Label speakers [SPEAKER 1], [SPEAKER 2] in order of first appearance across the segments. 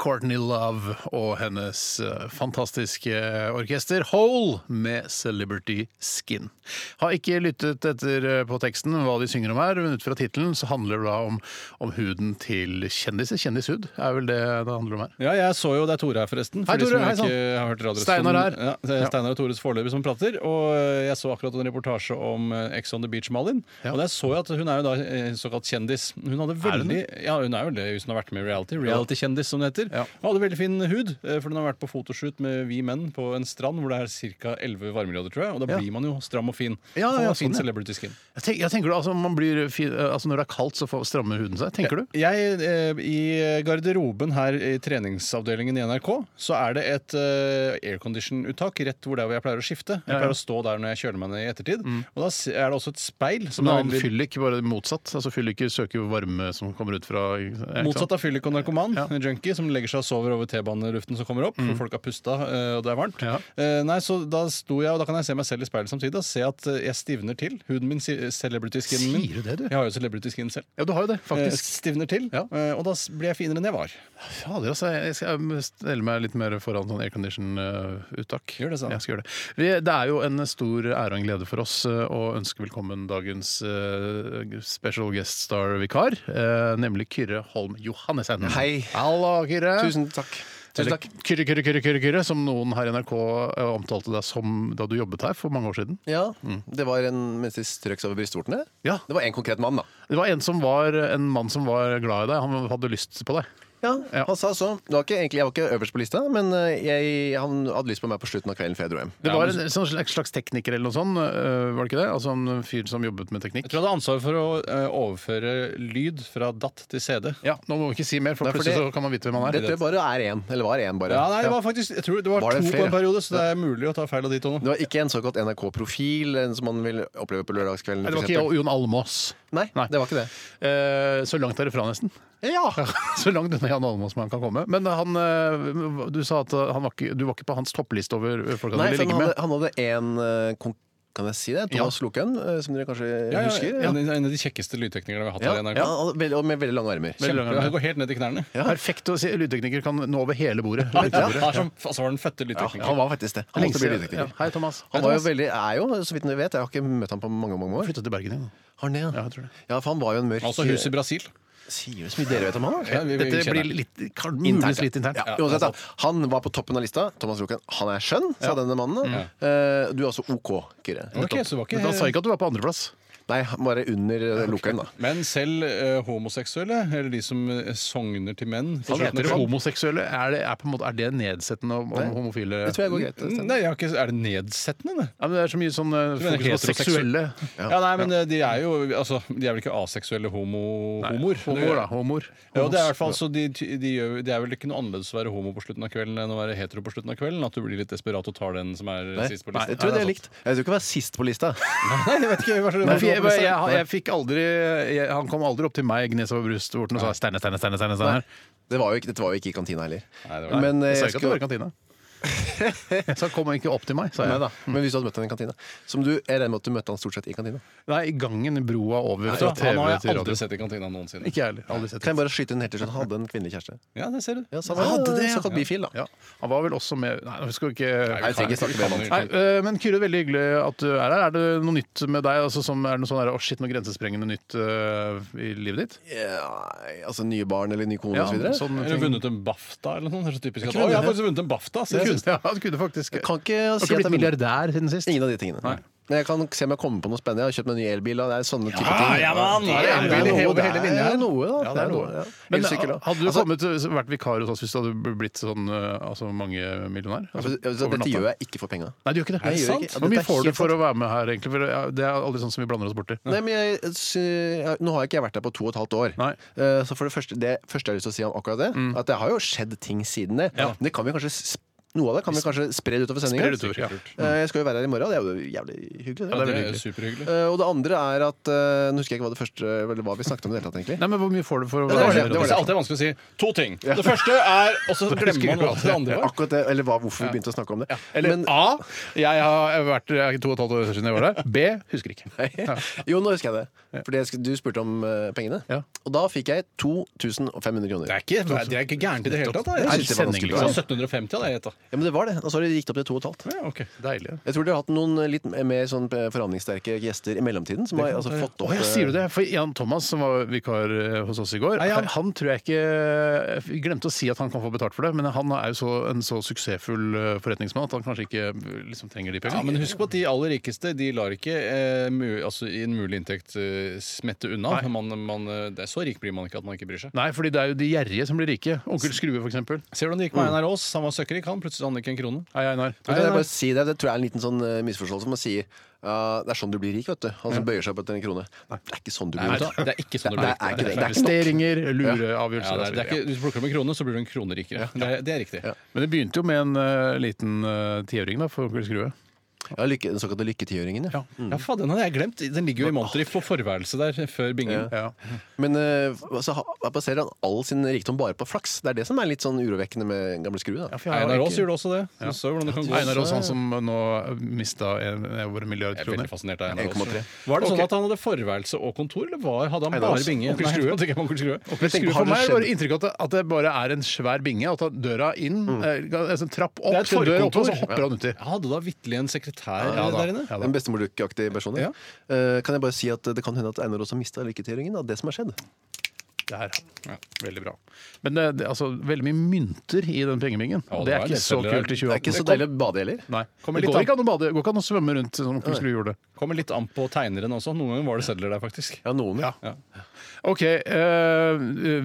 [SPEAKER 1] Courtney Love og hennes eh, fantastiske orkester Hole med Celebrity Skin. Har ikke lyttet etter eh, på teksten hva de synger om her, men ut fra tittelen så handler det da om, om huden til kjendiser. Kjendishud er vel det det handler om her.
[SPEAKER 2] Ja, jeg så jo det er Tore her, forresten. For
[SPEAKER 1] Hei,
[SPEAKER 2] de
[SPEAKER 1] Tore,
[SPEAKER 2] som
[SPEAKER 1] hei,
[SPEAKER 2] ikke
[SPEAKER 1] sann.
[SPEAKER 2] har hørt radioresepsjonen.
[SPEAKER 1] Steinar her.
[SPEAKER 2] Ja, det er Steinar og Tores foreløpig som prater. Og eh, jeg så akkurat en reportasje om eh, Ex on the Beach Malin.
[SPEAKER 1] Ja.
[SPEAKER 2] Og der så jeg at hun er jo da eh, såkalt kjendis. Hun hadde veldig Ja, hun er jo det hvis hun har vært med i reality. Reality-kjendis, som det heter.
[SPEAKER 1] Ja.
[SPEAKER 2] Hun hadde veldig fin hud, eh, for hun har vært på fotoshoot med Vi Menn på en strand hvor det er ca. 11 varmegrader, tror jeg. Og da
[SPEAKER 1] Ja.
[SPEAKER 2] blir man jo stram og fin.
[SPEAKER 1] Ja, ja,
[SPEAKER 2] Man
[SPEAKER 1] ja,
[SPEAKER 2] har fin
[SPEAKER 1] sånn, ja.
[SPEAKER 2] celebrity skin.
[SPEAKER 1] Jeg, tenk, jeg tenker du, altså, man blir fin, altså Når det er kaldt, så får- strammer huden seg, tenker du?
[SPEAKER 2] Jeg, eh, I garderoben her i treningsavdelingen i NRK så er det et eh, aircondition-uttak rett hvor det er hvor jeg pleier å skifte. Jeg
[SPEAKER 1] Ja, Mm. ja.
[SPEAKER 2] pleier å stå der når jeg kjøler meg ned i ettertid. Og da s- er det også et speil. Som
[SPEAKER 1] Men
[SPEAKER 2] er
[SPEAKER 1] han
[SPEAKER 2] veldig-
[SPEAKER 1] fyllik, bare motsatt. Altså Fylliker søker jo varme som kommer ut fra ikke sant?
[SPEAKER 2] Motsatt av fyllik og narkoman,
[SPEAKER 1] Ja. Mm.
[SPEAKER 2] en junkie som legger seg og sover over T-baneluften som kommer opp. For folk har pusta, eh, og det er varmt.
[SPEAKER 1] Ja.
[SPEAKER 2] Eh, Nei, så Da sto jeg, og da kan jeg se meg selv i speilet samtidig og se at eh, jeg stivner til. Huden min, si- celebrity-skinnen min.
[SPEAKER 1] Sier du det, du?
[SPEAKER 2] Jeg har jo celebrity-skin selv.
[SPEAKER 1] Ja, du har jo det,
[SPEAKER 2] Eh,
[SPEAKER 1] faktisk.
[SPEAKER 2] Stivner til,
[SPEAKER 1] Ja.
[SPEAKER 2] eh, og da s- blir jeg finere enn jeg var.
[SPEAKER 1] Fader, altså. Jeg skal stelle meg litt mer foran sånn aircondition-uttak.
[SPEAKER 2] Gjør det, sa han.
[SPEAKER 1] Jeg skal gjøre det. Vi, det er jo en stor ære og en glede for oss eh, å ønske velkommen dagens eh, special guest star-vikar, eh, nemlig Kyrre Holm Johannessen.
[SPEAKER 3] Hei.
[SPEAKER 1] Halla, Kyrre.
[SPEAKER 3] Tusen takk. Tusen
[SPEAKER 1] Eller
[SPEAKER 3] takk.
[SPEAKER 1] Kyrre, Kyrre, Kyrre, Kyrre, Kyrre, som noen her i NRK eh, omtalte deg som da du jobbet her for mange år siden.
[SPEAKER 3] Ja, Det var en mens de strøks over brystvortene.
[SPEAKER 1] Mm. Ja.
[SPEAKER 3] Det var en konkret mann, da.
[SPEAKER 1] Det var en som var en mann som var glad i deg. Han hadde lyst på deg.
[SPEAKER 3] Ja,
[SPEAKER 1] Ja.
[SPEAKER 3] Han sa så. Det var ikke, egentlig, jeg var ikke øverst på lista, men eh, jeg, han hadde lyst på meg på slutten av kvelden før jeg dro hjem.
[SPEAKER 1] Det var en sånn slags slags tekniker eller noe sånt, øh, var det ikke det? Altså en fyr som jobbet med teknikk.
[SPEAKER 2] Jeg tror jeg hadde ansvar for å eh, overføre lyd fra DAT til CD.
[SPEAKER 1] Ja, nå må vi ikke si mer, for
[SPEAKER 3] Nei, for
[SPEAKER 1] plutselig
[SPEAKER 3] det-
[SPEAKER 1] så kan man vite hvem han er.
[SPEAKER 3] Dette bare er én. Eller var én, bare.
[SPEAKER 2] Ja, nei, det var faktisk, jeg tror det var,
[SPEAKER 3] Var det
[SPEAKER 2] to
[SPEAKER 3] flere?
[SPEAKER 2] på en periode, så det er mulig å ta feil av de to nå.
[SPEAKER 3] Det var ikke en såkalt NRK-profil en som man vil oppleve på lørdagskvelden.
[SPEAKER 1] Nei, det
[SPEAKER 3] for
[SPEAKER 1] var ikke
[SPEAKER 3] eksempel.
[SPEAKER 1] Jon Almås.
[SPEAKER 3] Nei,
[SPEAKER 1] Nei.
[SPEAKER 3] det var ikke det.
[SPEAKER 1] Eh, så langt derifra, nesten.
[SPEAKER 3] Ja!
[SPEAKER 1] Så langt unna Jan Almås man kan komme. Men han, eh, du sa at han var ikke, du var ikke på hans toppliste over øh, folk han
[SPEAKER 3] Nei,
[SPEAKER 1] ville
[SPEAKER 3] for
[SPEAKER 1] ligge
[SPEAKER 3] han,
[SPEAKER 1] med.
[SPEAKER 3] hadde, han hadde en eh, kon- Kan jeg si det? Thomas Lokøen, eh, som dere kanskje
[SPEAKER 2] Ja, ja,
[SPEAKER 3] husker?
[SPEAKER 2] En, en av de kjekkeste lydteknikerne vi har hatt
[SPEAKER 3] Ja,
[SPEAKER 2] her i NRK.
[SPEAKER 3] ja, og veldig- og med veldig lange armer.
[SPEAKER 1] Veldig lange armer.
[SPEAKER 2] Det går helt ned til knærne.
[SPEAKER 1] Perfekt å si. Lydtekniker kan nå over hele bordet.
[SPEAKER 2] Ja.
[SPEAKER 1] Lydtekniker.
[SPEAKER 2] Han er som, altså var den fødte
[SPEAKER 3] Ja,
[SPEAKER 2] lydteknikeren.
[SPEAKER 3] han var faktisk det. Han
[SPEAKER 1] Lenge
[SPEAKER 3] måtte bli
[SPEAKER 1] siden-
[SPEAKER 3] lydtekniker.
[SPEAKER 1] Ja. Hei, Thomas.
[SPEAKER 3] Han var jo veldig, er jo, så vidt jeg vet, jeg har ikke møtt ham på mange mange år.
[SPEAKER 1] Flytta til Bergen igjen.
[SPEAKER 3] Har han det,
[SPEAKER 1] Ja, jeg tror det.
[SPEAKER 3] Ja, for han var jo en mørk
[SPEAKER 2] Altså huset i Brasil.
[SPEAKER 3] Sier det så mye dere vet om han? da?
[SPEAKER 2] Ja, vi- vi
[SPEAKER 1] Dette
[SPEAKER 2] kjenner
[SPEAKER 1] blir
[SPEAKER 2] det.
[SPEAKER 1] litt, kan- muligens litt internt.
[SPEAKER 3] Ja, uansett, da. Han var på toppen av lista. Thomas Roken, han er skjønn, sa denne mannen. da. Eh, du er også OK, Kyrre.
[SPEAKER 2] Ok, så det var
[SPEAKER 1] Men han sa
[SPEAKER 2] ikke...
[SPEAKER 1] ikke at du var på andreplass.
[SPEAKER 3] Nei, han bare under eh, Roken, da.
[SPEAKER 2] Men selv eh, homoseksuelle, eller de som eh, sogner til menn på
[SPEAKER 1] Han
[SPEAKER 2] slutten av
[SPEAKER 1] heter
[SPEAKER 2] kroppen-
[SPEAKER 1] homoseksuelle. Er det, er på en måte, er det nedsettende om, om homofile
[SPEAKER 3] Det tror jeg går greit.
[SPEAKER 1] Mm.
[SPEAKER 3] det stemmer.
[SPEAKER 2] Mm, Nei, jeg har ikke, er det nedsettende, det?
[SPEAKER 1] Ja, men det er så mye sånn eh,
[SPEAKER 2] Du mener
[SPEAKER 1] fokus på seksuelle
[SPEAKER 2] heteroseksuelle? Ja, nei, men eh, de er jo altså, De er vel ikke aseksuelle homo, homoer?
[SPEAKER 1] Homoer, da. Homoer.
[SPEAKER 2] Ja, og det er, i hvert fall, så de, de gjør, det er vel ikke noe annerledes å være homo på slutten av kvelden enn å være hetero på slutten av kvelden? At du blir litt desperat og tar den som er sist på lista?
[SPEAKER 3] jeg tror det er likt. Jeg tror ikke det var sist på lista.
[SPEAKER 2] Nei, jeg vet ikke. Hva
[SPEAKER 1] Nei, for jeg, jeg, jeg, jeg fikk aldri jeg, Han kom aldri opp til meg, gnes over brystvorten, og sa 'Steine, Steine, Steine'. steine, steine.
[SPEAKER 3] Det var jo ikke, dette var jo ikke i kantina heller.
[SPEAKER 2] Nei, det var-
[SPEAKER 3] Men, eh,
[SPEAKER 1] Jeg sa
[SPEAKER 3] jeg
[SPEAKER 1] ikke at det var i
[SPEAKER 3] skulle,
[SPEAKER 1] kantina. Jeg sa 'kom ikke opp til meg', sa
[SPEAKER 3] nei,
[SPEAKER 1] jeg.
[SPEAKER 3] da. Men hvis du hadde møtt han i kantina Som du, Jeg regner med at du møtte han stort sett i kantina.
[SPEAKER 1] Nei, i gangen, i broa over fra TV
[SPEAKER 2] Han har jeg
[SPEAKER 1] til radio.
[SPEAKER 2] aldri sett i kantina noensinne.
[SPEAKER 1] Ikke jeg heller. Aldri sett
[SPEAKER 3] Kan jeg bare skyte inn helt til slutt? Han hadde en kvinnelig kjæreste.
[SPEAKER 2] Ja, det ser du.
[SPEAKER 3] Ja, så han var
[SPEAKER 1] Altså, Hadde det, ja.
[SPEAKER 3] såkalt bifil, da.
[SPEAKER 1] ja. Han var vel også med Nei, vi skal ikke
[SPEAKER 3] Nei, eh, jeg trenger ikke snakke mer om
[SPEAKER 1] Nei,
[SPEAKER 2] Nei,
[SPEAKER 1] øh, men Kyrre, veldig hyggelig at du er her. Er det noe nytt med deg? Altså, som, er det noe sånn der, «Å, shit, noe grensesprengende nytt øh, i livet ditt?
[SPEAKER 3] Ja, altså nye barn eller ny kone
[SPEAKER 1] Ja,
[SPEAKER 3] og så videre Sånn,
[SPEAKER 1] sånne
[SPEAKER 2] Eller
[SPEAKER 1] ting.
[SPEAKER 2] vunnet en BAFTA eller noe. Det er så typisk at, Å,
[SPEAKER 3] kunne
[SPEAKER 2] jeg har
[SPEAKER 3] det.
[SPEAKER 2] faktisk vunnet en BAFTA!
[SPEAKER 1] Du
[SPEAKER 2] sier jeg.
[SPEAKER 1] kunne, ja, du kunne faktisk
[SPEAKER 3] Jeg kan ikke
[SPEAKER 1] Har
[SPEAKER 3] si
[SPEAKER 1] du
[SPEAKER 3] at
[SPEAKER 1] blitt
[SPEAKER 3] jeg er
[SPEAKER 1] milliardær siden sist?
[SPEAKER 3] Ingen av de tingene. Men jeg kan se om jeg kommer på noe spennende. Jeg har kjøpt meg en ny elbil. Og det er sånne type
[SPEAKER 2] Ah,
[SPEAKER 3] ting.
[SPEAKER 2] ja, man,
[SPEAKER 3] Det er
[SPEAKER 2] det er
[SPEAKER 3] noe,
[SPEAKER 2] noe
[SPEAKER 3] det
[SPEAKER 2] der.
[SPEAKER 3] er noe, da.
[SPEAKER 1] Ja, det er noe.
[SPEAKER 3] ja.
[SPEAKER 1] Men ah,
[SPEAKER 3] Elsykkel, da.
[SPEAKER 1] hadde du
[SPEAKER 3] Altså,
[SPEAKER 1] kommet, eh, vært vikar hos oss hvis du hadde blitt sånn øh, altså, mangemillionær? Altså,
[SPEAKER 3] altså, altså,
[SPEAKER 1] over
[SPEAKER 3] Dette
[SPEAKER 1] natta?
[SPEAKER 3] gjør jeg ikke for penga.
[SPEAKER 1] Nei, du gjør ikke det.
[SPEAKER 3] Nei, jeg gjør ikke.
[SPEAKER 1] Hvor mye
[SPEAKER 3] Ja, dette er
[SPEAKER 1] får du
[SPEAKER 3] helt
[SPEAKER 1] for å være med her, egentlig? For ja, det er aldri sånn som vi blander oss borti.
[SPEAKER 3] Nei, men jeg, sy- jeg- nå har ikke jeg vært der på to og et halvt år.
[SPEAKER 1] Nei. Mm.
[SPEAKER 3] Eh, Så for det første, det første jeg har lyst til å si om akkurat det, at det har jo skjedd ting siden det. Men det kan vi kanskje s- Noe av det kan vi kanskje spre det utover
[SPEAKER 1] Spre
[SPEAKER 3] sendingen.
[SPEAKER 1] det utover, ja.
[SPEAKER 3] Eh, Jeg skal jo være her i morgen, og det er jo jævlig hyggelig.
[SPEAKER 1] Ja, det er
[SPEAKER 2] Det
[SPEAKER 1] veldig
[SPEAKER 2] er
[SPEAKER 1] hyggelig.
[SPEAKER 2] superhyggelig.
[SPEAKER 3] Eh, Og det andre er at eh, Nå husker jeg ikke hva det første Eller hva vi snakket om i det hele tatt, egentlig.
[SPEAKER 1] Nei, men Hvor mye får du for å
[SPEAKER 3] det var det,
[SPEAKER 2] Det er alltid vanskelig å si to ting. Det første er Og så glemmer man alt det andre. var.
[SPEAKER 3] Akkurat det, eller hva, hvorfor vi begynte å snakke om det.
[SPEAKER 1] Eller
[SPEAKER 3] Men-
[SPEAKER 1] A. Jeg har vært det er to og et halvt år siden jeg var der. B. Husker ikke. Ja.
[SPEAKER 3] Jo, nå husker jeg det. Fordi jeg, sk- du spurte om eh, pengene.
[SPEAKER 1] Ja.
[SPEAKER 3] Og da fikk jeg 2500 kroner.
[SPEAKER 2] Det er ikke, det er ikke gærent i det hele tatt. da.
[SPEAKER 3] Jeg
[SPEAKER 2] Jeg
[SPEAKER 3] synes
[SPEAKER 2] synes
[SPEAKER 3] det var vanskelig.
[SPEAKER 2] det var 1750 hadde jeg gjetta.
[SPEAKER 3] Ja, men det var det. Og så har det gikk det opp til 2500.
[SPEAKER 2] Ja, ok.
[SPEAKER 1] Deilig.
[SPEAKER 3] Jeg tror dere har hatt noen litt mer sånn forhandlingssterke gjester i mellomtiden. Som har altså, fått opp
[SPEAKER 1] Å, ja, sier du det? For Jan Thomas, som var vikar eh, hos oss i går,
[SPEAKER 2] Nei, ja.
[SPEAKER 1] han tror jeg ikke Vi glemte å si at han kan få betalt for det, men han er jo så, en så suksessfull eh, forretningsmann at han kanskje ikke eh, liksom, trenger de
[SPEAKER 2] Ja,
[SPEAKER 1] pengene.
[SPEAKER 2] Men husk på at de aller rikeste de lar ikke eh, mu, altså, i en mulig inntekt eh, smette unna.
[SPEAKER 1] Nei.
[SPEAKER 2] Man, man, eh, det er så rik blir man ikke at man ikke bryr seg.
[SPEAKER 1] Nei, fordi det er jo de gjerrige som blir rike. Onkel Skrue, for eksempel.
[SPEAKER 2] Ser du hvordan det gikk med
[SPEAKER 3] Mm.
[SPEAKER 2] Einar Aas? Han var søkkrik, han. Plutselig hadde han ikke en krone.
[SPEAKER 1] Hei, Einar.
[SPEAKER 3] Men kan eh, jeg bare si Det Det tror jeg er en liten sånn eh, misforståelse. Man sier ja, det er sånn du blir rik, vet du. Han som bøyer seg på en krone. Det er ikke sånn du blir rik.
[SPEAKER 2] det er ikke sånn det
[SPEAKER 3] det
[SPEAKER 2] blir.
[SPEAKER 3] er ikke det. Det er ikke nok.
[SPEAKER 1] Investeringer, lure avgjørelser
[SPEAKER 2] Ja, det
[SPEAKER 1] og så
[SPEAKER 2] er, det er
[SPEAKER 1] videre.
[SPEAKER 2] ikke, hvis du plukker opp en krone, så blir du en krone rikere. Det, er, det er riktig.
[SPEAKER 1] Men det begynte jo med en eh, liten eh, tiøring da, for onkel Skrue.
[SPEAKER 3] Ja, lykke, den såkalte lykketiøringen, ja.
[SPEAKER 2] Ja, faen, den hadde jeg glemt. Den ligger jo i monterdrift på forværelset der før bingen.
[SPEAKER 1] Ja.
[SPEAKER 3] Men eh, så ha- baserer han all sin rikdom bare på flaks. Det er det som er litt sånn urovekkende med gamle Skrue. Da.
[SPEAKER 2] Einar Aas gjorde også det. Så så hvordan det kan gå.
[SPEAKER 1] Einar Aas, han som nå mista en- eh, over en milliard
[SPEAKER 2] Jeg er
[SPEAKER 1] kroner.
[SPEAKER 2] veldig fascinert av Einar
[SPEAKER 3] 1,3.
[SPEAKER 2] Aas. Var det sånn
[SPEAKER 1] Ok.
[SPEAKER 2] at han hadde forværelse og kontor, eller var, hadde han
[SPEAKER 3] Einar
[SPEAKER 2] bare
[SPEAKER 3] Aas.
[SPEAKER 2] binge?
[SPEAKER 1] Onkel
[SPEAKER 2] Nei,
[SPEAKER 1] Skrue.
[SPEAKER 2] nå tenker jeg på Onkel Skrue.
[SPEAKER 1] Men tenk,
[SPEAKER 3] Skrue,
[SPEAKER 1] for
[SPEAKER 3] har det
[SPEAKER 1] meg
[SPEAKER 3] skjedd-
[SPEAKER 1] var det inntrykk av at, at det bare er en svær binge. At døra inn, eh, altså en trapp opp,
[SPEAKER 2] Mm. Det er et
[SPEAKER 1] til døra opp, og
[SPEAKER 2] forkontor.
[SPEAKER 1] så hopper han uti.
[SPEAKER 2] Jeg hadde da vitterlig en sekretær
[SPEAKER 1] da.
[SPEAKER 2] der inne.
[SPEAKER 1] Ja, da.
[SPEAKER 3] En bestemordukkeaktig person. Ja. Eh, kan jeg bare si at det kan hende at Einar også mista lykketiøringen av det som har skjedd.
[SPEAKER 1] Det er han. Veldig bra. Men det, det, altså, veldig mye mynter i den pengebingen.
[SPEAKER 2] Ja, det
[SPEAKER 1] det
[SPEAKER 2] var
[SPEAKER 1] er
[SPEAKER 2] en
[SPEAKER 1] ikke så
[SPEAKER 2] del
[SPEAKER 1] kult i
[SPEAKER 3] Det er
[SPEAKER 1] 2018.
[SPEAKER 3] ikke så deilig å bade heller.
[SPEAKER 1] Nei.
[SPEAKER 2] Kommer
[SPEAKER 1] Det
[SPEAKER 2] litt
[SPEAKER 1] går
[SPEAKER 2] an-
[SPEAKER 1] ikke an å bade, det går ikke an å svømme rundt som onkel Skrue gjorde.
[SPEAKER 2] Kommer litt an på tegneren også. Noen ganger var det sedler der, faktisk.
[SPEAKER 3] Ja, noen.
[SPEAKER 1] Ja. OK. eh,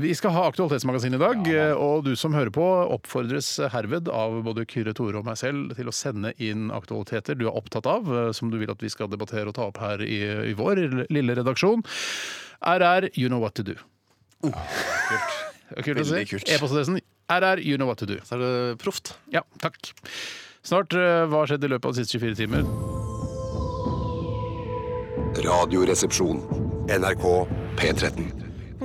[SPEAKER 1] vi skal ha Aktualitetsmagasinet i dag. eh, og du som hører på, oppfordres herved av både Kyrre Tore og meg selv til å sende inn aktualiteter du er opptatt av, eh, som du vil at vi skal debattere og ta opp her i, i vår lille redaksjon. RR, you know what to do. Det er Kult. å si.
[SPEAKER 3] Veldig kult.
[SPEAKER 1] E-postadressen RR, you know what to do.
[SPEAKER 3] Så er det proft.
[SPEAKER 1] Ja, takk. Snart eh, hva har skjedd i løpet av de siste 24 timer?
[SPEAKER 4] Radioresepsjon. NRK P13.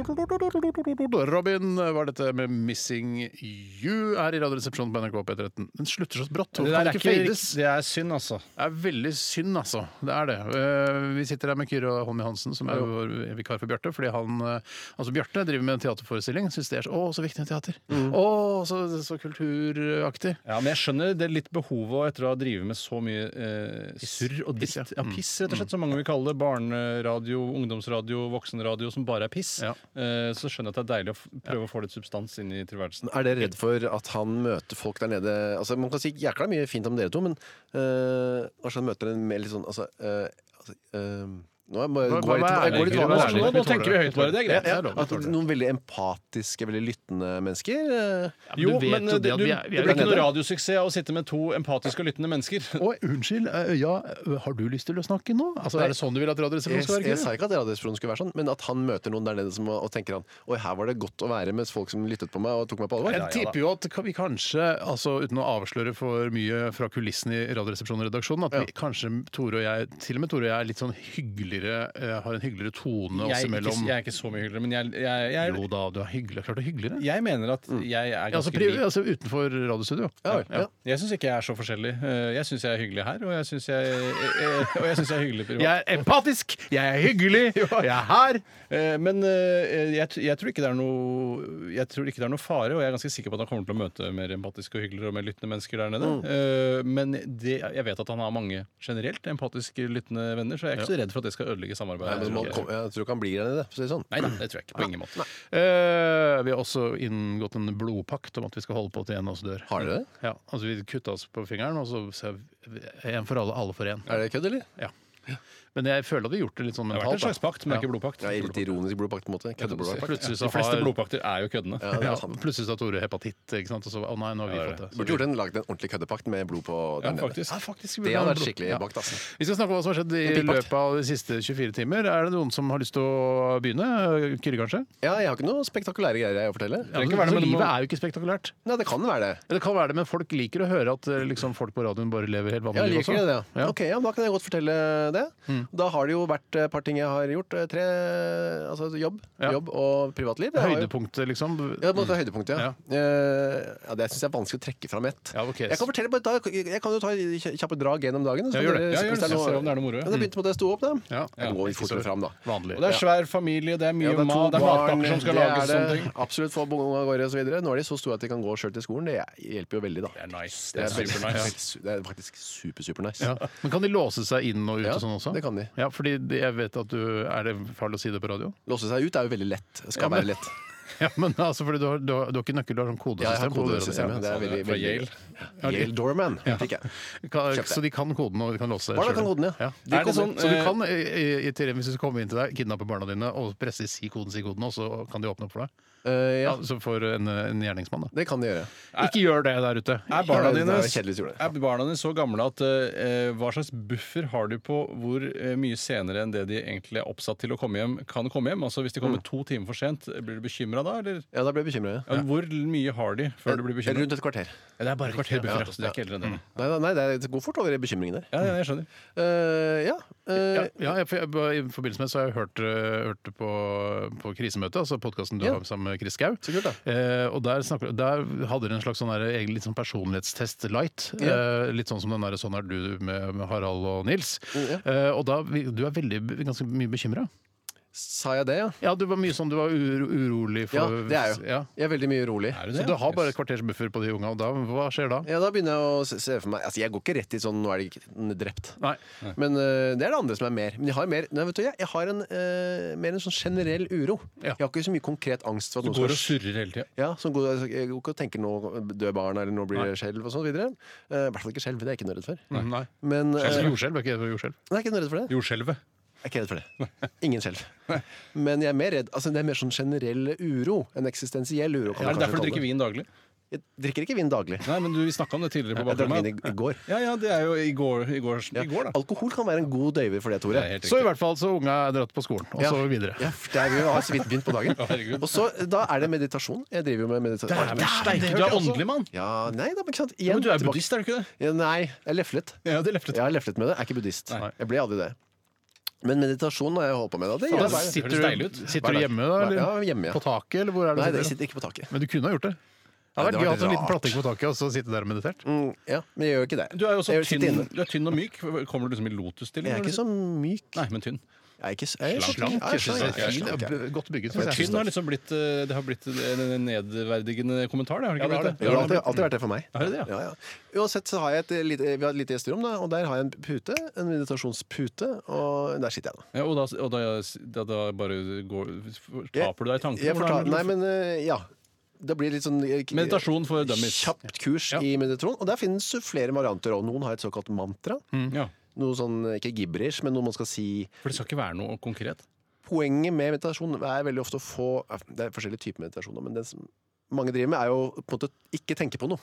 [SPEAKER 1] Robin var dette med 'Missing You' her i Radioresepsjonen på NRK P13. Den slutter så brått. Hvorfor kan den ikke fades?
[SPEAKER 2] det er synd, altså.
[SPEAKER 1] Det er veldig synd, altså. Det er det. Eh, Vi sitter her med Kyrre Holm Johansen, som er vår vikar for Bjarte. fordi han, eh, altså Bjarte driver med en teaterforestilling. Syns det er så, å, så viktig med teater. Å, så, så kulturaktig.
[SPEAKER 2] Ja, Men jeg skjønner det er litt behovet etter å drive med så mye eh, surr og
[SPEAKER 1] Piss,
[SPEAKER 2] dritt.
[SPEAKER 1] ja. Mm.
[SPEAKER 2] Ja, piss, rett og slett, som mange vil kalle det. Barneradio, ungdomsradio, voksenradio som bare er piss.
[SPEAKER 1] Ja.
[SPEAKER 2] Eh, så skjønner jeg at det er deilig å f- prøve å få litt substans inn i tilværelsen.
[SPEAKER 3] Er dere redd for at han møter folk der nede Altså, Man kan si jækla mye fint om dere to, men øh, kanskje han møter en mer litt sånn Altså, øh, altså øh, Nå er jeg
[SPEAKER 1] Hva-
[SPEAKER 3] bare, går jeg
[SPEAKER 1] hva er
[SPEAKER 3] litt, jeg går
[SPEAKER 1] det
[SPEAKER 3] litt
[SPEAKER 1] egentlig? Hva er det?
[SPEAKER 3] over her.
[SPEAKER 2] Nå- nå tenker vi høyt bare, det er greit.
[SPEAKER 1] Ja,
[SPEAKER 3] Ja,
[SPEAKER 1] det er lov,
[SPEAKER 3] at
[SPEAKER 1] det er lov.
[SPEAKER 3] noen veldig empatiske, veldig lyttende mennesker øh,
[SPEAKER 1] men du vet jo det at
[SPEAKER 2] du,
[SPEAKER 1] vi er- vi er
[SPEAKER 2] det blir
[SPEAKER 1] der
[SPEAKER 2] ikke noe
[SPEAKER 1] nede.
[SPEAKER 2] radiosuksess av å sitte med to empatiske og lyttende mennesker.
[SPEAKER 1] Å, unnskyld. eh, Ja, har du lyst til å snakke nå? Altså, Er det sånn du vil at Radioresepsjonen
[SPEAKER 3] jeg,
[SPEAKER 1] skal være?
[SPEAKER 3] jeg
[SPEAKER 1] Kyrre?
[SPEAKER 3] sa ikke at Radioresepsjonen skulle være sånn, men at han møter noen der nede som, og tenker han Oi, her var det godt å være med folk som lyttet på meg og tok meg på alvor.
[SPEAKER 1] Jeg tipper jo at ka- vi kanskje, altså uten å avsløre for mye fra kulissene i Radioresepsjonen og redaksjonen, at vi kanskje Tore og jeg, til og med Tore og jeg, er litt sånn hyggeligere, eh, har en hyggeligere tone oss
[SPEAKER 2] Jeg, er ikke,
[SPEAKER 1] imellom.
[SPEAKER 2] jeg er ikke så mye hyggeligere, men jeg, jeg, jeg,
[SPEAKER 1] Jo da, du er hyggelig. Klart du er hyggeligere.
[SPEAKER 2] jeg mener at jeg er
[SPEAKER 1] Ja, altså,
[SPEAKER 2] ganske
[SPEAKER 1] pri,
[SPEAKER 2] lik.
[SPEAKER 1] altså utenfor radiostudio.
[SPEAKER 3] Ja, vel, ja.
[SPEAKER 2] Jeg syns ikke jeg er så forskjellig. Eh, Jeg syns jeg er hyggelig her, og jeg syns jeg, eh, og jeg, synes jeg er hyggelig privat.
[SPEAKER 1] Jeg er empatisk, jeg er hyggelig, jeg er her.
[SPEAKER 2] Eh, Men eh, jeg, t- jeg, tror ikke det er noe, jeg tror ikke det er noe fare, og jeg er ganske sikker på at han kommer til å møte mer empatiske og hyggeligere og mer lyttende mennesker der nede. Eh, Men det, jeg vet at han har mange generelt empatiske, lyttende venner, så jeg er ikke så redd for at det skal ødelegge
[SPEAKER 3] Nei,
[SPEAKER 2] samarbeidet.
[SPEAKER 3] men man, kom, jeg tror ikke han blir der nede, for å si det sånn.
[SPEAKER 2] Nei da, det tror jeg ikke. På ingen måte.
[SPEAKER 1] Eh, vi har også inngått en blodpakt om at vi skal holde på til en av oss dør.
[SPEAKER 3] Har dere det?
[SPEAKER 1] Ja, altså vi kutta oss på fingeren, og så ser vi en for alle, alle for en.
[SPEAKER 3] Er det kødd, eller?
[SPEAKER 1] Ja. Men jeg føler at de har gjort det litt sånn
[SPEAKER 2] Det har vært
[SPEAKER 1] mentalt.
[SPEAKER 2] en slags
[SPEAKER 1] da.
[SPEAKER 2] pakt, men det er ikke blodpakt.
[SPEAKER 3] Ja, litt ironisk blodpakt, på en måte. Køddeblodpakt.
[SPEAKER 1] Plutselig så
[SPEAKER 2] De fleste
[SPEAKER 1] har
[SPEAKER 2] blodpakter er jo køddene.
[SPEAKER 3] Ja, det
[SPEAKER 1] ja,
[SPEAKER 3] er sant.
[SPEAKER 1] plutselig så har Tore hepatitt, ikke sant? og så Å nei, nå har vi
[SPEAKER 2] Ja, det er
[SPEAKER 1] fått det.
[SPEAKER 2] det.
[SPEAKER 1] Så
[SPEAKER 3] Burde gjort en, lagd en ordentlig køddepakt med blod på
[SPEAKER 2] Ja,
[SPEAKER 3] der nede.
[SPEAKER 2] faktisk.
[SPEAKER 1] faktisk
[SPEAKER 3] Det hadde vært
[SPEAKER 1] blod-
[SPEAKER 3] skikkelig
[SPEAKER 1] Ja.
[SPEAKER 3] bakt, altså.
[SPEAKER 1] Vi skal snakke om hva som har skjedd i
[SPEAKER 3] En bilpakt.
[SPEAKER 1] løpet av de siste 24 timer. Er det noen som har lyst til å begynne? Kyrre, kanskje?
[SPEAKER 3] Ja, jeg har ikke noen spektakulære greier jeg å fortelle.
[SPEAKER 2] Ja.
[SPEAKER 1] Altså,
[SPEAKER 2] ikke være det, men det må-
[SPEAKER 1] livet er jo ikke spektakulært.
[SPEAKER 3] Nei, det kan være det.
[SPEAKER 1] Ja, Det kan være det, men folk liker å høre at eh, liksom, folk på radioen bare lever helt
[SPEAKER 3] Ja,
[SPEAKER 1] vanlig liv
[SPEAKER 3] liker
[SPEAKER 1] også.
[SPEAKER 3] dere det? Ja.
[SPEAKER 1] Ja.
[SPEAKER 3] Ok, ja, Da kan jeg godt fortelle det. Da har det jo vært et par ting jeg har gjort. eh, Tre, altså Jobb,
[SPEAKER 1] Ja.
[SPEAKER 3] jobb og privatliv. Jeg har jo-
[SPEAKER 1] Høydepunktet, liksom.
[SPEAKER 3] Ja, på en måte høydepunktet, ja. Eh, ja det syns jeg er vanskelig å trekke fram ett.
[SPEAKER 1] Ja, ok.
[SPEAKER 3] Jeg kan fortelle bare, da, jeg kan jo ta kjappe drag gjennom dagen.
[SPEAKER 1] Ja, gjør det.
[SPEAKER 2] Ja, gjør det. Jeg ser om det er noe moro, ja.
[SPEAKER 3] Ja, det begynte med at jeg sto opp, da.
[SPEAKER 1] Ja.
[SPEAKER 3] Jeg går
[SPEAKER 1] Ja.
[SPEAKER 3] fortere fram, da.
[SPEAKER 1] Vanlig.
[SPEAKER 2] Og det er svær familie, det er mye
[SPEAKER 3] Ja,
[SPEAKER 2] mat, det er matpakker som skal
[SPEAKER 3] det
[SPEAKER 2] lages.
[SPEAKER 3] er
[SPEAKER 2] og
[SPEAKER 3] det.
[SPEAKER 2] sånne ting.
[SPEAKER 3] Absolutt få bonga av gårde og så videre. Nå er de så store at de kan gå sjøl til skolen. Det hjelper jo veldig, da.
[SPEAKER 2] Det er nice.
[SPEAKER 3] Det er veldig-
[SPEAKER 2] supernice.
[SPEAKER 3] su- Det er faktisk super, super nice.
[SPEAKER 1] Ja. Men kan de låse seg inn og ut
[SPEAKER 3] Ja,
[SPEAKER 1] og sånn også?
[SPEAKER 3] det kan de.
[SPEAKER 1] Ja, fordi de- jeg vet at du Er det farlig å si det på radio?
[SPEAKER 3] Låse seg ut er jo veldig lett. Det skal
[SPEAKER 1] Ja, men-
[SPEAKER 3] være lett.
[SPEAKER 1] Ja, men altså, fordi du har, du har, du har ikke nøkkel, du har sånn
[SPEAKER 3] Ja, jeg har
[SPEAKER 1] kodesystem. på
[SPEAKER 3] kodesystemet.
[SPEAKER 1] døra di.
[SPEAKER 3] Det er veldig,
[SPEAKER 2] Fra
[SPEAKER 3] veldig
[SPEAKER 2] Yale.
[SPEAKER 3] Yale Doorman fikk jeg.
[SPEAKER 1] Kan-
[SPEAKER 3] Kjøpte.
[SPEAKER 1] Så de kan koden, og de kan låse seg
[SPEAKER 3] Barna
[SPEAKER 1] selv.
[SPEAKER 3] kan koden, ja. De
[SPEAKER 1] Er det
[SPEAKER 2] kommer-
[SPEAKER 1] sånn, så du kan, eh, i teorien, hvis du skal komme inn til deg, kidnappe barna dine og presse 'si koden, si koden', og så kan de åpne opp for deg?
[SPEAKER 3] Eh,
[SPEAKER 1] Ja,
[SPEAKER 3] ja,
[SPEAKER 1] så for en, en gjerningsmann, da.
[SPEAKER 3] det kan de gjøre.
[SPEAKER 1] Ikke gjør det der ute.
[SPEAKER 2] Er barna
[SPEAKER 3] Det er- det
[SPEAKER 2] dine,
[SPEAKER 3] er kjedelig hvis du gjorde det.
[SPEAKER 2] er barna dine så gamle at eh, hva slags buffer har du på hvor eh, mye senere enn det de egentlig er oppsatt til å komme hjem, kan komme hjem? Altså Hvis de kommer to timer for sent, eh, blir du bekymra da? Eller
[SPEAKER 3] Ja, Eh, da ble jeg bekymra.
[SPEAKER 2] Ja, Hvor mye har de før du blir bekymra?
[SPEAKER 3] Rundt et kvarter.
[SPEAKER 2] Det er bare et kvarter buffer. altså, Det er ikke eldre enn det.
[SPEAKER 3] Nei, nei, nei, det går fort over i bekymringen der.
[SPEAKER 2] Ja, ja, jeg skjønner.
[SPEAKER 3] Eh, ja. eh,
[SPEAKER 1] Ja, ja jeg, for jeg, I forbindelse med så har jeg hørt, eh, hørt det på, på krisemøtet, altså podkasten du
[SPEAKER 3] Ja.
[SPEAKER 1] har sammen med Chris Skau.
[SPEAKER 3] Så kult, da.
[SPEAKER 1] Eh, og der, snakker, der hadde dere en slags sånn der, egen litt sånn personlighetstest light. Eh, litt sånn som den der 'Sånn er du' med, med Harald og Nils. Eh, og da, vi- Du er veldig, ganske mye bekymra.
[SPEAKER 3] Sa jeg det, ja?
[SPEAKER 1] Ja, du var mye sånn, du var uro, urolig for
[SPEAKER 3] Ja, det er jeg jo.
[SPEAKER 1] Ja.
[SPEAKER 3] Jeg er veldig mye urolig.
[SPEAKER 2] Er du
[SPEAKER 1] Så
[SPEAKER 2] det?
[SPEAKER 1] du har bare et kvarters buffer på de unga, og da, hva skjer da?
[SPEAKER 3] Ja, da begynner jeg å se- se for meg Altså, jeg går ikke rett i sånn 'nå er det ikke drept'.
[SPEAKER 1] Nei.
[SPEAKER 3] Men eh, det er det andre som er mer. Men jeg har, mer, nei, vet du, jeg, jeg har en, eh, mer en sånn generell uro.
[SPEAKER 1] Ja.
[SPEAKER 3] Jeg har ikke så mye konkret angst for at
[SPEAKER 2] Du
[SPEAKER 3] noe
[SPEAKER 2] går
[SPEAKER 3] skal
[SPEAKER 2] og surrer hele tida.
[SPEAKER 3] Ja, som går, altså, jeg går ikke og tenker nå dør barna, eller nå blir det skjelv og sånn videre. Eh, I hvert fall ikke skjelv, det er jeg ikke noe redd for.
[SPEAKER 1] Mm, Nei.
[SPEAKER 3] Men, eh,
[SPEAKER 1] Altså,
[SPEAKER 3] nei,
[SPEAKER 1] jordskjelv er ikke det jordskjelv?
[SPEAKER 3] jeg er ikke noe redd for det.
[SPEAKER 2] Jordskjelvet.
[SPEAKER 3] Jeg er ikke redd for det. Ingen skjelv. Men jeg er mer redd, altså det er mer sånn generell uro, en eksistensiell uro.
[SPEAKER 2] Er det derfor du drikker vin daglig?
[SPEAKER 3] Jeg drikker ikke vin daglig.
[SPEAKER 2] Nei, men du, Vi snakka om det tidligere på
[SPEAKER 3] Jeg drakk vin i,
[SPEAKER 2] bakrommet.
[SPEAKER 3] i går.
[SPEAKER 2] Ja, ja, det er jo i går, i går, i går da.
[SPEAKER 3] Alkohol kan være en god døyver for det, Tore.
[SPEAKER 2] Det er helt
[SPEAKER 1] Så i
[SPEAKER 2] riktig.
[SPEAKER 1] hvert fall så unga er dratt på skolen, og så videre.
[SPEAKER 3] Ja, for det er vi jo har så vidt begynt på dagen.
[SPEAKER 2] herregud.
[SPEAKER 3] og så, da er det meditasjon. Jeg driver jo med meditasjon.
[SPEAKER 2] Du er åndelig mann!
[SPEAKER 3] Ja, nei da, men ikke sant. Igjen,
[SPEAKER 2] Men du er
[SPEAKER 3] tilbake-
[SPEAKER 2] buddhist, er du ikke det?
[SPEAKER 3] Ja, nei, jeg leflet.
[SPEAKER 2] Ja, det leflet.
[SPEAKER 3] Jeg har leflet med det. Jeg er ikke buddhist.
[SPEAKER 2] Nei.
[SPEAKER 3] Jeg ble aldri det. Men meditasjon har jeg holdt på med. Da. Det
[SPEAKER 1] Da
[SPEAKER 3] gjør jeg hver-
[SPEAKER 1] sitter,
[SPEAKER 2] høres deilig
[SPEAKER 1] du,
[SPEAKER 2] ut.
[SPEAKER 1] sitter du
[SPEAKER 3] hver dag.
[SPEAKER 1] hjemme, da? Eller?
[SPEAKER 3] Ja, hjemme, ja.
[SPEAKER 1] På taket, eller hvor er det?
[SPEAKER 3] Nei,
[SPEAKER 1] du
[SPEAKER 3] det
[SPEAKER 1] sitter?
[SPEAKER 3] sitter ikke på taket.
[SPEAKER 1] Men du kunne ha gjort det. Det hadde vært
[SPEAKER 3] Ja, det
[SPEAKER 1] gøy å
[SPEAKER 3] var
[SPEAKER 1] ha en liten
[SPEAKER 3] rart.
[SPEAKER 1] platting på taket og så sitte der og meditere.
[SPEAKER 3] Mm, ja, men jeg gjør jo ikke det.
[SPEAKER 2] Du er jo også
[SPEAKER 3] Jeg sitter
[SPEAKER 2] tynn,
[SPEAKER 3] inne.
[SPEAKER 2] du er tynn og myk. Kommer du liksom i
[SPEAKER 3] Jeg
[SPEAKER 2] lotusstilling?
[SPEAKER 3] er ikke så myk.
[SPEAKER 2] Nei, men tynn.
[SPEAKER 3] Jeg er ikke så- jeg er
[SPEAKER 2] Slank.
[SPEAKER 3] slank. Jeg
[SPEAKER 2] Slank,
[SPEAKER 3] er slank.
[SPEAKER 2] jeg er
[SPEAKER 3] Fin,
[SPEAKER 2] slank,
[SPEAKER 3] ja.
[SPEAKER 1] Godt bygget,
[SPEAKER 3] synes jeg.
[SPEAKER 2] Tynn har liksom blitt eh, Det har blitt en en nedverdigende kommentar, det har det
[SPEAKER 1] Ja,
[SPEAKER 2] ikke
[SPEAKER 1] det har det.
[SPEAKER 2] blitt? det?
[SPEAKER 3] Jo, Det har alltid, alltid vært det for meg.
[SPEAKER 2] Er det det, ja?
[SPEAKER 3] Ja, ja. Uansett så har jeg et eh, lite, vi har et lite gjesterom, da, og der har jeg en pute. En meditasjonspute, og der sitter jeg, da.
[SPEAKER 2] Ja, og da, og da, da, da bare går,
[SPEAKER 3] Jeg-
[SPEAKER 2] taper du deg i tankene?
[SPEAKER 3] Jeg
[SPEAKER 2] Hvordan er
[SPEAKER 3] fortal,
[SPEAKER 2] det du-
[SPEAKER 3] nei, men eh, ja. Det blir litt sånn eh, k-
[SPEAKER 2] Meditasjon for dummies.
[SPEAKER 3] Kjapt kurs i meditasjon. Og der finnes jo flere varianter. Og noen har et såkalt mantra.
[SPEAKER 2] Ja,
[SPEAKER 3] Noe sånn, ikke gibberish, men noe man skal si.
[SPEAKER 2] for det skal ikke være noe konkret.
[SPEAKER 3] Poenget med meditasjon er veldig ofte å få Det er forskjellige typer meditasjon, da, men det som mange driver med, er jo på en måte ikke tenke på noe.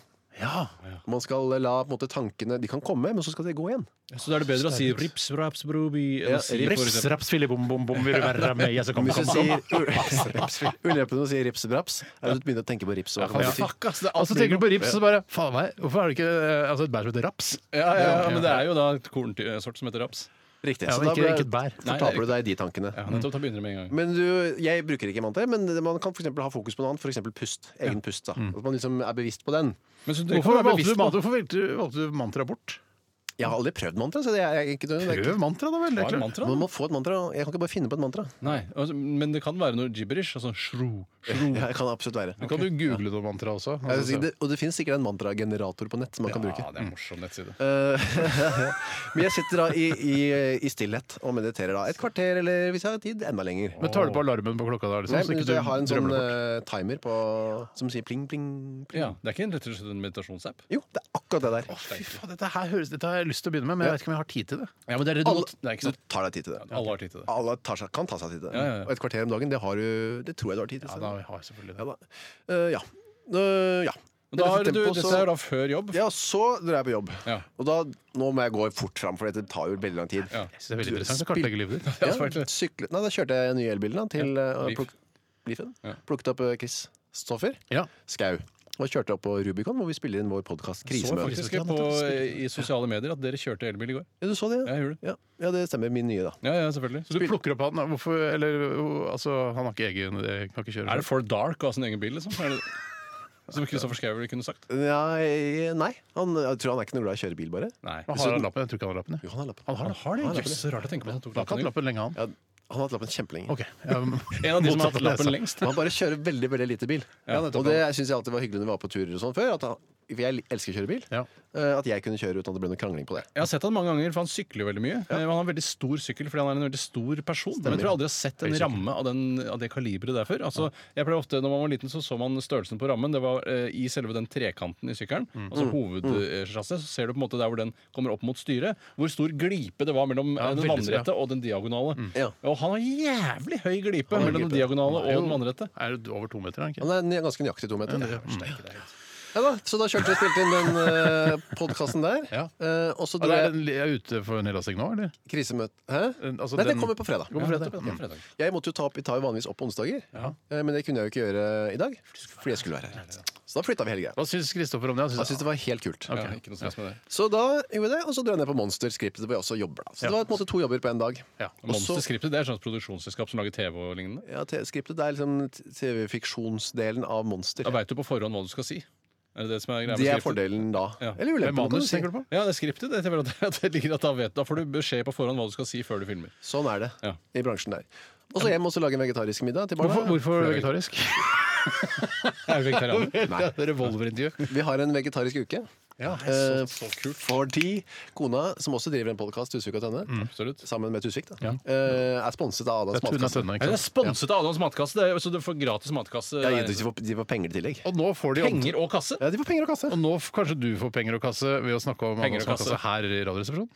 [SPEAKER 3] Man skal la på en måte tankene De kan komme, men så skal de gå igjen.
[SPEAKER 2] Så da er det bedre å si rips, raps, brobi
[SPEAKER 3] Ja,
[SPEAKER 2] enn å si for
[SPEAKER 3] rips,
[SPEAKER 2] eksempel-
[SPEAKER 1] raps, fille, bom, bom, bom, vil du være med? Jeg skal
[SPEAKER 3] Hvis
[SPEAKER 1] komme,
[SPEAKER 3] du
[SPEAKER 1] komme.
[SPEAKER 3] sier ulempen med å si ripsebraps, er at du begynner å tenke på rips. Og hva det betyr.
[SPEAKER 2] Fuck, ass! Det er
[SPEAKER 1] Og
[SPEAKER 2] alt
[SPEAKER 1] så tenker
[SPEAKER 2] mulig.
[SPEAKER 1] du på rips, og så bare faen meg, hvorfor er det ikke eh, altså, et bær som heter raps?
[SPEAKER 2] ja, ja, ja, men det er jo da et kornsort som heter raps.
[SPEAKER 3] Riktig.
[SPEAKER 1] Ja,
[SPEAKER 3] Så
[SPEAKER 1] men
[SPEAKER 3] da
[SPEAKER 1] ikke-
[SPEAKER 3] ble-
[SPEAKER 1] ikke et bær.
[SPEAKER 2] Nei,
[SPEAKER 3] så
[SPEAKER 2] det er
[SPEAKER 3] taper du deg i de tankene.
[SPEAKER 2] Ja, nettopp, da begynner det med en gang.
[SPEAKER 3] Men du, jeg bruker ikke mantra, men man kan for eksempel ha fokus på noe annet. F.eks. pust. Egen pust. da
[SPEAKER 2] Mm.
[SPEAKER 3] At man liksom er bevisst på den.
[SPEAKER 2] Men så det kan
[SPEAKER 1] Hvorfor
[SPEAKER 2] være
[SPEAKER 1] valgte du,
[SPEAKER 2] bevisst på.
[SPEAKER 1] mantra, hvorfor valgte du- valgte du mantra bort?
[SPEAKER 3] Jeg har aldri prøvd mantra. Så det er jeg ikke, det er ikke.
[SPEAKER 1] Prøv mantra, da vel. det er
[SPEAKER 2] Har du
[SPEAKER 1] klart.
[SPEAKER 2] mantra, da?
[SPEAKER 3] Man må få et mantra. Jeg kan ikke bare finne på et mantra.
[SPEAKER 2] Nei, altså, men det kan være noe gibberish. Altså shru,
[SPEAKER 3] Ja, det kan absolutt være.
[SPEAKER 1] Kan du google noe mantra også? Altså,
[SPEAKER 3] Jeg vil si det, og det finnes sikkert en mantragenerator på nett som man kan bruke.
[SPEAKER 2] Ja, det er Mm. en morsom nettside.
[SPEAKER 3] Eh, Men jeg sitter da i, i, i stillhet og mediterer da et kvarter, eller hvis jeg har tid, enda lenger.
[SPEAKER 1] Men tar du på alarmen på klokka da? Liksom,
[SPEAKER 3] Nei,
[SPEAKER 1] så
[SPEAKER 3] men
[SPEAKER 1] ikke
[SPEAKER 3] så jeg har en
[SPEAKER 1] du
[SPEAKER 3] sånn
[SPEAKER 1] drømmer det bort?
[SPEAKER 3] eh, timer på, som sier pling, pling, pling.
[SPEAKER 2] Ja, det er ikke en- rett og slett en meditasjonsapp.
[SPEAKER 3] Jo, det er akkurat det der.
[SPEAKER 1] Fy faen, dette her høres Dette har jeg lyst til å begynne med, men jeg vet ikke om jeg har tid til det.
[SPEAKER 2] Ja, men det er
[SPEAKER 3] Alle,
[SPEAKER 2] det er ikke sant.
[SPEAKER 3] du tar deg tid til det.
[SPEAKER 2] Alle har tid til det.
[SPEAKER 3] Alle tar seg, kan ta seg tid til det.
[SPEAKER 2] Ja, ja, ja.
[SPEAKER 3] Og et kvarter om dagen, det, har du, det tror jeg du har tid til.
[SPEAKER 1] Ja, da har jeg selvfølgelig det.
[SPEAKER 3] Ja da. Eh, ja. Eh, ja.
[SPEAKER 2] Men da
[SPEAKER 3] Med
[SPEAKER 2] har
[SPEAKER 3] dette
[SPEAKER 2] du,
[SPEAKER 3] tempoet
[SPEAKER 2] dette
[SPEAKER 3] så-
[SPEAKER 2] er da før jobb.
[SPEAKER 3] Ja, så drar jeg på jobb.
[SPEAKER 2] Ja.
[SPEAKER 3] Og da, nå må jeg gå fort fram, for dette tar jo veldig lang tid.
[SPEAKER 2] Ja.
[SPEAKER 1] Jeg synes det er veldig interessant å kartlegge livet ditt.
[SPEAKER 2] Ja,
[SPEAKER 3] Ja,
[SPEAKER 2] selvfølgelig.
[SPEAKER 3] syklet. Nei, da kjørte jeg den nye elbilen da, til eh,
[SPEAKER 2] Leaf.
[SPEAKER 3] pluk Leafen.
[SPEAKER 2] Ja.
[SPEAKER 3] Plukket opp eh, Kristoffer
[SPEAKER 1] Ja.
[SPEAKER 3] Skau. Og kjørte opp på Rubicon, hvor vi spiller inn vår podkast
[SPEAKER 2] Så
[SPEAKER 3] Krisemøte.
[SPEAKER 2] faktisk på, eh, i sosiale medier at dere kjørte elbil i går.
[SPEAKER 3] Ja, du så det?
[SPEAKER 2] Ja, jeg gjorde det.
[SPEAKER 3] Ja. ja, det stemmer. Min nye, da.
[SPEAKER 2] Ja, ja, selvfølgelig.
[SPEAKER 1] Så du plukker opp han, hvorfor, eller jo, altså, han har ikke egen eh, kan ikke kjøre
[SPEAKER 2] Er det for dark å ha sin egen bil, liksom? Er det... Som Kristoffer Schou ville kunne sagt.
[SPEAKER 3] Nei, nei. Han, jeg tror han er ikke noe glad i å kjøre bil, bare.
[SPEAKER 2] Nei.
[SPEAKER 1] Men Har han lappen? Jeg tror ikke han har lappen. jeg.
[SPEAKER 3] Jo, han har lappen.
[SPEAKER 1] Han har,
[SPEAKER 2] Han
[SPEAKER 1] det.
[SPEAKER 2] har det. Jøss, så rart å tenke på at han tok
[SPEAKER 1] han har ikke hatt
[SPEAKER 2] lappen.
[SPEAKER 1] lappen lenge, han.
[SPEAKER 3] Ja, han har hatt lappen kjempelenge.
[SPEAKER 1] Ok. jeg-
[SPEAKER 2] En av de som har
[SPEAKER 1] Motsatt
[SPEAKER 2] hatt
[SPEAKER 1] lese.
[SPEAKER 2] lappen lengst.
[SPEAKER 3] Men Han bare kjører veldig veldig lite bil.
[SPEAKER 2] Ja, nettopp.
[SPEAKER 3] og det syns jeg alltid var hyggelig når vi var på turer og sånn før. At han, for jeg elsker å kjøre bil.
[SPEAKER 1] Ja.
[SPEAKER 3] eh, At jeg kunne kjøre uten at det ble noe krangling på det.
[SPEAKER 2] Jeg har sett han mange ganger, for han sykler jo veldig mye. Eh, Han har en veldig stor sykkel fordi han er en veldig stor person. Men jeg tror jeg aldri har sett en ramme av, den, av det kaliberet der før. Altså, jeg pleier ofte, Når man var liten, så så man størrelsen på rammen. Det var eh, i selve den trekanten i sykkelen,
[SPEAKER 1] Mm.
[SPEAKER 2] altså hovedsjasset. Så ser du på en måte der hvor den kommer opp mot styret, hvor stor glipe det var mellom eh, den
[SPEAKER 1] veldig stor, ja. Mm.
[SPEAKER 2] vannrette og den diagonale.
[SPEAKER 3] Ja.
[SPEAKER 2] Og han har jævlig høy glipe mellom den diagonale og den vannrette.
[SPEAKER 1] Er det over to meter, er han ikke?
[SPEAKER 3] Han er n- ganske nøyaktig to meter. Ja, da, så da kjørte vi og spilte inn den uh, podkasten der.
[SPEAKER 1] Ja.
[SPEAKER 3] Eh, og så
[SPEAKER 1] Er
[SPEAKER 3] dro
[SPEAKER 1] det
[SPEAKER 3] jeg
[SPEAKER 1] en, er jeg ute for nedlasting nå, eller?
[SPEAKER 3] krisemøte Hæ?
[SPEAKER 1] En- altså
[SPEAKER 3] Nei, det
[SPEAKER 1] den-
[SPEAKER 3] kommer på fredag.
[SPEAKER 1] Kommer fredag.
[SPEAKER 2] Ja, fredag.
[SPEAKER 3] Jeg måtte jo ta opp, vi tar jo vanligvis opp på onsdager, Eh, men det kunne jeg jo ikke gjøre i dag. Fordi jeg skulle være her. Så da flytta vi hele greia.
[SPEAKER 1] Hva syns Kristoffer om det? Han
[SPEAKER 3] Jeg
[SPEAKER 1] synes
[SPEAKER 3] syntes det var helt kult.
[SPEAKER 2] Ja, ikke noe stress med det.
[SPEAKER 3] Så da gjorde jeg det, og så dro jeg ned på Monster Scriptet, hvor jeg også jobber. da. Så det var på en måte to jobber på én dag.
[SPEAKER 1] Ja.
[SPEAKER 3] Og så-
[SPEAKER 2] Monsterskriptet det er et sånt produksjonsselskap som lager TV og lignende.
[SPEAKER 3] Ja, te- Scriptet det er liksom t- TV-fiksjonsdelen av Monster.
[SPEAKER 2] Da veit du på forhånd hva du skal si. Er det det som er greia med
[SPEAKER 3] Det er
[SPEAKER 2] skriptet?
[SPEAKER 3] fordelen da.
[SPEAKER 2] Ja.
[SPEAKER 3] Eller
[SPEAKER 1] Med
[SPEAKER 3] ulempen, kan du
[SPEAKER 1] manus,
[SPEAKER 3] si.
[SPEAKER 1] tenker du på?
[SPEAKER 2] Ja, det er skriptet. Det er vel at at det ligger at da, vet, da får du beskjed på forhånd hva du skal si før du filmer.
[SPEAKER 3] Sånn er det
[SPEAKER 2] Ja.
[SPEAKER 3] i bransjen der. Og så hjem og så lage en vegetarisk middag til
[SPEAKER 1] Hvorfor,
[SPEAKER 3] barna.
[SPEAKER 1] hvorfor vegetarisk?
[SPEAKER 2] Er du vegetarianer?
[SPEAKER 1] Ja, Revolverintervju.
[SPEAKER 3] Vi har en vegetarisk uke.
[SPEAKER 1] Ja,
[SPEAKER 3] Eh, Fordi kona, som også driver en podkast, Tusvik og Tønne,
[SPEAKER 2] Absolutt.
[SPEAKER 3] sammen med Tusvik, da, eh, er sponset av Adams
[SPEAKER 1] Det er Tuna
[SPEAKER 3] Matkasse.
[SPEAKER 1] Tønne,
[SPEAKER 2] Ja,
[SPEAKER 1] ikke
[SPEAKER 2] det er
[SPEAKER 1] sant?
[SPEAKER 2] sponset av Adams matkasse, det er- så du får gratis matkasse.
[SPEAKER 3] Ja, de får- de får penger i tillegg.
[SPEAKER 1] Og nå får de omtale-
[SPEAKER 2] Penger og kasse!
[SPEAKER 3] Ja, de får penger og kasse.
[SPEAKER 1] Og nå f- kanskje du får penger og kasse ved å snakke om
[SPEAKER 2] Penger
[SPEAKER 1] Adams
[SPEAKER 2] og
[SPEAKER 1] matkasse
[SPEAKER 2] kasse.
[SPEAKER 1] her i Radioresepsjonen.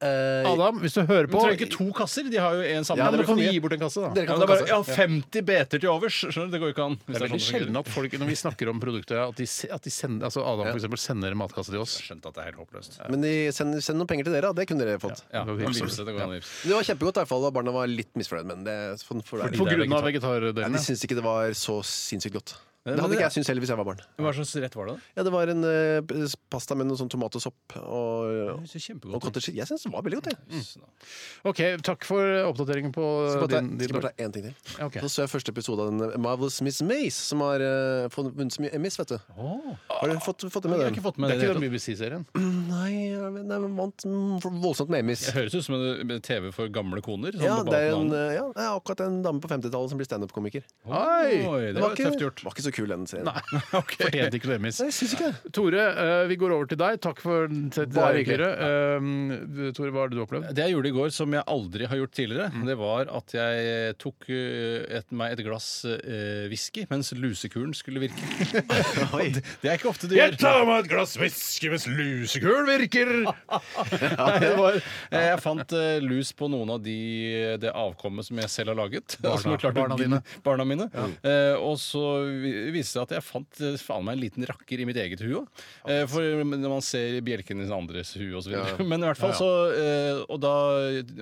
[SPEAKER 3] Eh,
[SPEAKER 1] Adam, hvis du hører
[SPEAKER 2] Du
[SPEAKER 1] på
[SPEAKER 2] trenger ikke to kasser, de har jo en sammen.
[SPEAKER 3] Ja,
[SPEAKER 2] men
[SPEAKER 3] det
[SPEAKER 2] du kan
[SPEAKER 3] blir for
[SPEAKER 2] gi
[SPEAKER 3] mye.
[SPEAKER 2] bort en kasse, da.
[SPEAKER 3] Dere kan
[SPEAKER 2] ja, det er
[SPEAKER 3] ta
[SPEAKER 2] bare, ja, 50 beter til overs. Skjønner du, det går jo ikke an. hvis
[SPEAKER 1] Det er veldig
[SPEAKER 2] sånn det
[SPEAKER 1] sjelden
[SPEAKER 2] fungerer.
[SPEAKER 1] at folk, når vi snakker om produktet, at, de, se- at de sender, altså Adam for eksempel, sender en matkasse til oss.
[SPEAKER 2] Jeg skjønte at det er helt håpløst.
[SPEAKER 3] Men de send, send noen penger til dere, da. Det kunne dere fått.
[SPEAKER 2] Ja,
[SPEAKER 1] Det
[SPEAKER 2] det,
[SPEAKER 1] går
[SPEAKER 2] går
[SPEAKER 1] vips.
[SPEAKER 2] vips, det går an å vips.
[SPEAKER 3] Det var kjempegodt, i hvert fall. og Barna var litt misfornøyd, men det, for, for det.
[SPEAKER 1] På
[SPEAKER 2] det er
[SPEAKER 1] grunn av
[SPEAKER 3] Ja,
[SPEAKER 1] vegetardelen.
[SPEAKER 3] de
[SPEAKER 1] ja.
[SPEAKER 3] syntes ikke det var så sinnssykt godt. Det
[SPEAKER 2] men
[SPEAKER 3] hadde
[SPEAKER 2] det-
[SPEAKER 3] ikke jeg syntes heller hvis jeg var barn.
[SPEAKER 2] Hva slags rett var det, da?
[SPEAKER 3] Ja, Det var en eh, pasta med noe sånn tomat og sopp og,
[SPEAKER 2] Det ser
[SPEAKER 3] og
[SPEAKER 2] kjempegodt ut.
[SPEAKER 3] cottage cheese. Jeg syns det var veldig godt, jeg.
[SPEAKER 2] Mm.
[SPEAKER 1] Ok, takk for oppdateringen på
[SPEAKER 3] Skal bare ta,
[SPEAKER 1] din,
[SPEAKER 3] skal
[SPEAKER 1] din
[SPEAKER 3] bare ta en ting til.
[SPEAKER 1] Ja, ok.
[SPEAKER 3] Så så jeg første episode av den Marvelous Miss Maze, som har eh, fått- vunnet så mye Emmys, vet du. Har du fått, fått det med
[SPEAKER 2] Jeg har
[SPEAKER 3] den?
[SPEAKER 2] ikke fått
[SPEAKER 1] Det
[SPEAKER 2] med
[SPEAKER 1] er
[SPEAKER 2] det. i
[SPEAKER 1] ikke
[SPEAKER 2] det hele
[SPEAKER 1] den BBC-serien.
[SPEAKER 3] Mm, Nei, jeg vet- nei, men vant mm, for- voldsomt med Emmys.
[SPEAKER 2] tatt. Det høres ut som en TV for gamle koner. sånn
[SPEAKER 3] Ja,
[SPEAKER 2] på
[SPEAKER 3] det er en,
[SPEAKER 2] badeland.
[SPEAKER 3] eh, ja, det er akkurat en dame på 50-tallet som blir standup-komiker.
[SPEAKER 2] Oi,
[SPEAKER 1] Oi!
[SPEAKER 2] det var
[SPEAKER 3] ikke,
[SPEAKER 2] tøft gjort.
[SPEAKER 3] var ikke så kul, den serien. Nei,
[SPEAKER 1] Fortjente ikke noe Emmys.
[SPEAKER 3] jeg syns ikke det.
[SPEAKER 1] Tore, eh, vi går over til deg. Takk for til til
[SPEAKER 3] Bare
[SPEAKER 1] deg, Kyrre. Eh, Tore, hva har du opplevd?
[SPEAKER 2] Det jeg gjorde i går som jeg aldri har gjort tidligere, det var at jeg tok eh, et, meg et glass eh, whisky mens lusekuren skulle virke.
[SPEAKER 3] Oi.
[SPEAKER 2] det, det er ikke ofte du gjør.
[SPEAKER 1] meg et glass whisky mens lusekulen virker!
[SPEAKER 2] Nei, det var, eh, jeg fant eh, lus på noen av de, det avkommet som jeg selv har laget.
[SPEAKER 1] Barna-
[SPEAKER 2] som jeg klarte å
[SPEAKER 1] barna
[SPEAKER 2] gni-
[SPEAKER 1] dine.
[SPEAKER 2] Barna mine. Eh, og så vi- viste det seg at jeg fant eh, faen meg en liten rakker i mitt eget hue òg. Eh, for når man ser bjelken i den andres hue osv. videre Men i hvert fall så eh, Og da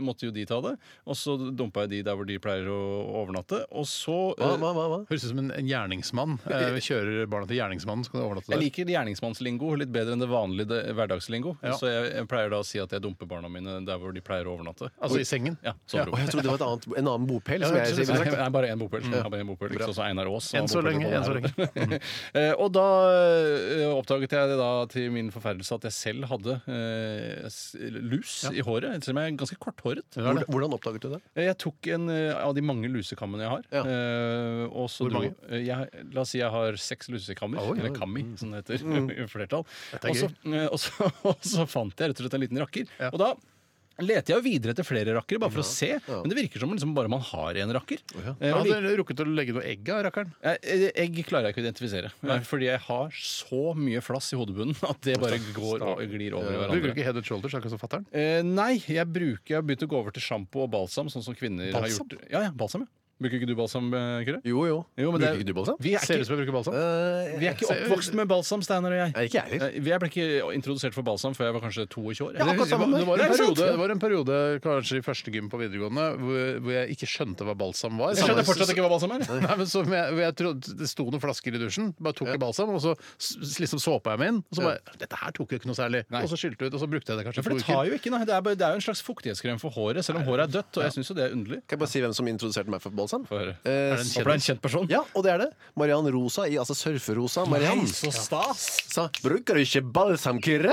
[SPEAKER 2] måtte jo de ta det. Og så dumpa jeg de der hvor de pleier å overnatte. Og så eh,
[SPEAKER 3] Hva, hva, hva? hva?
[SPEAKER 1] Høres ut som en, en gjerningsmann. Eh, vi kjører barna til gjerningsmannen, så kan du overnatte
[SPEAKER 2] Jeg
[SPEAKER 1] der.
[SPEAKER 2] liker gjerningsmannslingo litt bedre enn det vanlige det- hverdagslingo.
[SPEAKER 1] Ja.
[SPEAKER 2] Så jeg, jeg pleier da å si at jeg dumper barna mine der hvor de pleier å overnatte.
[SPEAKER 1] Altså i sengen.
[SPEAKER 2] Ja, soverom.
[SPEAKER 3] Å, jeg trodde det var et annet, en annen bopel.
[SPEAKER 1] Ja,
[SPEAKER 3] som jeg
[SPEAKER 1] jeg trodde
[SPEAKER 3] sier.
[SPEAKER 2] Nei, bare én bopel. Jeg har bare en bopel ikke sant, så Einar Aas. som
[SPEAKER 1] Enn
[SPEAKER 2] har
[SPEAKER 1] så
[SPEAKER 2] bopel.
[SPEAKER 1] lenge, enn så så lenge. Mm.
[SPEAKER 2] Eh, og da eh, oppdaget jeg det da til min forferdelse at jeg selv hadde eh, s- lus i håret. Selv om jeg er ganske korthåret.
[SPEAKER 3] Hvordan, hvordan oppdaget du det?
[SPEAKER 2] Eh, Jeg tok en eh, av de mange lusekammene jeg har.
[SPEAKER 3] Ja.
[SPEAKER 2] eh, og så
[SPEAKER 1] Hvor
[SPEAKER 2] dro-
[SPEAKER 1] mange?
[SPEAKER 2] eh, jeg, la oss si jeg har seks lusekammer,
[SPEAKER 1] Oi, oi.
[SPEAKER 2] eller kammi, som det heter i flertall.
[SPEAKER 1] Dette er
[SPEAKER 2] Og så, eh, og, så, og så fant jeg rett og slett en liten rakker. Og da leter jeg jo videre etter flere rakkere, bare for å se. Men det virker som liksom bare man har én rakker. Eh,
[SPEAKER 1] Jeg
[SPEAKER 2] og
[SPEAKER 1] hadde rukket å legge noe egg av rakkeren.
[SPEAKER 2] jeg- jeg- Egg klarer jeg ikke å identifisere. Fordi jeg har så mye flass i hodebunnen at det bare går og glir over i
[SPEAKER 1] Du
[SPEAKER 2] hverandre.
[SPEAKER 1] bruker ikke head and shoulders, akkurat som fatter'n.
[SPEAKER 2] Eh, nei, jeg bruker Jeg har begynt å gå over til sjampo og balsam, sånn som kvinner har
[SPEAKER 3] Balsam?
[SPEAKER 2] gjort. Ja, ja, balsam, ja. Bruker ikke du balsam, eh, Kyrre?
[SPEAKER 3] Jo, jo.
[SPEAKER 2] Jo, men det
[SPEAKER 3] Bruker
[SPEAKER 2] er-
[SPEAKER 3] ikke du balsam?
[SPEAKER 2] Vi er
[SPEAKER 1] Ser ut
[SPEAKER 2] ikke,
[SPEAKER 1] som jeg bruker balsam.
[SPEAKER 3] Eh,
[SPEAKER 2] vi er ikke oppvokst med balsam, Steinar og jeg.
[SPEAKER 3] Nei, ikke jeg heller.
[SPEAKER 2] Eh, Jeg ble ikke introdusert for balsam før jeg var kanskje 22 år.
[SPEAKER 1] Det,
[SPEAKER 2] Eller-
[SPEAKER 1] det, var- det, var
[SPEAKER 2] Ja,
[SPEAKER 1] en
[SPEAKER 2] ikke sant?
[SPEAKER 1] periode, det var en periode, kanskje i første gym på videregående, hvor, hvor jeg ikke skjønte hva balsam var.
[SPEAKER 2] Jeg skjønner fortsatt ikke hva balsam er.
[SPEAKER 1] Nei, men så, jeg, jeg trodde Det sto noen flasker i dusjen, bare tok jeg balsam, og så s- s- liksom såpa jeg meg inn. Og så bare Dette her tok jo ikke noe særlig.
[SPEAKER 2] Nei.
[SPEAKER 1] Og så skylte jeg ut, og så brukte jeg det
[SPEAKER 2] Ja,
[SPEAKER 1] kanskje
[SPEAKER 2] For det tar jo ikke, nei. Det er, bare, det er jo en slags fuktighetskrem for håret, selv om håret er dødt. Og jeg syns jo det er underlig.
[SPEAKER 3] Kan jeg bare si hvem som introduserte meg for balsam?
[SPEAKER 2] Få høre.
[SPEAKER 3] Eh,
[SPEAKER 2] Er det en kjent- Håper det er en kjent person?
[SPEAKER 3] Ja, og det er det. Mariann Rosa i altså Surferosa. Mariann
[SPEAKER 2] Nei, så stas!
[SPEAKER 3] sa 'Bruker du ikke balsam, Kyrre?'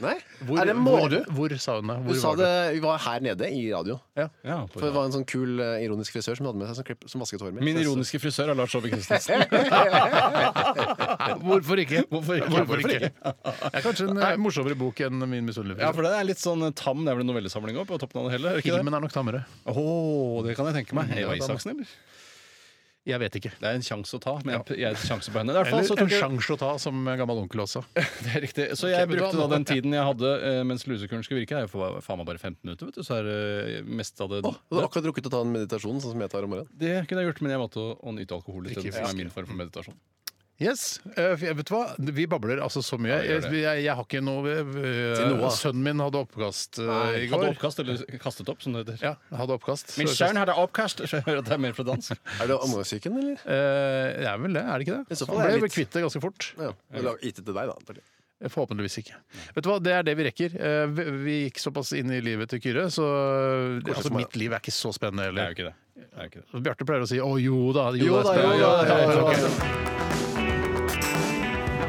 [SPEAKER 3] Nei?
[SPEAKER 1] Hvor,
[SPEAKER 3] er det må
[SPEAKER 1] hvor,
[SPEAKER 3] du?
[SPEAKER 1] hvor sa hun det?
[SPEAKER 3] Du
[SPEAKER 1] Hvor
[SPEAKER 3] sa
[SPEAKER 1] var
[SPEAKER 3] det, Vi var her nede i radio.
[SPEAKER 2] Ja, på-
[SPEAKER 3] For det var en sånn kul, eh, ironisk frisør som hadde med seg sånn klipp som vasket håret mitt.
[SPEAKER 2] Min ironiske frisør er Lars Saabye Christensen.
[SPEAKER 1] du? Hvorfor ikke?
[SPEAKER 2] Hvorfor ikke?
[SPEAKER 1] Hvorfor ikke? Det er kanskje en eh, morsommere bok enn min misunnelige
[SPEAKER 2] Ja, for
[SPEAKER 1] film.
[SPEAKER 2] det er litt sånn tam. Det er vel en novellesamling òg, på toppen av det hele? er det Ikke det?
[SPEAKER 1] Filmen er nok tammere.
[SPEAKER 2] Åh, det kan jeg tenke meg. Eva Isaksen, eller?
[SPEAKER 1] Jeg vet ikke.
[SPEAKER 2] Det er en sjanse å ta, men jeg, jeg er sjanse på henne. I hvert fall,
[SPEAKER 1] Eller
[SPEAKER 2] så
[SPEAKER 1] en
[SPEAKER 2] tok jeg,
[SPEAKER 1] sjanse å ta, som gammel onkel også.
[SPEAKER 2] det er riktig. Så jeg
[SPEAKER 1] men da-
[SPEAKER 2] brukte da den tiden jeg hadde eh, mens lusekuren skulle virke. Det er jo for- faen meg bare 15 minutter, vet du. Så er det mest av det
[SPEAKER 3] Å, Du har akkurat rukket å ta en meditasjon, sånn som jeg tar om morgenen.
[SPEAKER 2] Det kunne jeg gjort, men jeg valgte å, å nyte alkohol i stedet. Som
[SPEAKER 1] fisk.
[SPEAKER 2] er min form for meditasjon.
[SPEAKER 1] Yes, eh, for jeg- vet du hva? Vi babler altså så mye.
[SPEAKER 2] Ja, vi gjør det.
[SPEAKER 1] jeg, jeg, jeg har ikke noe eh,
[SPEAKER 3] noe, da.
[SPEAKER 1] Sønnen min hadde oppkast eh, i går.
[SPEAKER 2] Hadde oppkast, eller kastet opp, som det heter.
[SPEAKER 1] Ja, hadde oppkast.
[SPEAKER 2] Min
[SPEAKER 1] Så-
[SPEAKER 2] sønn hadde oppkast! Så jeg hører at det er mer fra dansk.
[SPEAKER 3] Er det omgangssyken, eller?
[SPEAKER 1] Eh, det er vel det, er det ikke
[SPEAKER 3] I
[SPEAKER 1] det?
[SPEAKER 3] så
[SPEAKER 1] Han
[SPEAKER 3] fall er
[SPEAKER 1] ble
[SPEAKER 3] jeg
[SPEAKER 1] vel
[SPEAKER 3] litt-
[SPEAKER 1] kvitt det ganske fort. Eh,
[SPEAKER 3] Ja. Jeg har gitt det til deg, da. antagelig.
[SPEAKER 1] Forhåpentligvis ikke.
[SPEAKER 3] Mm.
[SPEAKER 1] Vet du hva, Det er det vi rekker. Eh, vi, vi gikk såpass inn i livet til Kyrre, så altså,
[SPEAKER 3] som bare-
[SPEAKER 1] mitt liv er ikke så spennende
[SPEAKER 2] Det er jo
[SPEAKER 1] heller.
[SPEAKER 2] ikke det. det, er jo ikke det.
[SPEAKER 1] Bjarte pleier å si 'å jo da'. Jo, det
[SPEAKER 3] Jo
[SPEAKER 1] er
[SPEAKER 3] da, jo,
[SPEAKER 1] spennende».
[SPEAKER 3] jo,
[SPEAKER 1] Ja,
[SPEAKER 3] jo,
[SPEAKER 1] ja,
[SPEAKER 3] jo,
[SPEAKER 1] ja,
[SPEAKER 3] jo.
[SPEAKER 1] ok.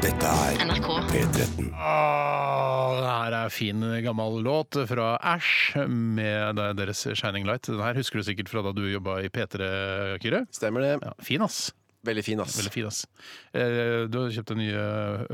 [SPEAKER 4] Dette er
[SPEAKER 5] NRK.
[SPEAKER 4] P13.
[SPEAKER 1] Ah, Det her er fin, gammel låt fra Æsj med deres 'Shining Light'. Den her husker du sikkert fra da du jobba i P3, Kyrre.
[SPEAKER 3] Stemmer det.
[SPEAKER 1] Ja, fin, ass.
[SPEAKER 3] Veldig fin, ass.
[SPEAKER 1] Veldig fin, ass. Eh, Du har kjøpt deg nye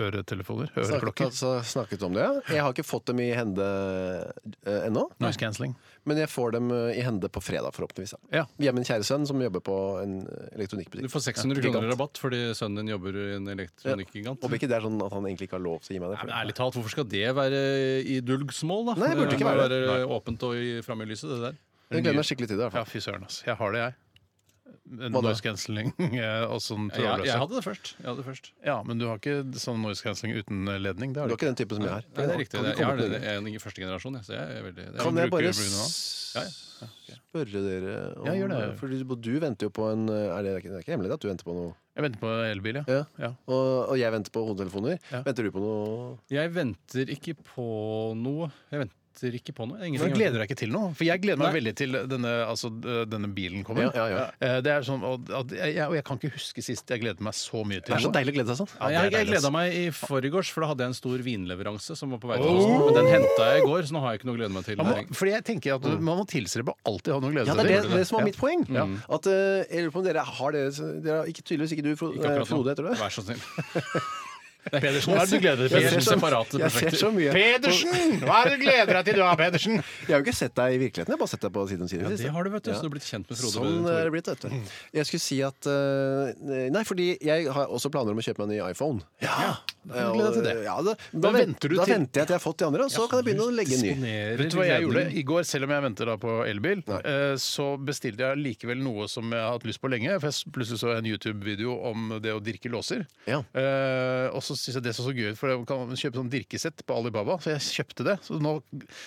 [SPEAKER 1] øretelefoner?
[SPEAKER 3] Snakket,
[SPEAKER 1] Øreklokker?
[SPEAKER 3] altså, snakket om det, ja. Jeg har ikke fått dem i hende eh, ennå,
[SPEAKER 1] Noise cancelling?
[SPEAKER 3] men jeg får dem eh, i hende på fredag, forhåpentligvis. da.
[SPEAKER 1] Ja.
[SPEAKER 3] Via min kjære sønn, som jobber på en eh,
[SPEAKER 2] Du
[SPEAKER 3] elektronikkbutikk.
[SPEAKER 2] får 600
[SPEAKER 3] Gigant.
[SPEAKER 2] kroner i rabatt fordi sønnen din jobber i en elektronikkgigant.
[SPEAKER 3] Håper ikke det er sånn at han egentlig ikke har lov til å gi meg det.
[SPEAKER 2] Nei,
[SPEAKER 3] for
[SPEAKER 2] men ærlig talt, Hvorfor skal det være i dulgsmål? da?
[SPEAKER 3] Nei, det burde ikke
[SPEAKER 2] må
[SPEAKER 3] være
[SPEAKER 2] være
[SPEAKER 3] det.
[SPEAKER 2] åpent og i- fremme i lyset, det der.
[SPEAKER 3] Jeg gleder meg skikkelig til det. i hvert
[SPEAKER 1] Ja,
[SPEAKER 3] fall.
[SPEAKER 1] fy søren, ass. Jeg har det, jeg.
[SPEAKER 3] Hva da?
[SPEAKER 1] Noise cancelling og sånn
[SPEAKER 2] Jeg, jeg,
[SPEAKER 1] trådløse.
[SPEAKER 2] hadde det først. Jeg hadde det først.
[SPEAKER 1] Ja, men du har ikke sånn noise cancelling uten ledning? Det har du
[SPEAKER 3] Du er
[SPEAKER 1] ikke.
[SPEAKER 3] ikke den typen som jeg har.
[SPEAKER 2] Nei, det er riktig.
[SPEAKER 3] Kan du
[SPEAKER 2] Det, jeg,
[SPEAKER 3] komme
[SPEAKER 2] har
[SPEAKER 3] på
[SPEAKER 2] det,
[SPEAKER 3] det?
[SPEAKER 2] jeg er en i første generasjon. Jeg, så jeg er veldig, det er,
[SPEAKER 3] Kan jeg
[SPEAKER 1] bruker
[SPEAKER 3] bare
[SPEAKER 1] du Bruno
[SPEAKER 3] s-
[SPEAKER 2] Ja, ja.
[SPEAKER 3] spørre dere om
[SPEAKER 1] Ja, gjør det.
[SPEAKER 3] For du, du venter jo på en er det, det er ikke- det er ikke hemmelig at du venter på noe.
[SPEAKER 1] Jeg venter på elbil, ja.
[SPEAKER 3] Ja.
[SPEAKER 1] ja.
[SPEAKER 3] Og, og jeg venter på hodetelefoner.
[SPEAKER 1] Ja.
[SPEAKER 3] Venter du på noe?
[SPEAKER 2] jeg venter ikke på noe. Jeg venter ikke på noe.
[SPEAKER 1] Men
[SPEAKER 2] Ingenting.
[SPEAKER 1] gleder du deg ikke til noe? For jeg gleder meg
[SPEAKER 2] Nei.
[SPEAKER 1] veldig til denne, altså, denne bilen kommer.
[SPEAKER 3] Ja, ja, ja.
[SPEAKER 1] Eh, Det er sånn, og, og jeg, og jeg kan ikke huske sist jeg gledet meg så mye
[SPEAKER 3] Det
[SPEAKER 1] til
[SPEAKER 3] er så
[SPEAKER 1] noe.
[SPEAKER 3] deilig å glede seg sånn.
[SPEAKER 1] det
[SPEAKER 2] Ja,
[SPEAKER 1] er
[SPEAKER 2] jeg jeg
[SPEAKER 1] deilig, ass.
[SPEAKER 2] gleda meg i forgårs, for da hadde jeg en stor vinleveranse. som var på vei til Åsen, Men den henta jeg i går, så nå har jeg ikke noe å glede meg til.
[SPEAKER 1] Man må, fordi jeg tenker at du- man må tilstrebe å alltid ha noe å glede
[SPEAKER 3] Mm. Ja,
[SPEAKER 1] seg til.
[SPEAKER 3] det er det, det som var mitt poeng.
[SPEAKER 1] Ja.
[SPEAKER 3] At eh, Jeg lurer på om dere har deres dere har, ikke, Tydeligvis ikke du, Fro,
[SPEAKER 2] Ikke
[SPEAKER 3] eh,
[SPEAKER 2] akkurat nå.
[SPEAKER 3] Frode, heter du det?
[SPEAKER 2] Vær så snill.
[SPEAKER 1] Pedersen, hva er det du gleder deg
[SPEAKER 2] Jeg
[SPEAKER 1] til?
[SPEAKER 2] ser liksom separate
[SPEAKER 3] Jeg ser så
[SPEAKER 2] prosjekter.
[SPEAKER 3] mye.
[SPEAKER 1] Pedersen! Hva er det du gleder deg til du har, Pedersen?
[SPEAKER 3] Jeg har jo ikke sett deg i virkeligheten, jeg har bare sett deg på side om side.
[SPEAKER 2] Ja,
[SPEAKER 3] visst.
[SPEAKER 2] det har du, vet du.
[SPEAKER 3] Ja.
[SPEAKER 2] Så du har blitt kjent med Frode.
[SPEAKER 3] Sånn
[SPEAKER 2] Tore.
[SPEAKER 1] eh,
[SPEAKER 3] er det blitt, vet du. Jeg skulle si at eh, Nei, fordi jeg har også planer om å kjøpe meg en ny iPhone.
[SPEAKER 1] Ja,
[SPEAKER 3] Ja,
[SPEAKER 1] da gleder jeg til det.
[SPEAKER 3] ja, da,
[SPEAKER 1] Da
[SPEAKER 3] da,
[SPEAKER 1] venter
[SPEAKER 3] venter
[SPEAKER 1] du
[SPEAKER 3] da
[SPEAKER 1] til-
[SPEAKER 3] venter jeg til jeg har fått de andre, og så kan jeg begynne å legge en ny.
[SPEAKER 1] Vet du hva jeg gjorde i går, selv om jeg venter da på elbil?
[SPEAKER 3] Nei.
[SPEAKER 1] eh, Så bestilte jeg likevel noe som jeg har hatt lyst på lenge. For jeg s- plutselig så jeg en YouTube-video om det å dirke låser.
[SPEAKER 3] Ja.
[SPEAKER 1] Eh, og så syns jeg det så så gøy ut, for man kan kjøpe sånn dirkesett på Alibaba. Så jeg kjøpte det. Så nå,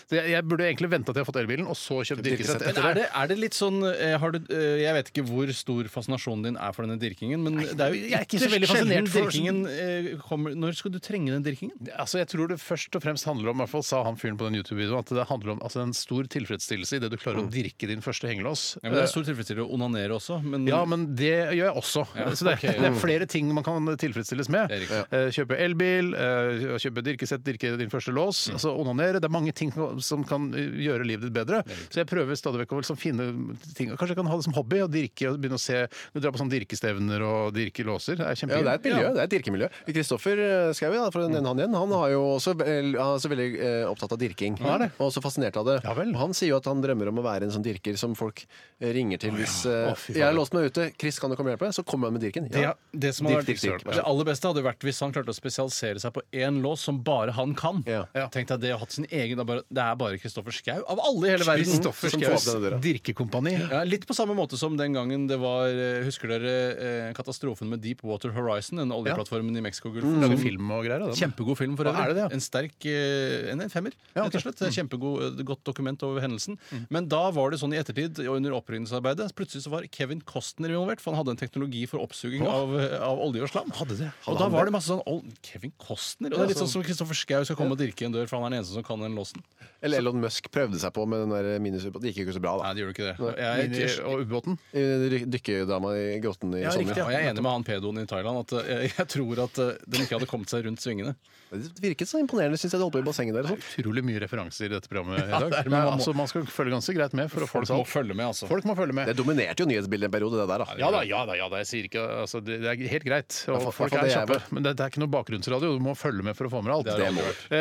[SPEAKER 1] det jeg burde egentlig venta til jeg har fått elbilen, og så kjøpt dirkesett
[SPEAKER 2] Men
[SPEAKER 1] etter
[SPEAKER 2] er
[SPEAKER 1] det.
[SPEAKER 2] det, er det litt sånn eh, har du, eh, Jeg vet ikke hvor stor fascinasjonen din er for denne dirkingen, men det er jo
[SPEAKER 1] jeg er ikke så
[SPEAKER 2] ytterst
[SPEAKER 1] veldig fascinert
[SPEAKER 2] sjelden
[SPEAKER 1] for-
[SPEAKER 2] dirkingen eh, kommer, når Når skal du trenge den drikkingen?
[SPEAKER 1] Altså, jeg tror det først og fremst handler om, i hvert fall sa han fyren på den YouTube-videoen, at det handler om altså, en stor tilfredsstillelse i det du klarer å dirke din første hengelås.
[SPEAKER 2] Ja, men det er stor tilfredsstillelse å onanere også, men
[SPEAKER 1] eh, Ja, men det gjør jeg også. Så det, er-
[SPEAKER 2] Mm. ok.
[SPEAKER 1] det er flere ting man kan tilfredsstilles med.
[SPEAKER 2] Det er riktig.
[SPEAKER 1] Eh, Kjøpe elbil, eh, kjøpe dirkesett, dirke din første lås,
[SPEAKER 2] Mm.
[SPEAKER 1] altså onanere. Det er mange ting som kan eh, gjøre livet ditt bedre. Så jeg prøver stadig vekk å liksom finne ting. Kanskje jeg kan ha det som hobby, å dirke og begynne å se Du drar på sånne dirkestevner og dirke låser. Det er
[SPEAKER 3] Ja,
[SPEAKER 1] kjempegøy.
[SPEAKER 3] det er et miljø, det er et dirkemiljø. Kristoffer eh, Schou, ja, for å
[SPEAKER 1] Mm.
[SPEAKER 3] nevne han igjen, han har jo også, vel- han er også veldig eh, opptatt av dirking.
[SPEAKER 1] er det.
[SPEAKER 3] Og også fascinert av det.
[SPEAKER 1] Ja vel.
[SPEAKER 3] Og han sier jo at han drømmer om å være en sånn dirker som folk eh, ringer til hvis eh,
[SPEAKER 1] Å, fy faen.
[SPEAKER 3] Jeg har låst meg ute, Chris, kan du komme og hjelpe? Så kommer han med dirken.
[SPEAKER 2] det, det som hadde
[SPEAKER 3] Dirk,
[SPEAKER 2] vært,
[SPEAKER 3] dirk, dirk.
[SPEAKER 2] det aller beste hadde jo vært hvis han klarte å spesialisere seg på én lås som bare han kan.
[SPEAKER 3] Ja.
[SPEAKER 2] Tenk deg det å hatt sin egen Det er bare- det er bare Kristoffer Schau av alle i hele verden.
[SPEAKER 1] Kristoffer
[SPEAKER 3] Som får
[SPEAKER 1] Schaus
[SPEAKER 3] åpne den døra.
[SPEAKER 1] dirkekompani.
[SPEAKER 2] Ja, litt på samme måte som den gangen det var eh, Husker dere eh, katastrofen med Deepwater Horizon? Den oljeplattformen i Mexicogolfen.
[SPEAKER 1] Lage
[SPEAKER 2] som-
[SPEAKER 1] film og greier. da.
[SPEAKER 2] Kjempegod film for øvrig.
[SPEAKER 1] Er det det, ja?
[SPEAKER 2] En sterk eh, en, en femmer,
[SPEAKER 1] Ja,
[SPEAKER 2] rett og
[SPEAKER 1] ok.
[SPEAKER 2] slett. Kjempegod, eh, godt dokument over hendelsen. Men da var det sånn i ettertid og under opprydningsarbeidet plutselig så var Kevin Costner involvert, for han hadde en teknologi for oppsuging av, eh, av olje og slam. og da
[SPEAKER 3] han
[SPEAKER 2] var det masse sånn «Å, Kevin Costner? Og det er litt sånn som Kristoffer Schau skal komme og dirke i en dør, for han er den eneste som kan den låsen.
[SPEAKER 3] Eller Elon Musk prøvde seg på med den der minusubåten. Det gikk jo ikke så bra, da.
[SPEAKER 2] Nei, det gjør du ikke det.
[SPEAKER 1] Inn
[SPEAKER 2] Jeg,
[SPEAKER 1] i- Og ubåten.
[SPEAKER 3] Eh, dy- Dykkerdama i grotten i
[SPEAKER 2] Ja,
[SPEAKER 3] sommer.
[SPEAKER 2] riktig, ja. Og jeg er enig med han pedoen i Thailand at eh, jeg tror at eh, den ikke hadde kommet seg rundt svingene.
[SPEAKER 3] Det virket så imponerende, syns jeg, det holdt på i bassenget der. og sånn. sånt.
[SPEAKER 1] Utrolig mye referanser i dette programmet i dag.
[SPEAKER 2] det er-
[SPEAKER 1] Men altså, man skal følge ganske greit med for å få det
[SPEAKER 2] Folk må
[SPEAKER 1] salt.
[SPEAKER 2] følge med, altså.
[SPEAKER 1] Folk må følge med.
[SPEAKER 3] Det dominerte jo nyhetsbildet en periode, det der. da.
[SPEAKER 1] Ja da, ja da, ja da, jeg sier ikke altså, det, det er helt greit. Og
[SPEAKER 3] for-
[SPEAKER 1] folk
[SPEAKER 3] for
[SPEAKER 1] er
[SPEAKER 3] det jeg
[SPEAKER 1] kjappe. Men det, det er ikke noe bakgrunnsradio. Du må følge med for å få med alt.
[SPEAKER 2] Det er det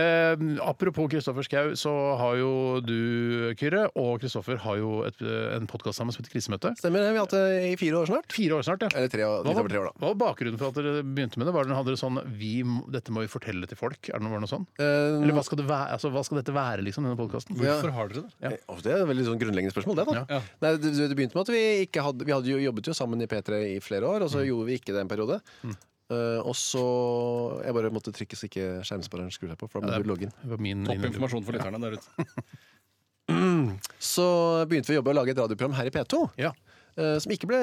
[SPEAKER 1] eh, apropos Kristoffer Schau, så har jo du, Kyrre, og Kristoffer har jo et, eh, en podkast sammen som heter Krisemøte.
[SPEAKER 3] Stemmer det. Vi har hatt det i fire år snart.
[SPEAKER 1] Fire år snart, ja.
[SPEAKER 3] Eller tre år,
[SPEAKER 1] Hva
[SPEAKER 3] litt
[SPEAKER 1] var,
[SPEAKER 3] over tre år, da.
[SPEAKER 1] hva var bakgrunnen for at dere begynte med det? Var det, hadde dere sånn vi, må- 'Dette må vi fortelle til folk'? Er det noe, var det noe sånn?
[SPEAKER 3] Eh,
[SPEAKER 1] Eller hva skal, det være, altså, hva skal dette være, liksom, denne podkasten?
[SPEAKER 3] Ja.
[SPEAKER 2] Hvorfor har dere det?
[SPEAKER 3] Ja. Å, Det er et veldig sånn grunnleggende spørsmål, det. da.
[SPEAKER 2] Ja.
[SPEAKER 3] Nei, det, det begynte med at vi ikke hadde Vi hadde jo jobbet jo sammen i P3 i flere år, og så gjorde vi ikke det en periode. Eh, og så Jeg bare måtte trykke så ikke skjermspareren skrur seg på, for da ble det login.
[SPEAKER 1] Det var min
[SPEAKER 2] Topp informasjon for lytterne der ute.
[SPEAKER 3] Så begynte vi å jobbe og lage et radioprogram her i P2.
[SPEAKER 1] Ja.
[SPEAKER 3] eh, som ikke ble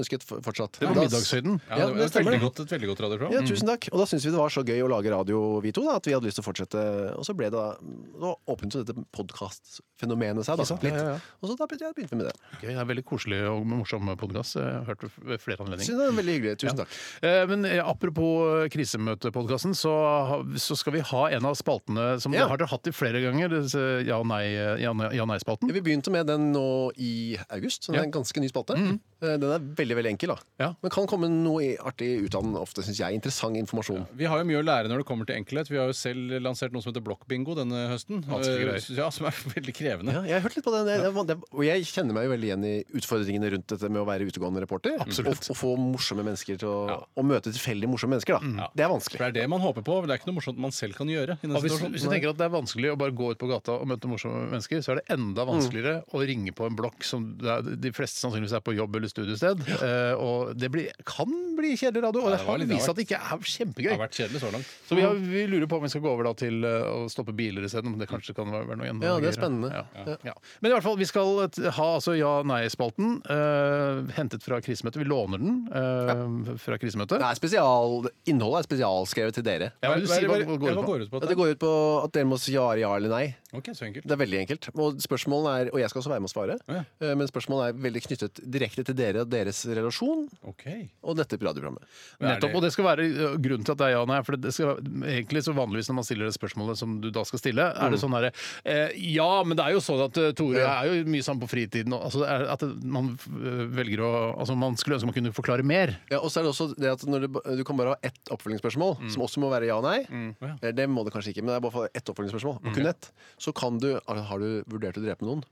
[SPEAKER 3] ønsket f- fortsatt.
[SPEAKER 1] Det var
[SPEAKER 3] Da-
[SPEAKER 1] middagshøyden.
[SPEAKER 2] Ja, det
[SPEAKER 3] Ja, det
[SPEAKER 2] var et
[SPEAKER 3] stemmer,
[SPEAKER 2] veldig
[SPEAKER 3] det.
[SPEAKER 2] godt, et veldig godt radioprogram.
[SPEAKER 3] Ja, tusen takk. Og da syntes vi det var så gøy å lage radio, vi to, da, at vi hadde lyst til å fortsette. Og så ble det da Da åpnet jo dette podkastfenomenet seg, da. Litt. Og så da begynte, ja, begynte vi med det.
[SPEAKER 1] Gøy, det er Veldig koselig og morsom podkast. Jeg har hørt det ved flere anledninger.
[SPEAKER 3] Synes det var veldig hyggelig. Tusen takk.
[SPEAKER 1] Eh, Men eh, apropos eh, krisemøtepodkasten, så, ha- så skal vi ha en av spaltene som
[SPEAKER 3] Ja.
[SPEAKER 1] dere har dere hatt i flere ganger. disse Ja- og nei- eh, ja- nei- ja- nei-spalten.
[SPEAKER 3] Ja, Vi begynte med den nå i august, så den er en ganske ny spalte. Eh, Den er veldig veldig enkel, da.
[SPEAKER 1] Ja.
[SPEAKER 3] men kan komme noe i- artig ut av den ofte, syns jeg. Interessant informasjon.
[SPEAKER 2] Vi har jo mye å lære når det kommer til enkelhet. Vi har jo selv lansert noe som heter blokkbingo denne høsten.
[SPEAKER 1] Vanskelige
[SPEAKER 2] Eh,
[SPEAKER 1] greier.
[SPEAKER 2] Ja, som er veldig krevende.
[SPEAKER 3] Ja, jeg har hørt litt på den, det, det, og jeg kjenner meg jo veldig igjen i utfordringene rundt dette med å være utegående reporter.
[SPEAKER 1] Absolutt.
[SPEAKER 3] Og, og få morsomme mennesker til å og møte tilfeldig morsomme mennesker. da. Det er
[SPEAKER 2] For
[SPEAKER 3] vanskelig.
[SPEAKER 2] det er det man håper på. Det er ikke noe morsomt man selv kan gjøre. i den
[SPEAKER 1] Og hvis,
[SPEAKER 2] situasjonen.
[SPEAKER 1] hvis du tenker at det er vanskelig å bare gå ut på gata og møte morsomme mennesker, så er det enda vanskeligere å ringe på en blokk som det er, de fleste sannsynligvis er på jobb eller studiested. Eh, og det blir, kan bli kjedelig radio, og det,
[SPEAKER 2] det var
[SPEAKER 1] har
[SPEAKER 2] litt- det har
[SPEAKER 1] vist
[SPEAKER 2] vært-
[SPEAKER 1] at det ikke er
[SPEAKER 2] Det har
[SPEAKER 1] kjempegøy.
[SPEAKER 2] vært kjedelig så langt.
[SPEAKER 1] Så vi, har, vi lurer på om vi skal gå over da til eh, å stoppe biler isteden. Om det kanskje kan være være noe enda
[SPEAKER 3] Ja, det er
[SPEAKER 1] gøyere.
[SPEAKER 3] spennende.
[SPEAKER 1] Ja. Ja. Men i hvert fall, vi skal eh, t- ha altså ja-nei-spalten eh, hentet fra krisemøtet. Vi låner den eh, fra krisemøtet.
[SPEAKER 3] Det er spesial, innholdet er spesialskrevet til dere.
[SPEAKER 1] Ja, men du
[SPEAKER 2] Hva-
[SPEAKER 1] sier hva, hva
[SPEAKER 2] hva-
[SPEAKER 1] går
[SPEAKER 2] hva
[SPEAKER 1] det på.
[SPEAKER 2] går det ut på?
[SPEAKER 3] Det går ut på at dere må svare ja eller nei.
[SPEAKER 2] Ok, så enkelt.
[SPEAKER 3] Det er veldig enkelt. Og spørsmålene er, og jeg skal også være med å svare,
[SPEAKER 2] Ja.
[SPEAKER 3] eh, men spørsmålene er veldig knyttet direkte til dere og deres relasjon
[SPEAKER 2] Ok.
[SPEAKER 3] og dette radioprogrammet.
[SPEAKER 1] Nettopp, og det skal være ø, grunnen til at det er ja og nei. For det skal, være- egentlig så vanligvis når man stiller det spørsmålet som du da skal stille, er det sånn herre eh, Ja, men det er jo sånn at eh, Tore
[SPEAKER 3] Mm. Ja.
[SPEAKER 1] er jo mye sammen på fritiden. og- Altså, det er at det- man ø, velger å Altså, man skulle ønske man kunne forklare mer.
[SPEAKER 3] Ja, og så er det også det at når du, ba- du kan bare ha ett oppfølgingsspørsmål, som også må være ja og nei.
[SPEAKER 2] Mm. Ja. Mm.
[SPEAKER 3] Eller det må det kanskje ikke, men det er bare for ett oppfølgingsspørsmål. Og kun ett. Så kan du Har har du vurdert å drepe noen?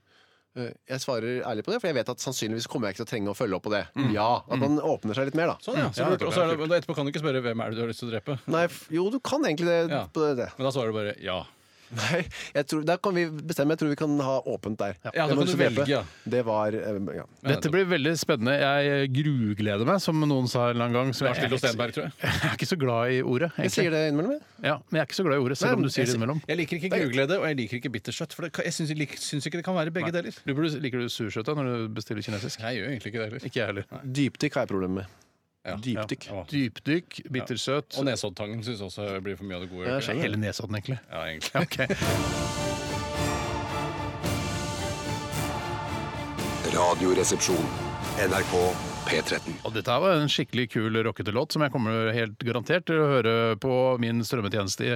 [SPEAKER 3] Eh, Jeg svarer ærlig på det, for jeg vet at sannsynligvis kommer jeg ikke til å trenge å følge opp på det.
[SPEAKER 2] Mm.
[SPEAKER 3] Ja, At man åpner seg litt mer, da.
[SPEAKER 2] Sånn, ja. Så
[SPEAKER 1] Mm, Ja,
[SPEAKER 2] lurt.
[SPEAKER 1] det
[SPEAKER 2] Og så er det, men etterpå kan du ikke spørre hvem er det du har lyst til å drepe.
[SPEAKER 3] Nei, f- jo, du kan egentlig det.
[SPEAKER 2] Ja.
[SPEAKER 3] På det.
[SPEAKER 2] Men da svarer du bare ja.
[SPEAKER 3] Nei, jeg tror, der kan vi bestemme. Jeg tror vi kan ha åpent der.
[SPEAKER 2] Ja, da
[SPEAKER 3] Det må
[SPEAKER 2] kan du
[SPEAKER 3] drepe.
[SPEAKER 2] velge, ja.
[SPEAKER 3] Det var eh, ja.
[SPEAKER 1] Dette blir veldig spennende. Jeg grugleder meg, som noen sa en eller annen gang. Så
[SPEAKER 2] Lars
[SPEAKER 1] jeg,
[SPEAKER 2] Lillo
[SPEAKER 1] jeg,
[SPEAKER 2] Stenberg, tror jeg.
[SPEAKER 1] er ikke så glad i ordet,
[SPEAKER 3] Jeg sier
[SPEAKER 1] egentlig.
[SPEAKER 3] det innimellom, jeg.
[SPEAKER 1] Ja, men jeg er ikke så glad i ordet, selv om du sier det innimellom.
[SPEAKER 2] Jeg liker ikke gruglede, og jeg liker ikke bitterskjøtt. For det, kan- jeg syns jeg lik- syns ikke det kan være begge deler.
[SPEAKER 1] Du, burde- liker du sursøt da, når du bestiller kinesisk?
[SPEAKER 2] Jeg gjør egentlig ikke det heller.
[SPEAKER 1] Ikke jeg heller.
[SPEAKER 3] Dypdykk har jeg problemer med. Dypdykk.
[SPEAKER 2] Ja.
[SPEAKER 1] Dypdykk, bittersøt.
[SPEAKER 2] Og Nesoddtangen syns også blir for mye av det gode.
[SPEAKER 3] Ja, jeg skjønner.
[SPEAKER 1] Hele Nesodden, egentlig.
[SPEAKER 2] Ja, egentlig.
[SPEAKER 1] Ok.
[SPEAKER 4] Radioresepsjon. NRK P13.
[SPEAKER 1] Og dette her var en skikkelig kul rockete låt som jeg kommer helt garantert til å høre på min strømmetjeneste i,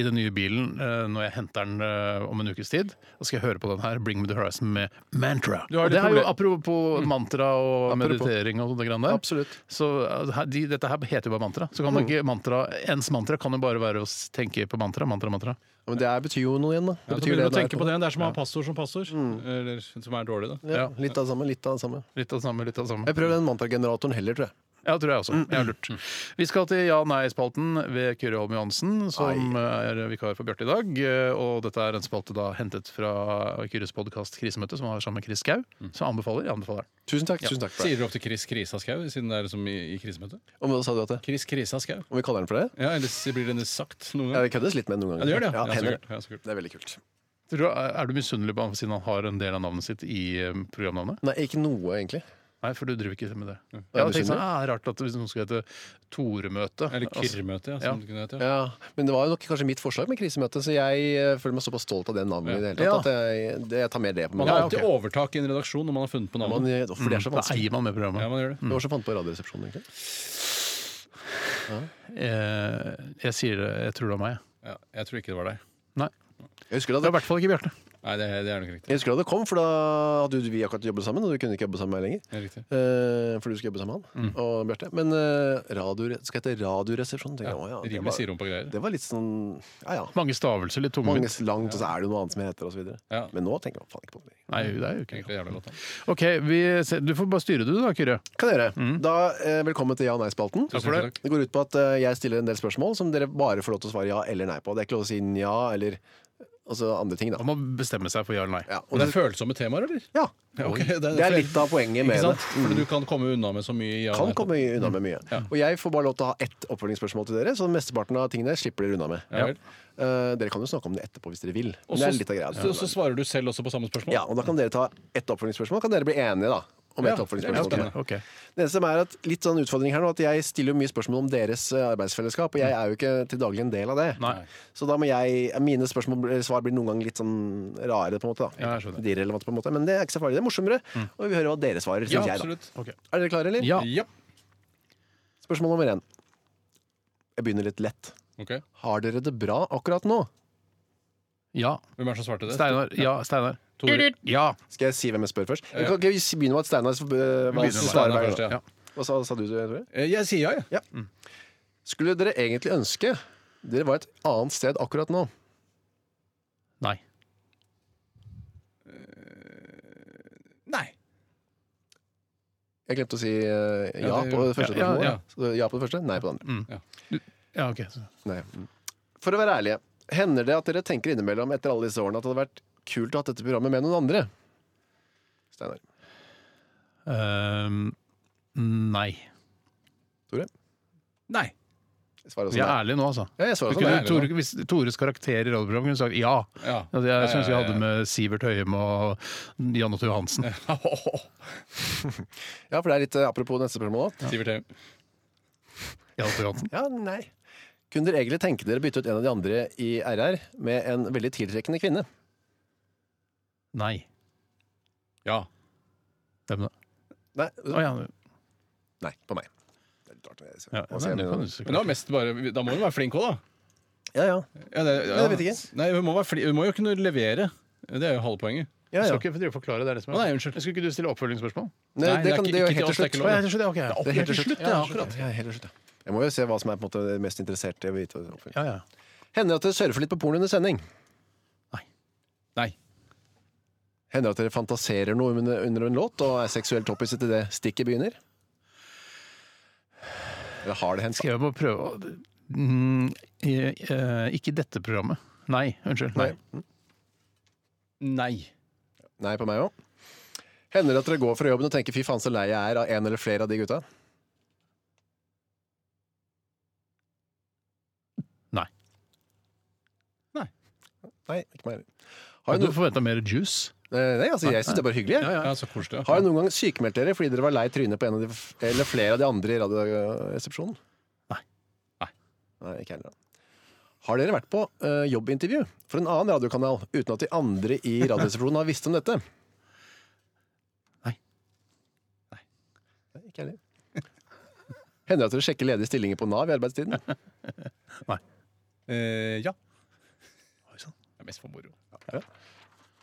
[SPEAKER 1] i den nye bilen eh, når jeg henter den eh, om en ukes tid. Da skal jeg høre på den her, 'Bring Me The Horizon' med Mantra.
[SPEAKER 2] har
[SPEAKER 1] Og
[SPEAKER 2] litt
[SPEAKER 1] det er jo apropos mantra og
[SPEAKER 3] Mm. Apropos.
[SPEAKER 1] meditering og sånne greiene der.
[SPEAKER 3] Absolutt. Mm.
[SPEAKER 1] Så eh, her- de, dette her heter jo bare mantra. Så kan man ikke mantra, ens mantra kan jo bare være å s- tenke på mantra, mantra, mantra.
[SPEAKER 3] Men det er, betyr jo noe igjen, da.
[SPEAKER 2] Ja,
[SPEAKER 3] Det
[SPEAKER 2] så
[SPEAKER 3] betyr
[SPEAKER 2] begynner du
[SPEAKER 3] det
[SPEAKER 2] å
[SPEAKER 3] det er
[SPEAKER 2] tenke på det. Det er som å ha passord som passord. Eller som er dårlig, da.
[SPEAKER 3] Mm. Ja, litt av det samme. litt av det samme
[SPEAKER 1] Litt av det samme, litt av det samme.
[SPEAKER 3] Jeg prøver den mantrageneratoren heller, tror jeg.
[SPEAKER 1] Ja, det tror jeg også. Jeg har lurt. Vi skal til ja-nei-spalten ved Kyrre Holm Johansen, som er vikar for Bjarte i dag. Og dette er en spalte da hentet fra Kyrres podkast Krisemøte, som han har sammen med Chris Skau. Så jeg anbefaler, jeg anbefaler.
[SPEAKER 3] Tusen takk. tusen takk for det
[SPEAKER 2] Sier dere ofte Chris Krisa Skau, siden det er som i, i krisemøte?
[SPEAKER 3] Og hva sa du at det?
[SPEAKER 2] Chris Krisa Skau.
[SPEAKER 3] Om vi kaller den for det?
[SPEAKER 2] Ja, ellers blir det sagt noen
[SPEAKER 3] Ja,
[SPEAKER 2] ganger.
[SPEAKER 3] det køddes litt med den noen
[SPEAKER 2] Ja,
[SPEAKER 3] ganger.
[SPEAKER 2] det gjør det. Ja,
[SPEAKER 3] Ja,
[SPEAKER 2] så
[SPEAKER 3] hender
[SPEAKER 2] kult. Ja, så kult.
[SPEAKER 3] det. Det er veldig kult.
[SPEAKER 1] Tror du, er du misunnelig på han siden han har en del av navnet sitt i eh, programnavnet?
[SPEAKER 3] Nei, ikke noe, egentlig.
[SPEAKER 1] Nei, for du driver ikke med det. Jeg
[SPEAKER 3] Er du
[SPEAKER 1] hadde tenkt
[SPEAKER 3] misunnelig?
[SPEAKER 1] sånn, ja, Rart at hvis noen skulle hete Tore-møte.
[SPEAKER 2] Eller
[SPEAKER 1] Altså,
[SPEAKER 2] Kyrremøte, ja, som det kunne hete. Ja.
[SPEAKER 3] Ja, Men det var jo nok kanskje mitt forslag med krisemøte, så jeg eh, føler meg såpass stolt av det navnet. i det hele tatt At jeg, det, jeg tar med det på
[SPEAKER 2] Man
[SPEAKER 3] meg.
[SPEAKER 2] har alltid overtak i en redaksjon når man har funnet på
[SPEAKER 3] Man,
[SPEAKER 2] navnet.
[SPEAKER 3] eh, for det Mm. er så
[SPEAKER 1] Da
[SPEAKER 3] vanskelig.
[SPEAKER 1] eier man med
[SPEAKER 2] Ja,
[SPEAKER 1] programmet.
[SPEAKER 2] man gjør det.
[SPEAKER 3] Hva var det som fant på Radioresepsjonen, egentlig?
[SPEAKER 1] Eh, Jeg sier det, jeg tror det er meg. jeg.
[SPEAKER 2] Ja, jeg tror ikke det var deg.
[SPEAKER 1] Nei.
[SPEAKER 3] Jeg
[SPEAKER 1] Det
[SPEAKER 3] husker da
[SPEAKER 1] er i
[SPEAKER 3] det,
[SPEAKER 1] hvert fall ikke Bjarte.
[SPEAKER 2] Nei, det, det er nok riktig.
[SPEAKER 3] jeg husker da det kom, for da hadde jo vi akkurat jobbet sammen, og du kunne ikke jobbe sammen med meg lenger.
[SPEAKER 2] Det er riktig.
[SPEAKER 3] Eh, for du skulle jobbe sammen med han og Bjarte. Men uh, radio, skal jeg hete Radioresepsjonen? tenker jeg, å, ja, det
[SPEAKER 2] Rimelig
[SPEAKER 3] var-
[SPEAKER 2] siderumpa greier.
[SPEAKER 3] Det var litt sånn Ja ja.
[SPEAKER 1] Mange stavelser, litt
[SPEAKER 3] Mange
[SPEAKER 1] tungvint.
[SPEAKER 3] langt, og så er det jo noe annet som heter, og så videre.
[SPEAKER 2] Ja.
[SPEAKER 3] Men nå tenker man faen ikke på det.
[SPEAKER 1] Nei, det er jo ikke
[SPEAKER 2] Egentlig jævla godt, da.
[SPEAKER 1] Ok, vi, se- Du får bare styre du da, Kyrre.
[SPEAKER 3] Kan jeg gjøre. Da, eh, velkommen til ja-nei-spalten.
[SPEAKER 2] Tusen for det.
[SPEAKER 3] Det går ut på at eh, jeg stiller en del spørsmål som dere bare får lov til å svare ja eller nei på. Det er ikke lov til å si nja eller altså andre ting, da.
[SPEAKER 1] Man må bestemme seg for ja eller nei.
[SPEAKER 3] Ja, og
[SPEAKER 2] Og det er
[SPEAKER 3] det,
[SPEAKER 2] følsomme temaer, eller?
[SPEAKER 3] ja,
[SPEAKER 2] Ja, ok, det,
[SPEAKER 3] det er litt av poenget
[SPEAKER 2] Ikke
[SPEAKER 3] med det. Mm.
[SPEAKER 2] sant? For du kan komme unna med så mye ja.
[SPEAKER 3] Kan
[SPEAKER 2] nei,
[SPEAKER 3] komme unna med mye. Og jeg får bare lov til å ha ett oppfølgingsspørsmål til dere, så mesteparten av tingene slipper dere unna med.
[SPEAKER 2] Ja vel.
[SPEAKER 3] Eh, dere kan jo snakke om det etterpå hvis dere vil.
[SPEAKER 2] Og
[SPEAKER 3] Men det
[SPEAKER 2] så-
[SPEAKER 3] er litt av greia.
[SPEAKER 2] Så, så svarer du selv også på samme spørsmål?
[SPEAKER 3] Ja, og da kan dere ta ett oppfølgingsspørsmål. Kan dere bli enige da om
[SPEAKER 2] Ja, det
[SPEAKER 3] ett
[SPEAKER 2] er
[SPEAKER 3] oppfølgingsspørsmål?
[SPEAKER 2] spennende.
[SPEAKER 1] Ok.
[SPEAKER 3] Det eneste som er at litt sånn utfordring her nå, at jeg stiller jo mye spørsmål om deres eh, arbeidsfellesskap, og jeg er jo ikke til daglig en del av det.
[SPEAKER 1] Nei.
[SPEAKER 3] Så da må jeg, mine spørsmål eller svar blir noen ganger litt sånn rare, på en måte. da.
[SPEAKER 1] Ja, jeg skjønner.
[SPEAKER 3] De er relevante på en måte, men det er ikke så farlig. Det er morsommere, og vi hører hva dere svarer,
[SPEAKER 2] Mm. Ja,
[SPEAKER 3] synes jeg da.
[SPEAKER 2] absolutt.
[SPEAKER 1] ok.
[SPEAKER 3] Er dere klare, eller?
[SPEAKER 1] Ja.
[SPEAKER 2] Ja.
[SPEAKER 3] Spørsmål nummer én. Jeg begynner litt lett.
[SPEAKER 2] Ok.
[SPEAKER 3] Har dere det bra akkurat nå?
[SPEAKER 1] ja.
[SPEAKER 2] Hvem er det som svarte det?
[SPEAKER 1] Steinar. Ja. Steinar.
[SPEAKER 2] Tore.
[SPEAKER 1] Ja.
[SPEAKER 3] Skal jeg si hvem jeg spør først?
[SPEAKER 2] ja.
[SPEAKER 3] Jeg kan ikke vi begynne med at Steinar eh, hva-
[SPEAKER 2] med
[SPEAKER 3] svarer
[SPEAKER 2] Steinar
[SPEAKER 3] hver
[SPEAKER 2] først, ja.
[SPEAKER 3] gang. Hva sa, sa du, Tore?
[SPEAKER 2] Eh, Jeg sier ja, jeg.
[SPEAKER 3] Skulle dere egentlig ønske dere var et annet sted akkurat nå?
[SPEAKER 1] Nei.
[SPEAKER 2] Nei. jeg.
[SPEAKER 3] Jeg glemte å si eh, ja,
[SPEAKER 2] Ja, det
[SPEAKER 3] på det
[SPEAKER 2] gjorde-
[SPEAKER 3] første
[SPEAKER 2] ja,
[SPEAKER 3] spørsmålet.
[SPEAKER 2] ja, Mm. ja.
[SPEAKER 3] Så ja på det første, nei på det andre.
[SPEAKER 1] Ja, ok. Så-
[SPEAKER 3] Nei. Mm. For å være ærlige, hender det at dere tenker innimellom etter alle disse årene at det hadde vært kult å ha dette programmet med noen andre? Steinar.
[SPEAKER 1] Ehm, nei.
[SPEAKER 3] Tore?
[SPEAKER 2] Nei.
[SPEAKER 3] Jeg svarer også
[SPEAKER 1] Vi er
[SPEAKER 3] nei.
[SPEAKER 1] ærlige nå, altså.
[SPEAKER 3] Ja, jeg
[SPEAKER 1] Du
[SPEAKER 3] svarer også
[SPEAKER 1] kunne,
[SPEAKER 2] ærlig,
[SPEAKER 1] Tore, hvis Tores karakter i radioprogrammet kunne sagt ja.
[SPEAKER 2] Ja.
[SPEAKER 1] Altså, Jeg syns vi
[SPEAKER 2] Ja, ja,
[SPEAKER 1] hadde med Sivert Høyem og Jan Otto Johansen.
[SPEAKER 3] nei. Ja, for det er litt eh, apropos neste spørsmål òg.
[SPEAKER 2] Sivert Heim.
[SPEAKER 1] Jan Otto Johansen.
[SPEAKER 3] Ja, nei. Kunne dere egentlig tenke dere å bytte ut en av de andre i RR med en veldig tiltrekkende kvinne?
[SPEAKER 1] Nei.
[SPEAKER 2] Ja.
[SPEAKER 1] Hvem da?
[SPEAKER 3] Nei,
[SPEAKER 1] Å ja.
[SPEAKER 3] nei på meg. Det er litt rart. Jeg-
[SPEAKER 1] ja.
[SPEAKER 3] Hva
[SPEAKER 1] Nei, det kan
[SPEAKER 3] sier jeg nå?
[SPEAKER 1] du
[SPEAKER 2] Men det
[SPEAKER 1] sikkert.
[SPEAKER 2] var mest bare, da må hun være flink òg, da.
[SPEAKER 3] Ja, ja.
[SPEAKER 2] Ja, det, ja.
[SPEAKER 3] Nei, jeg vet ikke.
[SPEAKER 2] Nei, hun, må være fli, hun må jo kunne levere. Det er jo halve poenget.
[SPEAKER 3] ja,
[SPEAKER 1] Skal
[SPEAKER 3] ja.
[SPEAKER 1] ikke drive og forklare det. er det som
[SPEAKER 2] Å,
[SPEAKER 1] er.
[SPEAKER 2] nei, unnskyld.
[SPEAKER 1] Skulle ikke du stille oppfølgingsspørsmål?
[SPEAKER 3] Nei,
[SPEAKER 2] Nei,
[SPEAKER 3] det
[SPEAKER 2] er
[SPEAKER 3] kan
[SPEAKER 2] ikke-
[SPEAKER 3] det er
[SPEAKER 2] ikke
[SPEAKER 3] jo helt til
[SPEAKER 2] oss, det
[SPEAKER 3] slutt.
[SPEAKER 2] er ikke lov.
[SPEAKER 1] det, ok.
[SPEAKER 2] Det er helt til slutt, ja, akkurat.
[SPEAKER 3] Ja, helt til slutt, ja. Jeg må jo se hva som er på en måte det mest interessert i å vite.
[SPEAKER 1] Ja, ja.
[SPEAKER 3] Hender det at dere surfer litt på porno under sending?
[SPEAKER 2] Nei.
[SPEAKER 3] Hender det at dere fantaserer noe under, under en låt og er seksuelt opphisset til det stikket begynner? Eller har det hendt?
[SPEAKER 1] Skal jeg må prøve å mm, eh, eh, Ikke dette programmet. Nei, unnskyld. Nei.
[SPEAKER 2] Nei.
[SPEAKER 3] Nei på meg òg. Hender det at dere går fra jobben og tenker 'fy faen så lei jeg er' av en eller flere av de gutta?
[SPEAKER 1] Nei.
[SPEAKER 2] Nei.
[SPEAKER 3] Nei, ikke meg heller. Har
[SPEAKER 1] Har
[SPEAKER 3] jeg
[SPEAKER 1] du
[SPEAKER 3] noe-
[SPEAKER 1] forventa mer juice?
[SPEAKER 3] Eh, Nei, altså, jeg syns det er bare hyggelig. jeg.
[SPEAKER 2] Ja, så koselig.
[SPEAKER 3] Har jeg noen gang sykemeldt dere fordi dere var lei trynet på en av de, eller flere av de andre i Radioresepsjonen?
[SPEAKER 2] Nei. Nei.
[SPEAKER 3] Nei, ikke heller. Har dere vært på eh, jobbintervju for en annen radiokanal uten at de andre i Radioresepsjonen har visst om dette?
[SPEAKER 2] Nei.
[SPEAKER 3] Nei. Ikke heller. Hender det at dere sjekker ledige stillinger på Nav i arbeidstiden?
[SPEAKER 2] Eh, ja.
[SPEAKER 1] Oi, sann.
[SPEAKER 2] Det er mest for moro.
[SPEAKER 3] sånn. Ja.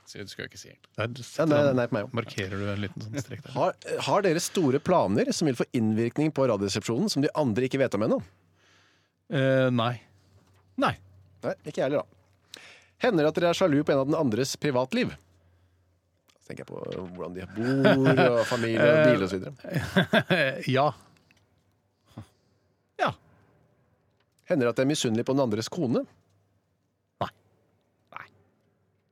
[SPEAKER 2] Så det skal jeg ikke si helt.
[SPEAKER 1] Der
[SPEAKER 3] Ja,
[SPEAKER 1] setter
[SPEAKER 3] nei,
[SPEAKER 1] han-
[SPEAKER 3] nei, på meg også.
[SPEAKER 1] markerer du en liten sånn strek der.
[SPEAKER 3] Har, har dere store planer som vil få innvirkning på Radioresepsjonen som de andre ikke vet om ennå?
[SPEAKER 1] Eh, nei.
[SPEAKER 2] Nei.
[SPEAKER 3] Nei, ikke jeg heller, da. Hender det at dere er sjalu på en av den andres privatliv? Så tenker jeg på øh, hvordan de bor, og familie og bil osv.
[SPEAKER 1] Eh, ja.
[SPEAKER 2] Ja.
[SPEAKER 3] Hender det at dere er misunnelig på den andres kone?
[SPEAKER 1] Nei.
[SPEAKER 2] Nei.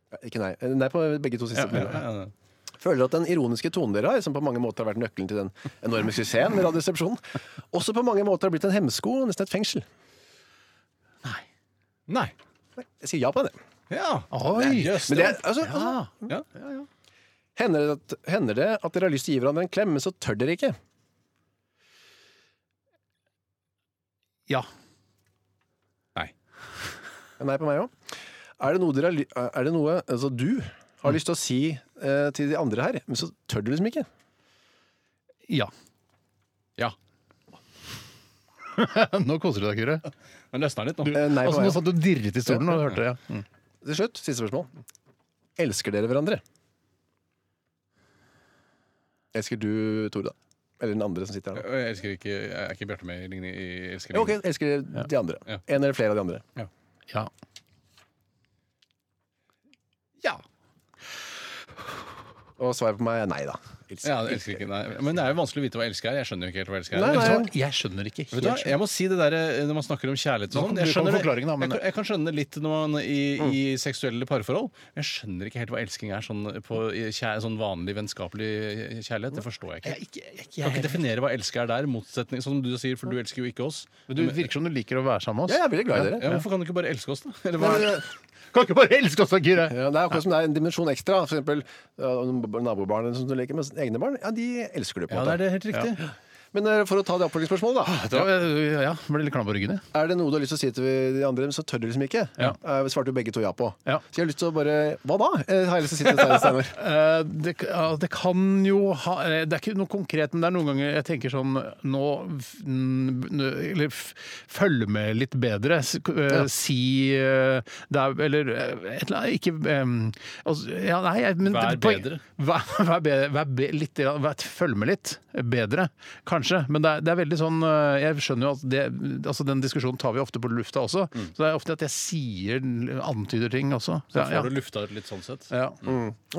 [SPEAKER 3] Ja, Ikke nei. Eh, Nei på begge to siste.
[SPEAKER 2] Ja,
[SPEAKER 3] Ja,
[SPEAKER 2] ja, ja.
[SPEAKER 3] Føler at den ironiske tonen dere har, som på mange måter har vært nøkkelen til den enorme suksessen med Radioresepsjonen, også på mange måter har blitt en hemsko og nesten et fengsel?
[SPEAKER 2] Nei.
[SPEAKER 3] Nei, Jeg sier ja på det.
[SPEAKER 2] Ja.
[SPEAKER 1] Oi!
[SPEAKER 2] Jøss,
[SPEAKER 3] Men det, er- altså, altså,
[SPEAKER 1] Ja.
[SPEAKER 2] ja.
[SPEAKER 3] hender, det at, hender det at dere har lyst til å gi hverandre en klem, men så tør dere ikke?
[SPEAKER 1] ja.
[SPEAKER 3] Nei på meg òg. Er det noe, dere, har ly- er det noe altså du
[SPEAKER 1] Mm.
[SPEAKER 3] har lyst til å si eh, til de andre her, men så tør du liksom ikke?
[SPEAKER 1] Ja.
[SPEAKER 2] Ja.
[SPEAKER 1] Nå koser du deg, Kyrre.
[SPEAKER 2] Men løsna litt nå.
[SPEAKER 3] Eh, nei på
[SPEAKER 1] Altså,
[SPEAKER 3] meg
[SPEAKER 1] nå satt du og dirret i stolen og hørte det. Ja. Mm.
[SPEAKER 3] også. Til slutt, siste spørsmål. Elsker dere hverandre? Elsker du Tore, da? Eller den andre som sitter her nå?
[SPEAKER 2] Jeg elsker ikke Er ikke Bjarte med i Ligni? i- Elsker
[SPEAKER 3] Ja, ok,
[SPEAKER 2] Ligni?
[SPEAKER 3] elsker de andre.
[SPEAKER 2] Ja.
[SPEAKER 3] En eller flere av de andre.
[SPEAKER 1] ja.
[SPEAKER 2] Ja.
[SPEAKER 3] Og svaret på meg er nei, da.
[SPEAKER 2] ja. jeg Elsker ikke, nei. Men det er jo vanskelig å vite hva jeg elsker er. Jeg skjønner jo ikke helt hva jeg elsker
[SPEAKER 3] Nei,
[SPEAKER 2] er.
[SPEAKER 3] nei.
[SPEAKER 1] Vet du hva? Jeg skjønner ikke
[SPEAKER 2] Vet du hva,
[SPEAKER 1] helt.
[SPEAKER 2] jeg må si det der eh, når man snakker om
[SPEAKER 1] Nå
[SPEAKER 2] kjærlighet og sånn.
[SPEAKER 1] kommer-
[SPEAKER 2] Jeg, skjønner
[SPEAKER 1] kommer
[SPEAKER 2] det-
[SPEAKER 1] forklaringen, da, men- Mm.
[SPEAKER 2] jeg, kan- jeg kan skjønne det litt når man i, i seksuelle parforhold. Men jeg skjønner ikke helt hva elsking er sånn, på, i kjæ, sånn vanlig vennskapelig kjærlighet. Det forstår jeg ikke.
[SPEAKER 1] ikke, ikke,
[SPEAKER 2] Jeg kan ikke definere hva elske er der, motsetning, sånn som du sier, for du elsker jo ikke oss.
[SPEAKER 1] Mm. Men du virker som du liker å være sammen med oss.
[SPEAKER 3] Ja, jeg er veldig glad i dere.
[SPEAKER 2] Ja, hvorfor kan du ikke bare elske oss, da? Eller hva
[SPEAKER 3] Nei,
[SPEAKER 2] er det?
[SPEAKER 1] eh,
[SPEAKER 3] men,
[SPEAKER 1] Kan ikke bare elske oss, da, Kyrre!
[SPEAKER 3] ja, det er akkurat som det er en dimensjon ekstra. For eksempel ja, nabobarn sånn som du leker med, egne barn, ja, de elsker du på en
[SPEAKER 2] Ja, det
[SPEAKER 3] måte.
[SPEAKER 2] er det Ah, helt riktig.
[SPEAKER 3] Men eh, for å ta det oppfølgingsspørsmålet, da.
[SPEAKER 1] Da, ja, ja, ble litt klam på ryggen, jeg.
[SPEAKER 3] Er det noe du har lyst til å si til de andre, men så tør du liksom ikke?
[SPEAKER 1] Ja.
[SPEAKER 3] Eh, svarte jo begge to ja på.
[SPEAKER 1] Ja.
[SPEAKER 3] Så jeg har lyst til å bare Hva da? Eh, har jeg lyst til å si til Steinar Steinar.
[SPEAKER 1] Eh, det, ja, det kan jo ha eh, Det er ikke noe konkret, men det er noen ganger jeg tenker sånn Nå f- n- n- Eller f- følg med litt bedre. S- k- eh,
[SPEAKER 3] Ja.
[SPEAKER 1] Si eh, det er, Eller eh, et eller annet Ikke em, altså, ja, nei, jeg- men,
[SPEAKER 2] Vær
[SPEAKER 1] poen-
[SPEAKER 2] bedre.
[SPEAKER 1] Vær, vær bedre. Vær be, litt, grann- vær, følg med litt bedre, kanskje. Men det er, det er veldig sånn eh, Jeg skjønner jo at det, altså, den diskusjonen tar vi ofte på lufta også. Så det er ofte at jeg sier antyder ting også.
[SPEAKER 2] Da
[SPEAKER 1] ja.
[SPEAKER 2] Mm. får du lufta ut litt sånn sett.
[SPEAKER 1] ja.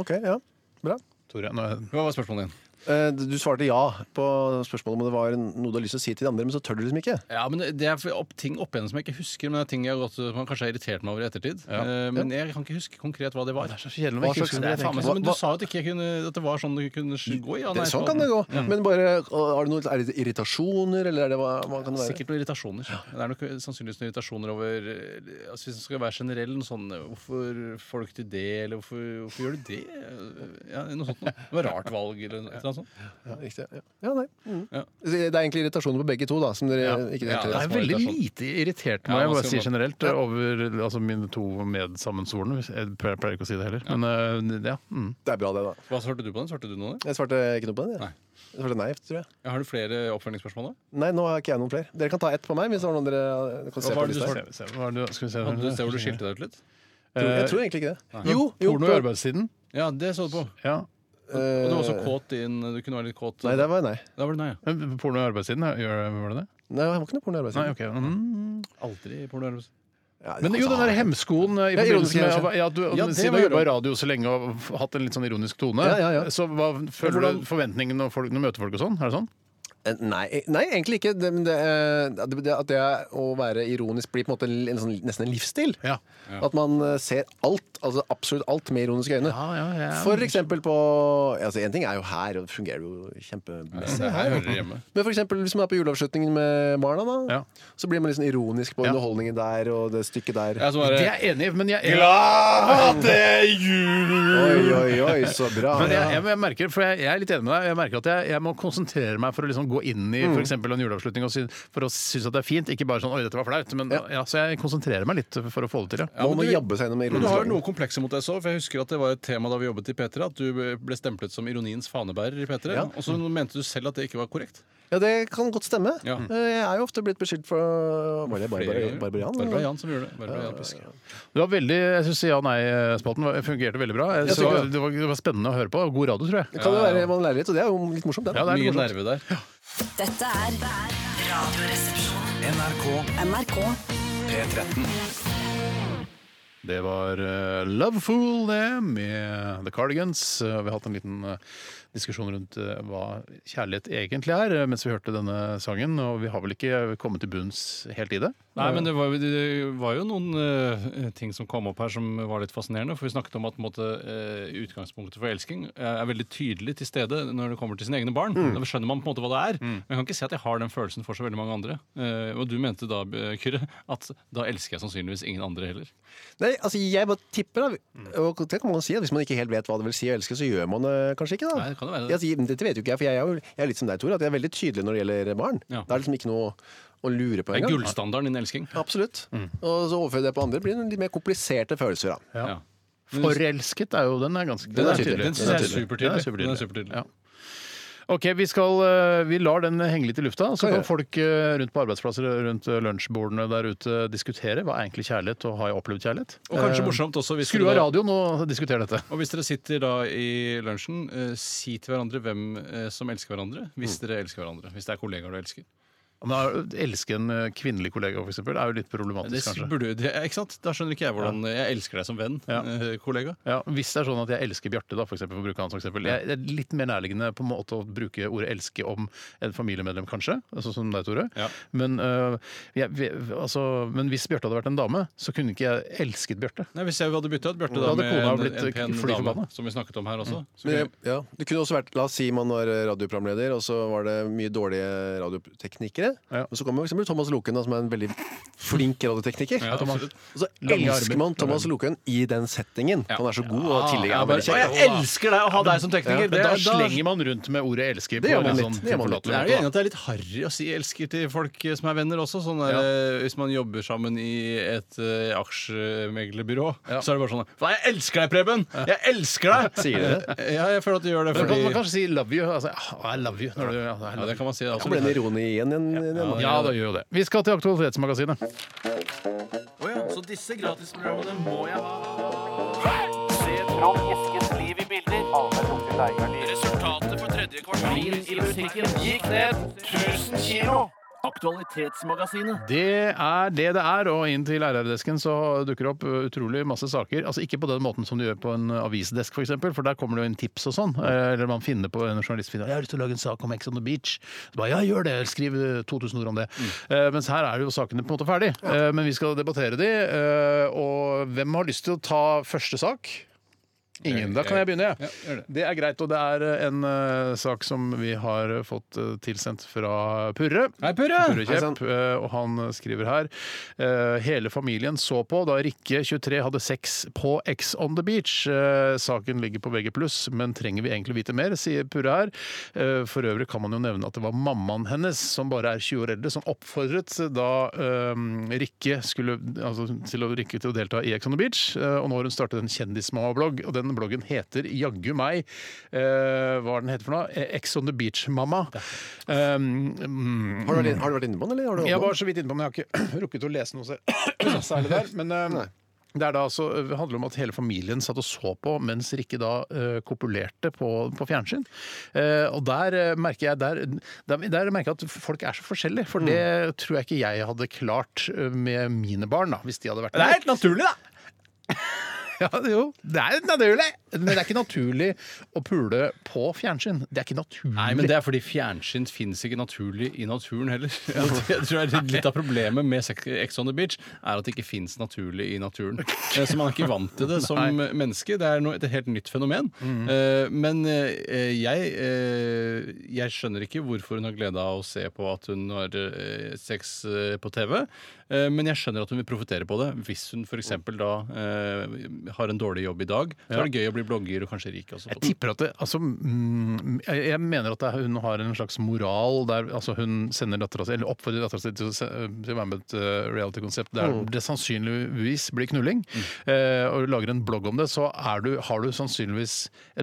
[SPEAKER 3] Ok, ja. Bra.
[SPEAKER 1] Tore, nå er
[SPEAKER 2] Hva var spørsmålet igjen?
[SPEAKER 3] Eh, du svarte ja på spørsmålet om det var noe du har lyst til å si til de andre, men så tør du liksom ikke.
[SPEAKER 2] Ja, men Det er opp, ting opp igjen som jeg ikke husker, men det er ting jeg har gått, man kanskje har irritert meg over i ettertid. Eh, Men jeg kan ikke huske konkret hva det var.
[SPEAKER 1] Det er så kjedelig
[SPEAKER 3] Hva
[SPEAKER 1] når jeg ikke
[SPEAKER 3] slags-
[SPEAKER 1] husker
[SPEAKER 2] Det er faen meg
[SPEAKER 1] det.
[SPEAKER 2] sånn, men Du
[SPEAKER 3] Hva-
[SPEAKER 2] sa jo at, ikke jeg kunne, at det var sånn det kunne sk- gå. Ja,
[SPEAKER 3] Det,
[SPEAKER 2] nei,
[SPEAKER 3] sånn
[SPEAKER 2] faen.
[SPEAKER 3] kan det gå. Men bare, har du noe, er det irritasjoner, eller er det hva, hva kan det være?
[SPEAKER 2] Sikkert noen irritasjoner. Det er nok sannsynligvis noen irritasjoner over eh, altså Hvis det skal være generell, noe sånn eh, Hvorfor får du ikke til det, eller hvorfor, hvorfor gjør du det? Eh, Ja, noe sånt noe. Det var rart valg, eller noe, et eller annet sånt.
[SPEAKER 3] Ja, riktig. Ja, ja nei. Mm.
[SPEAKER 2] Ja.
[SPEAKER 3] Så Det er egentlig irritasjoner på begge to, da, som dere ikke
[SPEAKER 2] Ja,
[SPEAKER 3] helt
[SPEAKER 1] Jeg er
[SPEAKER 2] små
[SPEAKER 1] veldig
[SPEAKER 2] irritasjon.
[SPEAKER 1] lite irritert, må
[SPEAKER 2] Ja,
[SPEAKER 1] jeg
[SPEAKER 2] man
[SPEAKER 1] bare
[SPEAKER 2] skal
[SPEAKER 1] si
[SPEAKER 2] jo-
[SPEAKER 1] generelt, over altså, mine to medsammensvorne. Jeg pleier, pleier ikke å si det heller, men øh, ja. Mm.
[SPEAKER 3] Det er bra, det, da.
[SPEAKER 2] Hva svarte du på den? Svarte du noe? der?
[SPEAKER 3] Jeg svarte ikke noe på den. jeg.
[SPEAKER 2] Nei.
[SPEAKER 3] Jeg svarte nei, tror jeg.
[SPEAKER 2] Har du flere oppfølgingsspørsmål? da?
[SPEAKER 3] Nei, nå har ikke jeg noen flere. Dere kan ta ett på meg. hvis det var noen dere kan
[SPEAKER 2] Hva
[SPEAKER 3] se på
[SPEAKER 2] var det du
[SPEAKER 3] lista her.
[SPEAKER 1] Se- se- hva er det- Skal vi se
[SPEAKER 2] Hadde du et sted hvor du skilte deg ut litt?
[SPEAKER 3] Tror- Jeg
[SPEAKER 1] Eh,
[SPEAKER 3] tror egentlig ikke det.
[SPEAKER 1] Jo, porno i arbeidstiden.
[SPEAKER 2] Ja, det så du på.
[SPEAKER 1] Ja.
[SPEAKER 2] Og du var også kåt inn Du kunne være litt kåt.
[SPEAKER 3] Nei, det var nei.
[SPEAKER 2] Da var det nei, ja.
[SPEAKER 1] Men Porno i arbeidstiden, ja, gjør var det det?
[SPEAKER 3] Nei, det var ikke noe porno i arbeidstiden.
[SPEAKER 1] Nei, ok. Mm.
[SPEAKER 2] Aldri porno.
[SPEAKER 3] Ja, det-
[SPEAKER 1] Men jo,
[SPEAKER 3] altså,
[SPEAKER 1] den der hemskoen eh, i
[SPEAKER 3] Ja, ironisk
[SPEAKER 1] forbindelse med
[SPEAKER 3] ironisk.
[SPEAKER 1] ja, at du,
[SPEAKER 2] Ja, det
[SPEAKER 1] Siden du
[SPEAKER 2] var
[SPEAKER 1] har
[SPEAKER 2] jo
[SPEAKER 1] jobba i radio så lenge og f- hatt en litt sånn ironisk tone,
[SPEAKER 3] Ja, ja, ja.
[SPEAKER 1] så hva
[SPEAKER 2] Men
[SPEAKER 1] føler
[SPEAKER 2] hvordan-
[SPEAKER 1] du forventningene når folk- når du møter folk og sånn? Er det sånn?
[SPEAKER 3] Eh, Nei, nei, egentlig ikke. Det, men det, eh, det, det, at det er å være ironisk blir på en måte en, en sånn, nesten en livsstil.
[SPEAKER 1] Ja.
[SPEAKER 3] At man eh, ser alt, altså absolutt alt, med ironiske øyne.
[SPEAKER 1] Ja, ja, ja.
[SPEAKER 3] For eksempel på altså En ting er jo her, og det fungerer jo kjempemessig.
[SPEAKER 2] Det her hører dere hjemme.
[SPEAKER 3] Men for eksempel, hvis man er på juleavslutningen med barna, da,
[SPEAKER 1] Ja.
[SPEAKER 3] så blir man liksom ironisk på
[SPEAKER 1] Ja.
[SPEAKER 3] underholdningen der og det stykket der.
[SPEAKER 2] Jeg er sånn
[SPEAKER 1] Det
[SPEAKER 2] bare,
[SPEAKER 1] er jeg enig i, men jeg
[SPEAKER 2] Glad det er jul!
[SPEAKER 3] Oi, oi, oi, så bra.
[SPEAKER 1] Men jeg, jeg, jeg merker, for jeg, jeg er litt enig med deg, jeg merker at jeg, jeg må konsentrere meg for å liksom gå inn
[SPEAKER 2] Mm.
[SPEAKER 1] i for eksempel en juleavslutning og sy, for å synes at det er fint. Ikke bare sånn 'oi, dette var flaut', men ja. så jeg konsentrerer meg litt for å få det til. Ja.
[SPEAKER 2] men
[SPEAKER 3] man må
[SPEAKER 2] du-
[SPEAKER 3] jabbe seg gjennom
[SPEAKER 2] Men du
[SPEAKER 3] ironisk
[SPEAKER 2] har jo
[SPEAKER 3] øyne.
[SPEAKER 2] noe komplekser mot deg så, for jeg husker at det var et tema da vi jobbet i P3, at du ble stemplet som ironiens fanebærer i P3,
[SPEAKER 3] Ja.
[SPEAKER 2] og så mente du selv at det ikke var korrekt.
[SPEAKER 3] Ja, det kan godt stemme.
[SPEAKER 2] Ja.
[SPEAKER 3] Eh, Jeg er jo ofte blitt beskyldt for Var det
[SPEAKER 2] Flere
[SPEAKER 3] Barbara,
[SPEAKER 2] ganger.
[SPEAKER 3] Barbarian?
[SPEAKER 2] Barbara Jan som gjorde det. Barbara Jan Pisk.
[SPEAKER 1] Det var veldig, jeg synes Ja- og nei-spalten var- fungerte veldig bra. Jeg, synes
[SPEAKER 3] Jeg
[SPEAKER 1] det,
[SPEAKER 3] synes
[SPEAKER 1] var,
[SPEAKER 3] det.
[SPEAKER 1] det, var, det var spennende å høre på. God radio, tror jeg.
[SPEAKER 3] Det kan jo være man lærer litt, og det er jo litt morsomt. Det.
[SPEAKER 1] Ja, det er
[SPEAKER 2] Mye
[SPEAKER 1] litt morsomt.
[SPEAKER 2] nerve der.
[SPEAKER 5] Dette er Radioresepsjonen.
[SPEAKER 6] NRK
[SPEAKER 5] NRK
[SPEAKER 6] P13.
[SPEAKER 1] Det var eh, Love Fool, det, med The Cardigans. Eh, vi har hatt en liten eh, diskusjon rundt eh, hva kjærlighet egentlig er, eh, mens vi hørte denne sangen. Og vi har vel ikke kommet til bunns helt i det?
[SPEAKER 7] Nei, men det var, jo- det var jo noen eh, ting som kom opp her som var litt fascinerende. For vi snakket om at på en måte, eh, utgangspunktet for elsking eh, er veldig tydelig til stede når det kommer til sine egne barn. Da skjønner man på en måte hva det er. Men jeg kan ikke si at jeg har den følelsen for så veldig mange andre. Eh, og du mente da, eh, Kyrre, at da elsker jeg sannsynligvis ingen andre heller.
[SPEAKER 3] Nei, altså jeg bare tipper da, og det kan man si, at Hvis man ikke helt vet hva det vil si å elske, så gjør man det kanskje ikke. da
[SPEAKER 7] Nei, det kan jo være det.
[SPEAKER 3] Jeg sier, men Dette vet jo ikke jeg, for jeg er, jo, jeg er litt som deg, Tor, at jeg er veldig tydelig når det gjelder barn.
[SPEAKER 7] Ja.
[SPEAKER 3] Det er liksom ikke noe å lure på
[SPEAKER 7] Det er
[SPEAKER 3] engang.
[SPEAKER 7] gullstandarden innen elsking.
[SPEAKER 3] Absolutt.
[SPEAKER 1] Mm.
[SPEAKER 3] Og så overfører jeg det på andre, blir det litt mer kompliserte følelser. da
[SPEAKER 7] Ja.
[SPEAKER 1] Forelsket er jo den er ganske
[SPEAKER 3] Den er tydelig.
[SPEAKER 7] Den
[SPEAKER 3] Den
[SPEAKER 7] syns
[SPEAKER 3] er
[SPEAKER 7] jeg er
[SPEAKER 3] tydelig.
[SPEAKER 7] supertydelig.
[SPEAKER 1] Den er supertydelig.
[SPEAKER 7] Den er supertydelig.
[SPEAKER 1] Ja. OK, vi, skal, eh, vi lar den henge litt i lufta. Så
[SPEAKER 3] Kan
[SPEAKER 1] kan
[SPEAKER 3] gjøre.
[SPEAKER 1] folk eh, rundt på arbeidsplasser rundt eh, lunsjbordene der ute diskutere hva er egentlig kjærlighet, og har jeg opplevd kjærlighet? Eh,
[SPEAKER 7] Og kanskje morsomt også hvis
[SPEAKER 1] Skru
[SPEAKER 7] du
[SPEAKER 1] av
[SPEAKER 7] da-
[SPEAKER 1] radioen og diskuter dette.
[SPEAKER 7] Og hvis dere sitter da i lunsjen, eh, si til hverandre hvem eh, som elsker hverandre. Hvis dere elsker hverandre. Hvis det er kollegaer du elsker.
[SPEAKER 1] Men å elske en eh, kvinnelig kollega, for eksempel, er jo litt
[SPEAKER 7] Det
[SPEAKER 1] problematisk, kanskje.
[SPEAKER 7] burde, det, ikke sant? Da skjønner ikke jeg hvordan Jeg elsker deg som venn,
[SPEAKER 1] Ja.
[SPEAKER 7] eh, kollega.
[SPEAKER 1] Ja, hvis det er sånn at jeg elsker Bjarte, da, for, eksempel, for å bruke han som eksempel. Jeg, det er litt mer nærliggende på en måte å bruke ordet 'elske' om en familiemedlem, kanskje. Sånn som deg, Tore.
[SPEAKER 7] Ja.
[SPEAKER 1] Men, øh, jeg, vi- altså, men hvis Bjarte hadde vært en dame, så kunne ikke jeg elsket Bjarte.
[SPEAKER 7] Nei, Hvis jeg hadde bytta ut Bjarte
[SPEAKER 1] Da
[SPEAKER 7] da
[SPEAKER 1] hadde
[SPEAKER 7] med
[SPEAKER 1] kona
[SPEAKER 7] en,
[SPEAKER 1] blitt eh,
[SPEAKER 7] en pen
[SPEAKER 1] fly Mm.
[SPEAKER 7] dame,
[SPEAKER 1] forbanna.
[SPEAKER 7] som vi snakket om her også så
[SPEAKER 3] Men,
[SPEAKER 7] kunne-
[SPEAKER 3] jeg- ja, det kunne også vært, La oss si man var eh, radioprogramleder, og så var det mye dårlige radioteknikere.
[SPEAKER 1] Ja.
[SPEAKER 3] Og så kommer for eksempel Thomas Loken, da, som er en veldig flink radiotekniker.
[SPEAKER 7] Ja, absolutt.
[SPEAKER 3] Og så
[SPEAKER 1] Lange armer.
[SPEAKER 3] elsker man Thomas Loken i den settingen. Han er så god,
[SPEAKER 1] Ah,
[SPEAKER 3] og tillegg er
[SPEAKER 7] Ja,
[SPEAKER 3] han
[SPEAKER 7] bare,
[SPEAKER 3] veldig
[SPEAKER 7] å,
[SPEAKER 3] kjekk.
[SPEAKER 7] jeg elsker deg å ha deg som tekniker!
[SPEAKER 1] Men da
[SPEAKER 7] er-
[SPEAKER 1] slenger man rundt med ordet 'elske' på
[SPEAKER 3] gjør
[SPEAKER 1] en litt
[SPEAKER 3] man litt.
[SPEAKER 1] sånn
[SPEAKER 3] eh, Det gjør man litt.
[SPEAKER 1] tilforlatelig
[SPEAKER 7] Men er jo
[SPEAKER 1] måte.
[SPEAKER 7] enig at det er litt harry å si 'elsker' til folk som er venner også. Sånn der, eh, Hvis man jobber sammen i et eh, aksjemeglerbyrå, så er det bare sånn Faen, jeg elsker deg, Preben! Jeg elsker deg!
[SPEAKER 3] Sier dere
[SPEAKER 7] Ja, jeg føler at du gjør det
[SPEAKER 1] Men kan
[SPEAKER 7] fordi
[SPEAKER 1] man kanskje si 'love you'? Altså, I love you. Når du, ja, I
[SPEAKER 7] Ja,
[SPEAKER 1] love
[SPEAKER 7] det
[SPEAKER 1] you.
[SPEAKER 7] kan man si. det er
[SPEAKER 3] Ble
[SPEAKER 7] absolutt.
[SPEAKER 3] den ironi igjen? igjen, igjen, igjen.
[SPEAKER 1] Ja, da gjør jo det. Vi skal til Aktualitetsmagasinet. Det er det det er, og inn til RR-desken så dukker det opp utrolig masse saker. Altså Ikke på den måten som du gjør på en avisdesk, f.eks., for, eksempel, for der kommer det jo inn tips og sånn. Eh, Eller man finner på en journalist finner, 'Jeg har lyst til å lage en sak om Ex on the Beach'. Så bare, ja, gjør det, Skriv eh, 2000 ord om det.
[SPEAKER 2] Mm.
[SPEAKER 1] Eh, Mens her er jo sakene på en måte ferdig. Eh, Men vi skal debattere de. eh, Og hvem har lyst til å ta første sak? Ingen. Da kan jeg begynne, jeg.
[SPEAKER 2] gjør det.
[SPEAKER 1] det er greit. Og det er eh, en eh, sak som vi har eh, fått eh, tilsendt fra Purre.
[SPEAKER 2] Hei, Purre!
[SPEAKER 1] Purre Kjepp, eh, og han skriver her eh, Hele familien så på da Rikke 23 hadde sex på X on the beach. Eh, Saken ligger på VG+, men trenger vi egentlig vite mer, sier Purre her. Eh, For øvrig kan man jo nevne at det var mammaen hennes, som bare er 20 år eldre, som oppfordret da eh, Rikke skulle, altså, til, å, Rikke til å delta i X on the beach. eh, Og nå har hun startet en kjendismamma-blogg, og den bloggen heter jaggu meg eh, Hva er den heter for noe? Eh, X on the beach-mamma. Um, mm,
[SPEAKER 3] Har du vært, inn- har du vært inne på den, eller? Har du
[SPEAKER 1] jeg
[SPEAKER 3] holdt på
[SPEAKER 1] var så vidt inne på den, men jeg har ikke rukket å lese noe selv- særlig der. Men eh, det er da altså, det handler om at hele familien satt og så på mens Rikke da eh, kopulerte på, på fjernsyn. Eh, og der eh, merker jeg der, der, der merker jeg at folk er så forskjellige. For
[SPEAKER 3] Mm.
[SPEAKER 1] det tror jeg ikke jeg hadde klart eh, med mine barn, da, hvis de hadde vært
[SPEAKER 2] Det er helt naturlig, da!
[SPEAKER 1] Ja, jo. Det er naturlig! Men det er ikke naturlig å pule på fjernsyn. Det er ikke naturlig.
[SPEAKER 2] Nei, men det er fordi fjernsyn fins ikke naturlig i naturen heller. Jeg tror det er Litt av problemet med Sex- Ex on the Beach er at det ikke fins naturlig i naturen. Eh, Så man er ikke vant til det som menneske. Det er noe, et helt nytt fenomen. Eh, Men eh, jeg, eh, jeg skjønner ikke hvorfor hun har glede av å se på at hun har eh, sex eh, på TV. Eh, Men jeg skjønner at hun vil profitere på det. Hvis hun f.eks. da eh, har en dårlig jobb i dag, så er det gøy å bli blogger og kanskje rik også.
[SPEAKER 1] Jeg tipper at det, altså, mm, jeg jeg mener at det er, hun har en slags moral der altså, hun sender dattera si, eller oppfordrer dattera si til å se- til å være med i et eh, reality-konsept der det sannsynligvis blir knulling, eh, og du lager en blogg om det, så er du, har du sannsynligvis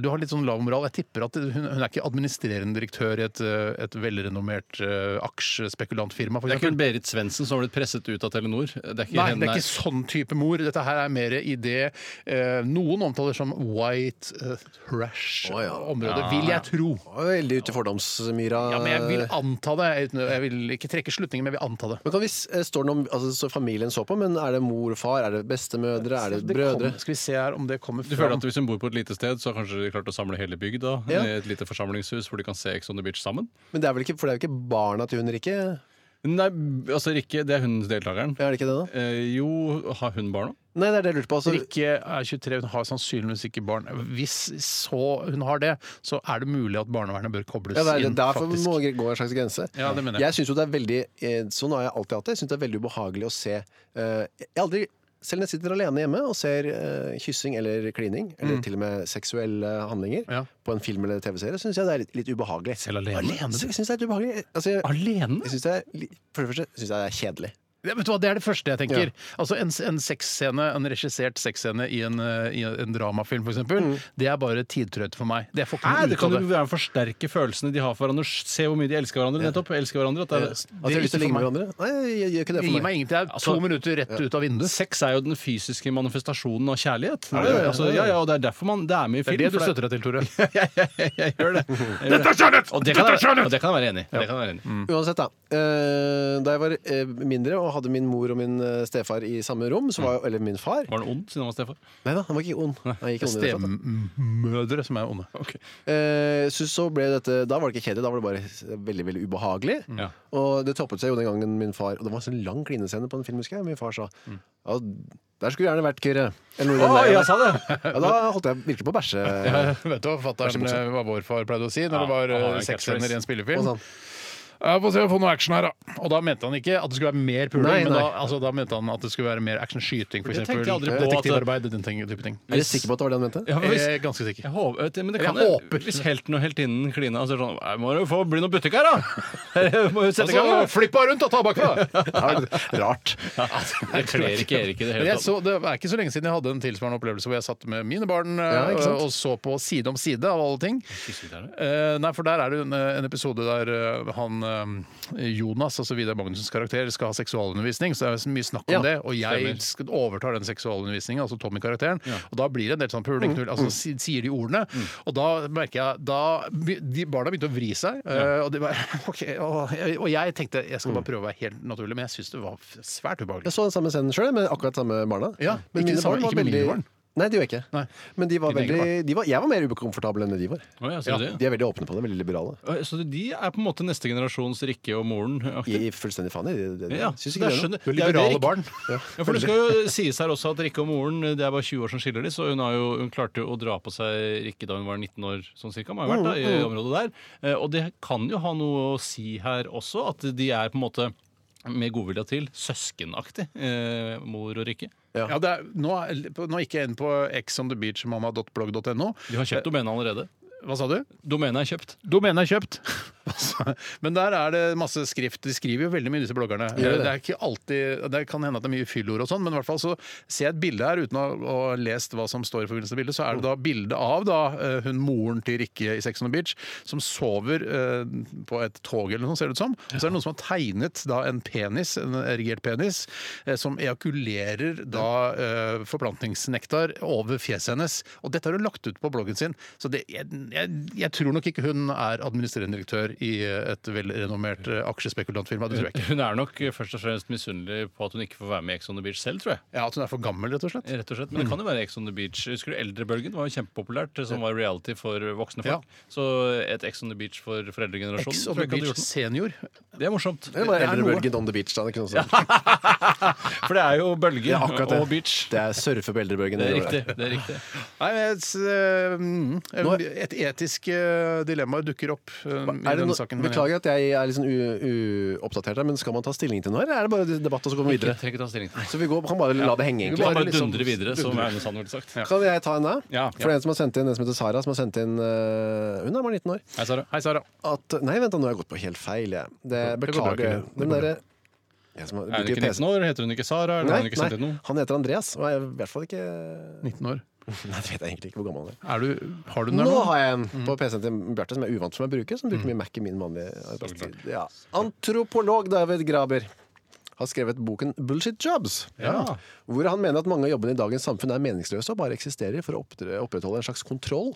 [SPEAKER 1] Du har litt sånn lav moral. Jeg tipper at hun, hun er ikke administrerende direktør i et, eh, et velrenommert eh, aksjespekulantfirma, for
[SPEAKER 2] Det er ikke
[SPEAKER 1] eksempel.
[SPEAKER 2] hun Berit Svendsen som har blitt presset ut av Telenor. Det er ikke
[SPEAKER 1] Nei,
[SPEAKER 2] henne.
[SPEAKER 1] det er ikke sånn type mor. Dette her er mer i det eh, noen omtaler som white eh,
[SPEAKER 3] Å, ja.
[SPEAKER 1] trash-området, vil jeg tro.
[SPEAKER 3] Veldig ute i fordomsmyra.
[SPEAKER 1] Ja, men jeg vil
[SPEAKER 3] Eh.
[SPEAKER 1] anta det. uten- Jeg vil ikke trekke slutninger, men jeg vil anta det.
[SPEAKER 3] Men kan vi, s- eh, Står det noe om altså, så familien så på, men er det mor og far, er det bestemødre, er det, brødre?
[SPEAKER 1] Kom, skal vi se her om det kommer
[SPEAKER 2] Du føler
[SPEAKER 1] fram.
[SPEAKER 2] at Hvis hun bor på et lite sted, så har kanskje de klart å samle hele bygda
[SPEAKER 3] Ja.
[SPEAKER 2] i et lite forsamlingshus hvor de kan se Ex on the Beach sammen?
[SPEAKER 3] Men det er vel ikke, for det er jo ikke barna til hun Rikke?
[SPEAKER 2] Nei, altså Rikke, det er hun deltakeren.
[SPEAKER 3] Er det ikke det, da?
[SPEAKER 2] Eh, jo, har hun barn òg?
[SPEAKER 3] Nei, det er det jeg lurte på. Altså,
[SPEAKER 1] Rikke er 23, hun har sannsynligvis ikke barn. Hvis så hun har det, så er det mulig at barnevernet bør kobles
[SPEAKER 3] ja, det er,
[SPEAKER 1] inn,
[SPEAKER 3] derfor
[SPEAKER 1] faktisk.
[SPEAKER 3] må det gå en slags grense.
[SPEAKER 1] Ja, det mener jeg.
[SPEAKER 3] Jeg synes jo det er veldig eh, Sånn har jeg alltid hatt det. Jeg synes det er veldig ubehagelig å se eh, Jeg aldri selv når jeg sitter alene hjemme og ser eh, kyssing eller klining, eller til og med seksuelle handlinger,
[SPEAKER 1] Mm. Ja.
[SPEAKER 3] på en film eller TV-serie, syns jeg det er litt, litt ubehagelig.
[SPEAKER 2] Selv alene?
[SPEAKER 3] Så Jeg synes det er litt ubehagelig. Altså, jeg,
[SPEAKER 2] Alene?
[SPEAKER 3] jeg synes det er, li- for det første syns jeg det er kjedelig.
[SPEAKER 1] Ja, vet du hva, Det er det første jeg tenker. Altså En, en sexscene, en regissert sexscene i en, eh, i en dramafilm, f.eks.,
[SPEAKER 3] Mm.
[SPEAKER 1] eksempel det er bare tidtrøyt for meg. Det får ikke
[SPEAKER 2] Nei,
[SPEAKER 1] noe
[SPEAKER 2] det
[SPEAKER 1] ut av
[SPEAKER 2] kan jo
[SPEAKER 1] det.
[SPEAKER 2] være å forsterke følelsene de har for hverandre. Se hvor mye de elsker hverandre. nettopp, elsker hverandre. At det er,
[SPEAKER 3] At Altså, jeg har lyst til
[SPEAKER 1] ikke
[SPEAKER 3] å ligge med
[SPEAKER 1] for
[SPEAKER 3] hverandre? Nei, jeg jeg gjør
[SPEAKER 1] Det
[SPEAKER 3] ikke det for
[SPEAKER 1] gir
[SPEAKER 3] meg.
[SPEAKER 1] meg ingenting. Det er to
[SPEAKER 2] Altså-
[SPEAKER 1] minutter rett ut av vinduet.
[SPEAKER 2] Sex er jo den fysiske manifestasjonen av kjærlighet.
[SPEAKER 1] det det?
[SPEAKER 2] Altså, ja, ja, og det er derfor man det er med i
[SPEAKER 1] Det
[SPEAKER 2] film.
[SPEAKER 1] er det du
[SPEAKER 2] for
[SPEAKER 1] støtter deg til, Tore.
[SPEAKER 2] jeg, gjør det. Dette er kjærlighet! Og det kan jeg, og det kan jeg være enig i. Det kan jeg være enig i.
[SPEAKER 3] Uansett, da. eh, Da jeg var eh, mindre og hadde min mor og min eh, stefar i samme rom, så var, eller min far
[SPEAKER 2] Var han ond siden han var stefar?
[SPEAKER 3] Nei da, han var ikke ond. Han gikk ond i det hele tatt.
[SPEAKER 1] Stemødre som er onde.
[SPEAKER 3] Eh, så, så ble dette, da var det ikke kjedelig, da var det bare veldig veldig ubehagelig.
[SPEAKER 2] Ja.
[SPEAKER 3] Og det toppet seg jo den gangen min far Og det var en sånn lang klinescene på en film, husker jeg. Min far sa ja, der skulle du gjerne vært, Kyrre. Eller noe i den der.
[SPEAKER 2] sa det!
[SPEAKER 3] Mm. ja, da holdt jeg virkelig på å bæsje.
[SPEAKER 1] Vet du hva fatter'n, eh, hva vår far pleide å si når
[SPEAKER 2] Ja,
[SPEAKER 1] det var
[SPEAKER 2] han har
[SPEAKER 1] eh,
[SPEAKER 2] en
[SPEAKER 1] sexscener i en
[SPEAKER 3] Og
[SPEAKER 1] spillefilm?
[SPEAKER 3] sånn.
[SPEAKER 1] Ja, Få se å få noe action her, da. Og da mente han ikke at det skulle være mer puling,
[SPEAKER 3] Nei,
[SPEAKER 1] men
[SPEAKER 3] nei.
[SPEAKER 1] da, altså, da mente han at det skulle være mer actionskyting,
[SPEAKER 2] Det
[SPEAKER 1] f.eks.
[SPEAKER 2] tenkte jeg aldri på at-
[SPEAKER 1] Detektivarbeid, den ting- type ting.
[SPEAKER 3] Er du sikker på at det var det han mente?
[SPEAKER 2] Ja, men hvis,
[SPEAKER 1] Eh, Jeg er ganske sikker.
[SPEAKER 2] jeg håper, men det
[SPEAKER 1] Jeg
[SPEAKER 2] kan jo-
[SPEAKER 1] håper.
[SPEAKER 2] Hvis helten og heltinnen klina og sier sånn «Jeg Må jo få bli noe butikk her, da! Jeg Må jo sette i gang! da!»
[SPEAKER 1] flippa Altså, rundt og ta bakfra!
[SPEAKER 3] Rart.
[SPEAKER 2] Det kler ikke Erik i det
[SPEAKER 1] Men
[SPEAKER 2] hele
[SPEAKER 1] jeg
[SPEAKER 2] tatt.
[SPEAKER 1] så, det er ikke så lenge siden jeg hadde en tilsvarende opplevelse hvor jeg satt med mine barn eh,
[SPEAKER 3] Ja, ikke sant?
[SPEAKER 1] og så på Side om side, av alle ting. Eh, nei, for der er det en, en episode der eh, han eh, Jonas, altså Vidar Magnusens karakter, skal ha seksualundervisning. Så det er så mye snakk om
[SPEAKER 3] Ja,
[SPEAKER 1] det, og jeg sk- overtar den seksualundervisningen, altså Tommy-karakteren. Og da blir det en del sånn
[SPEAKER 2] Mm,
[SPEAKER 1] puling, knull, altså si- sier de ordene. Og da merker jeg da be- de Barna begynte å vri seg, eh, og, de bare, ok, og, jeg- og jeg tenkte jeg
[SPEAKER 2] Mm.
[SPEAKER 1] skal bare prøve å være helt naturlig, men jeg syns det var f- svært ubehagelig.
[SPEAKER 3] Jeg så den samme scenen sjøl, med akkurat samme barna.
[SPEAKER 1] Ja, ikke det samme-
[SPEAKER 3] var
[SPEAKER 1] ikke med mine barn.
[SPEAKER 3] Nei, de var ikke.
[SPEAKER 1] Nei.
[SPEAKER 3] Men de var
[SPEAKER 1] Dine egne
[SPEAKER 3] veldig, de var, jeg var mer ukomfortabel enn de var.
[SPEAKER 2] Å, ja, så, det.
[SPEAKER 3] De er veldig åpne på det, veldig liberale.
[SPEAKER 2] Å, så de er på en måte neste generasjons Rikke og moren?
[SPEAKER 3] Gi fullstendig faen i det. det, det.
[SPEAKER 2] Ja,
[SPEAKER 3] Syns
[SPEAKER 2] så det
[SPEAKER 3] ikke det er noe.
[SPEAKER 2] skjønner-
[SPEAKER 1] Du er
[SPEAKER 2] det er jo det
[SPEAKER 1] liberale
[SPEAKER 2] Rikke-
[SPEAKER 1] barn.
[SPEAKER 2] Ja, for Det skal jo sies her også at Rikke og moren det er bare 20 år som skiller dem, så hun, har jo, hun klarte jo å dra på seg Rikke da hun var 19 år, sånn cirka, må ha vært da, i området der. Eh, Og det kan jo ha noe å si her også, at de er på en måte med godvilja til søskenaktig, eh, mor og Rikke.
[SPEAKER 3] Ja.
[SPEAKER 1] Ja, det er, nå, er- nå gikk jeg inn på exonthebeachmamma.blogg.no.
[SPEAKER 2] De har kjøpt domenet allerede.
[SPEAKER 1] Hva sa du?
[SPEAKER 2] Domenet er kjøpt.
[SPEAKER 1] Domenet er kjøpt. Altså, Men der er det masse skrift. De skriver jo veldig mye, disse bloggerne.
[SPEAKER 3] Gjør det.
[SPEAKER 1] Det, er ikke alltid, det kan hende at det er mye fyllord og sånn, men i hvert fall så ser jeg et bilde her, uten å å ha lest hva som står i forbindelse med bildet, så er det da bilde av da, eh, hun moren til Rikke i Sex on the Beach, som sover eh, på et tog eller noe, ser det ut som. Og så er det noen som har tegnet da en penis, en erigert penis, eh, som ejakulerer da eh, forplantningsnektar over fjeset hennes. Og dette har hun lagt ut på bloggen sin, så det, jeg, jeg, jeg tror nok ikke hun er administrerende direktør i eh, et velrenommert eh, aksjespekulantfirma. Det tror jeg ikke.
[SPEAKER 2] Hun er nok eh, først og fremst misunnelig på at hun ikke får være med i Ex on the Beach selv, tror jeg.
[SPEAKER 1] Ja, At hun er for gammel, rett og slett.
[SPEAKER 2] Rett og slett, Men det kan jo være Ex on the Beach. Husker du Eldrebølgen var jo kjempepopulært, eh, som var reality for voksne folk. Så et Ex on the Beach for foreldregenerasjonen
[SPEAKER 1] Ex on
[SPEAKER 2] tror
[SPEAKER 1] the
[SPEAKER 2] jeg ikke hadde
[SPEAKER 1] Beach
[SPEAKER 2] gjort noe.
[SPEAKER 1] senior.
[SPEAKER 2] Det er morsomt.
[SPEAKER 3] Det er
[SPEAKER 1] Det
[SPEAKER 3] bare
[SPEAKER 1] er
[SPEAKER 3] eldre
[SPEAKER 1] noe.
[SPEAKER 3] bølgen on the beach. Da. Det, er ikke noe sånt.
[SPEAKER 2] For det er jo bølger
[SPEAKER 3] Ja, akkurat det.
[SPEAKER 2] og beach.
[SPEAKER 3] det er surfe på eldrebølgen.
[SPEAKER 2] Det er riktig. det er riktig
[SPEAKER 1] Nei, men et, eh, mm, et etisk eh, dilemma dukker opp eh, i
[SPEAKER 3] Er det
[SPEAKER 1] denne
[SPEAKER 3] noe-
[SPEAKER 1] saken.
[SPEAKER 3] beklager at jeg er litt sånn u- uoppdatert her, men skal man ta stilling til noe, eller er det bare debatt og så går vi videre?
[SPEAKER 2] Trenger ikke ta stilling til det.
[SPEAKER 3] Så vi går, kan bare liksom la det henge,
[SPEAKER 2] Vi kan
[SPEAKER 3] egentlig.
[SPEAKER 2] bare dundre videre, som Aune Sand ville sagt.
[SPEAKER 3] Kan jeg ta en da?
[SPEAKER 2] Ja.
[SPEAKER 3] For det er en som har sendt inn, en som heter Sara, som har sendt inn øh, Hun er bare 19 år.
[SPEAKER 2] Hei, Sara.
[SPEAKER 1] Hei, Sara.
[SPEAKER 3] At Nei, vent, da, nå har jeg gått på helt feil, jeg. Det,
[SPEAKER 1] Det går bra,
[SPEAKER 3] beklager.
[SPEAKER 1] Kyrre.
[SPEAKER 3] jeg.
[SPEAKER 1] Det
[SPEAKER 3] Den
[SPEAKER 1] går bra.
[SPEAKER 3] derre jeg som har-
[SPEAKER 2] Er hun
[SPEAKER 3] bruker
[SPEAKER 2] ikke
[SPEAKER 3] PC
[SPEAKER 2] 19 år? Heter hun ikke Sara? Eller har hun ikke sendt
[SPEAKER 3] Nei,
[SPEAKER 2] inn
[SPEAKER 3] nei,
[SPEAKER 2] noe?
[SPEAKER 3] han heter Andreas, og jeg er i hvert fall ikke
[SPEAKER 1] 19 år.
[SPEAKER 3] Nei, det vet jeg egentlig ikke hvor gammel han er.
[SPEAKER 1] Er Mm. du, har du den der
[SPEAKER 3] Nå
[SPEAKER 1] nå?
[SPEAKER 3] har jeg en på PC-en til Bjarte som jeg er uvant for meg å bruke, som bruker mye Mac i min vanlige arbeidstid. Ja. Antropolog David Graber har skrevet boken 'Bullshit Jobs', hvor han mener at mange av jobbene i dagens samfunn er meningsløse og bare eksisterer for å oppdre- opprettholde en slags kontroll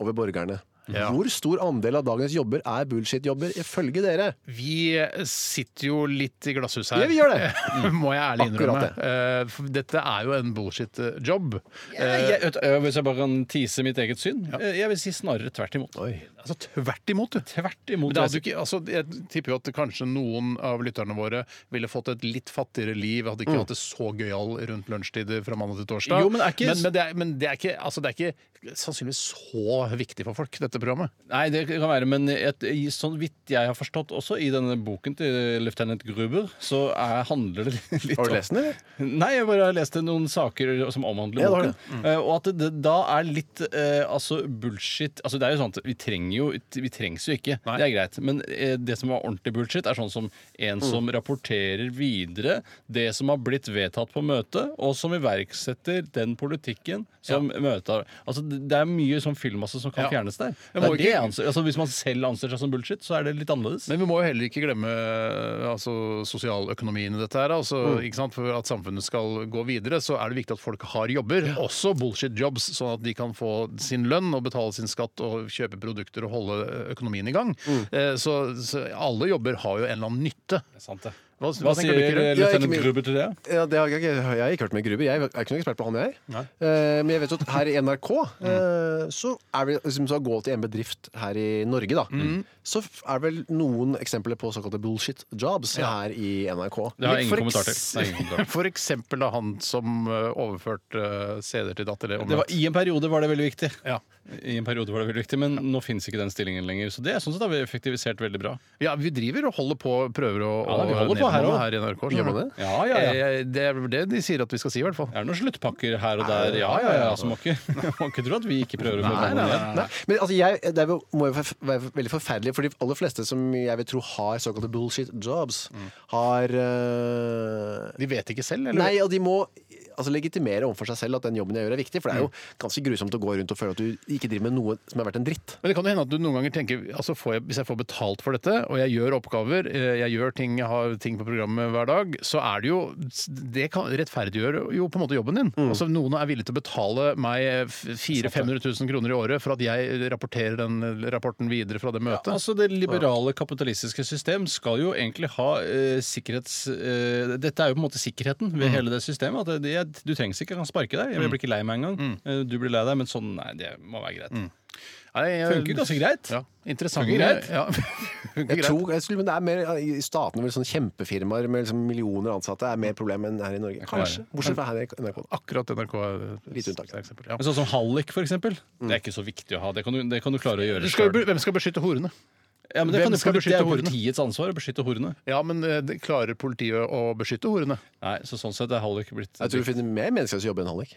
[SPEAKER 3] over borgerne.
[SPEAKER 1] Ja.
[SPEAKER 3] Hvor stor andel av dagens jobber er bullshit-jobber, ifølge dere?
[SPEAKER 1] Vi sitter jo litt i glasshus her.
[SPEAKER 3] Ja, vi gjør det.
[SPEAKER 1] Må jeg ærlig innrømme.
[SPEAKER 3] Akkurat
[SPEAKER 1] Eh, for Dette er jo en bullshit-job.
[SPEAKER 2] Jeg, vet- øh, hvis jeg bare kan tease mitt eget syn? Eh, Jeg vil si snarere tvert imot.
[SPEAKER 1] Altså tvert imot, du.
[SPEAKER 2] Tvert imot.
[SPEAKER 1] Men det hadde jo
[SPEAKER 2] vil jeg si.
[SPEAKER 1] ikke, altså, jeg tipper jo at kanskje noen av lytterne våre ville fått et litt fattigere liv, hadde ikke hatt det så gøyal rundt lunsjtider fra mandag til torsdag.
[SPEAKER 2] Jo, men er ikke-
[SPEAKER 1] men, men det, er, men det, er ikke, altså, det er ikke sannsynligvis så viktig for folk, dette programmet.
[SPEAKER 2] Nei, det kan være, men et, i- sånn vidt jeg har forstått, også i denne boken til løytnant Gruber, så er, handler det litt
[SPEAKER 3] Har du lest den, eller?
[SPEAKER 2] Nei, jeg bare leste noen saker som omhandler
[SPEAKER 3] Ja, det har Mm.
[SPEAKER 2] boken. Eh, Og at det, det da er litt eh, altså bullshit Altså det er jo sånn at vi trenger jo Vi trengs jo ikke, det er greit. Men eh, det som var ordentlig bullshit, er sånn som
[SPEAKER 3] Mm.
[SPEAKER 2] en som rapporterer videre det som har blitt vedtatt på møtet, og som iverksetter den politikken som møtet har Altså det det er mye sånn fyllmasse som kan
[SPEAKER 1] Ja.
[SPEAKER 2] fjernes der.
[SPEAKER 1] Jeg
[SPEAKER 2] Det
[SPEAKER 1] må
[SPEAKER 2] er det,
[SPEAKER 1] ikke-
[SPEAKER 2] anser, altså, hvis man selv anser seg som bullshit, så er det litt annerledes.
[SPEAKER 1] Men vi må jo heller ikke glemme eh, altså, sosialøkonomien i dette. her, altså,
[SPEAKER 2] Mm.
[SPEAKER 1] ikke sant? For at samfunnet skal gå videre, så er det viktig at folk har jobber, også bullshit jobs, sånn at de kan få sin lønn og betale sin skatt og kjøpe produkter og holde økonomien i gang.
[SPEAKER 2] Mm.
[SPEAKER 1] Eh, Så, så alle jobber har jo en eller annen nytte.
[SPEAKER 2] Sant det.
[SPEAKER 1] Hva,
[SPEAKER 2] Hva
[SPEAKER 1] tenker
[SPEAKER 2] sier eh,
[SPEAKER 1] du, Kyrre?
[SPEAKER 3] Ja, ikke
[SPEAKER 2] løytnant
[SPEAKER 3] mye.
[SPEAKER 2] Gruber til det?
[SPEAKER 3] Ja, det har jeg, ikke, jeg har ikke hørt med Gruber. Jeg er ikke noen ekspert på han, jeg. Eh, men jeg vet jo at her i NRK eh, så er det liksom, så gå til en bedrift her i Norge, da. Så f- er det vel noen eksempler på såkalte bullshit jobs her i NRK.
[SPEAKER 2] Det har jeg
[SPEAKER 1] For
[SPEAKER 2] ingen kommentar til.
[SPEAKER 1] eks-
[SPEAKER 2] Det har jeg ingen kommentar til.
[SPEAKER 1] For eksempel da han som eh, overførte eh, CD-er til datter.
[SPEAKER 2] Det var, I en periode var det veldig viktig.
[SPEAKER 1] Ja.
[SPEAKER 2] I en periode var det veldig viktig Men nå fins ikke den stillingen lenger. Så det sånn sett har vi effektivisert veldig bra.
[SPEAKER 1] Ja, vi driver og holder på, prøver å
[SPEAKER 2] Ja, da, vi
[SPEAKER 1] å
[SPEAKER 2] holder på her
[SPEAKER 1] nedbemanne
[SPEAKER 2] også.
[SPEAKER 1] her i NRK. skjønner
[SPEAKER 3] man
[SPEAKER 1] du.
[SPEAKER 3] det?
[SPEAKER 2] Ja, ja, ja.
[SPEAKER 1] Eh, Det er det de sier at vi skal si, i hvert fall.
[SPEAKER 2] Det er noen sluttpakker her og der. Ja, ja, ja. Så må ikke, må ikke tro at vi ikke prøver å få
[SPEAKER 1] Nei,
[SPEAKER 2] ballen
[SPEAKER 1] nei,
[SPEAKER 2] igjen.
[SPEAKER 1] nei.
[SPEAKER 3] Nei, men altså jeg, det er jo- må jo forf- være veldig forferdelig, for de aller fleste som jeg vil tro har såkalte bullshit jobs, har eh,
[SPEAKER 1] De vet ikke selv, eller?
[SPEAKER 3] Nei, og de må altså, legitimere overfor seg selv at den jobben jeg gjør, er viktig. For det er jo ganske grusomt å gå rundt og føle at du ikke driver med noe som er verdt en dritt.
[SPEAKER 1] Men det kan jo hende at du noen ganger tenker altså får jeg, hvis jeg får betalt for dette, og jeg gjør oppgaver, eh, jeg gjør ting, jeg har ting på programmet hver dag, så er det jo Det kan rettferdiggjør jo på en måte jobben din.
[SPEAKER 2] Mm.
[SPEAKER 1] Altså Noen er villig til å betale meg 400 500 000 kroner i året for at jeg rapporterer den rapporten videre fra det møtet.
[SPEAKER 2] Altså Det liberale kapitalistiske system skal jo egentlig ha eh, sikkerhets... Eh, dette er jo på en måte sikkerheten ved hele det systemet. At det, det, du trengs ikke, jeg kan sparke deg. Jeg blir ikke lei meg engang. Eh, Du blir lei deg, men sånn Nei, det må være greit.
[SPEAKER 1] Nei, jeg,
[SPEAKER 2] Funker ganske greit.
[SPEAKER 1] Ja, interessant.
[SPEAKER 2] Funker greit.
[SPEAKER 1] Ja, funker
[SPEAKER 3] Jeg
[SPEAKER 1] greit.
[SPEAKER 3] tror, jeg skulle, men det er mer I statene hvor sånne kjempefirmaer med liksom millioner ansatte er mer problem enn her i Norge. Kanskje. Bortsett fra her i NRK. da.
[SPEAKER 1] Akkurat NRK er
[SPEAKER 3] Litt unntak.
[SPEAKER 1] et eksempel. Ja.
[SPEAKER 2] Men sånn som hallik, for eksempel. Det er ikke så viktig å ha. Det kan du, det kan du klare å gjøre
[SPEAKER 1] Du skal,
[SPEAKER 2] selv.
[SPEAKER 1] jo be- hvem skal beskytte horene?
[SPEAKER 2] Ja, men det,
[SPEAKER 1] Hvem
[SPEAKER 2] kan jo
[SPEAKER 1] skal
[SPEAKER 2] politi- det
[SPEAKER 1] beskytte
[SPEAKER 2] er
[SPEAKER 1] horene?
[SPEAKER 2] politiets ansvar å beskytte horene.
[SPEAKER 1] Ja, men eh, det- klarer politiet å beskytte horene?
[SPEAKER 2] Nei, så sånn sett er hallik blitt
[SPEAKER 3] Jeg tror det finnes mer meningsløse jobber enn hallik.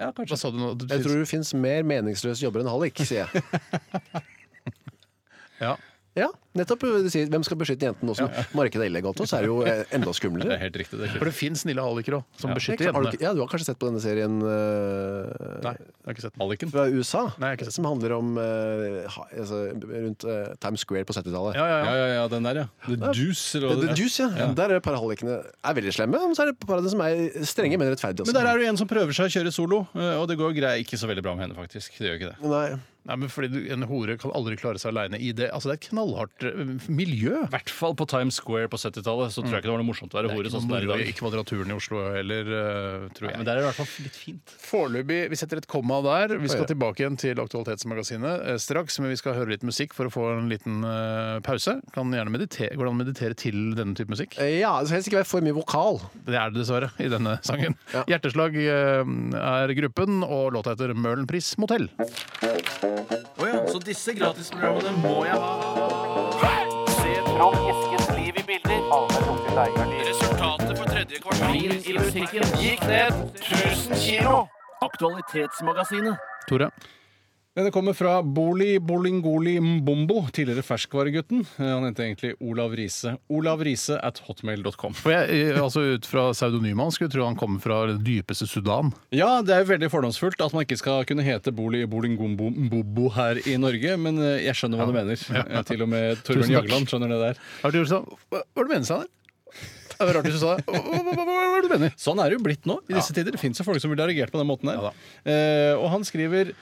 [SPEAKER 2] Ja,
[SPEAKER 1] Hva
[SPEAKER 2] kanskje.
[SPEAKER 1] sa du nå? Du
[SPEAKER 3] Jeg
[SPEAKER 1] syns-
[SPEAKER 3] tror det finnes mer meningsløse jobber enn hallik, sier jeg.
[SPEAKER 1] Ja.
[SPEAKER 3] Ja, nettopp. Du sier, hvem skal beskytte jentene nå som markedet er illegalt? Og så er det jo eh, enda skumlere.
[SPEAKER 2] Det er helt riktig. det er
[SPEAKER 1] For
[SPEAKER 2] ikke-
[SPEAKER 1] det fins snille hallikere òg, som
[SPEAKER 3] Det
[SPEAKER 1] beskytter
[SPEAKER 3] er klart- har du
[SPEAKER 1] jentene.
[SPEAKER 3] ikke- Ja, du har kanskje sett på denne serien eh,
[SPEAKER 1] Nei, jeg har ikke sett den.
[SPEAKER 2] Halliken.
[SPEAKER 3] fra USA,
[SPEAKER 1] Nei, jeg har ikke sett
[SPEAKER 3] som handler om eh, ha, altså, rundt eh, Times Square på 70-tallet.
[SPEAKER 1] Ja, ja,
[SPEAKER 2] Ja,
[SPEAKER 1] ja.
[SPEAKER 2] ja, ja, den der, ja. The Juice. Eller, hva
[SPEAKER 3] The
[SPEAKER 2] det er.
[SPEAKER 3] Juice, ja. Der er et par av hallikene er veldig slemme, men så er det et par av dem som er strenge, men rettferdige.
[SPEAKER 2] Men der er det jo en som prøver seg å kjøre solo, eh, og det går grei, ikke så veldig bra med henne, faktisk. Det gjør ikke det.
[SPEAKER 3] Nei.
[SPEAKER 1] Nei, men fordi du- En hore kan aldri klare seg aleine i det. Altså, Det er et knallhardt eh, miljø.
[SPEAKER 7] I hvert fall på Times Square på 70-tallet så tror jeg ikke det var noe morsomt å være hore. sånn som det er i dag.
[SPEAKER 1] Ikke Kvadraturen i Oslo heller, eh, tror
[SPEAKER 7] Nei,
[SPEAKER 1] jeg.
[SPEAKER 7] men det er i hvert fall litt fint.
[SPEAKER 1] Foreløpig, Vi setter et komma der. Vi skal tilbake igjen til Aktualitetsmagasinet eh, straks, men vi skal høre litt musikk for å få en liten eh, pause. Kan gjerne meditere. Går det an å meditere til denne type musikk?
[SPEAKER 3] Eh, Ja, det skal helst ikke være for mye vokal.
[SPEAKER 1] Det er det dessverre i denne sangen. Hjerteslag eh, er gruppen, og låta heter Møhlenpris motell. Tore.
[SPEAKER 2] Ja, Det kommer fra Boli Bolingoli Mbombo, tidligere ferskvaregutten. Eh, Han heter egentlig Olav Riise. Olav Riise at hotmail.com.
[SPEAKER 1] For jeg, eh, altså Ut fra pseudonymet hans skulle jeg tro han kommer fra det dypeste Sudan.
[SPEAKER 2] Ja, det er jo veldig fordomsfullt at man ikke skal kunne hete Boli Bolingombo Mbobo her i Norge, men eh, jeg skjønner hva du mener. Eh, Til og med
[SPEAKER 1] Tusen
[SPEAKER 2] Torbjørn
[SPEAKER 1] takk.
[SPEAKER 2] Jagland skjønner det der.
[SPEAKER 1] Har du gjort sånn? Hva hva er det du mener, Steinar? Det var rart hvis du sa det. Hva hva- hva- hva er det du mener?
[SPEAKER 2] Sånn er det jo blitt nå i disse tider. Det fins jo folk som ville ha reagert på den måten her.
[SPEAKER 1] Ja da.
[SPEAKER 2] Eh, og han skriver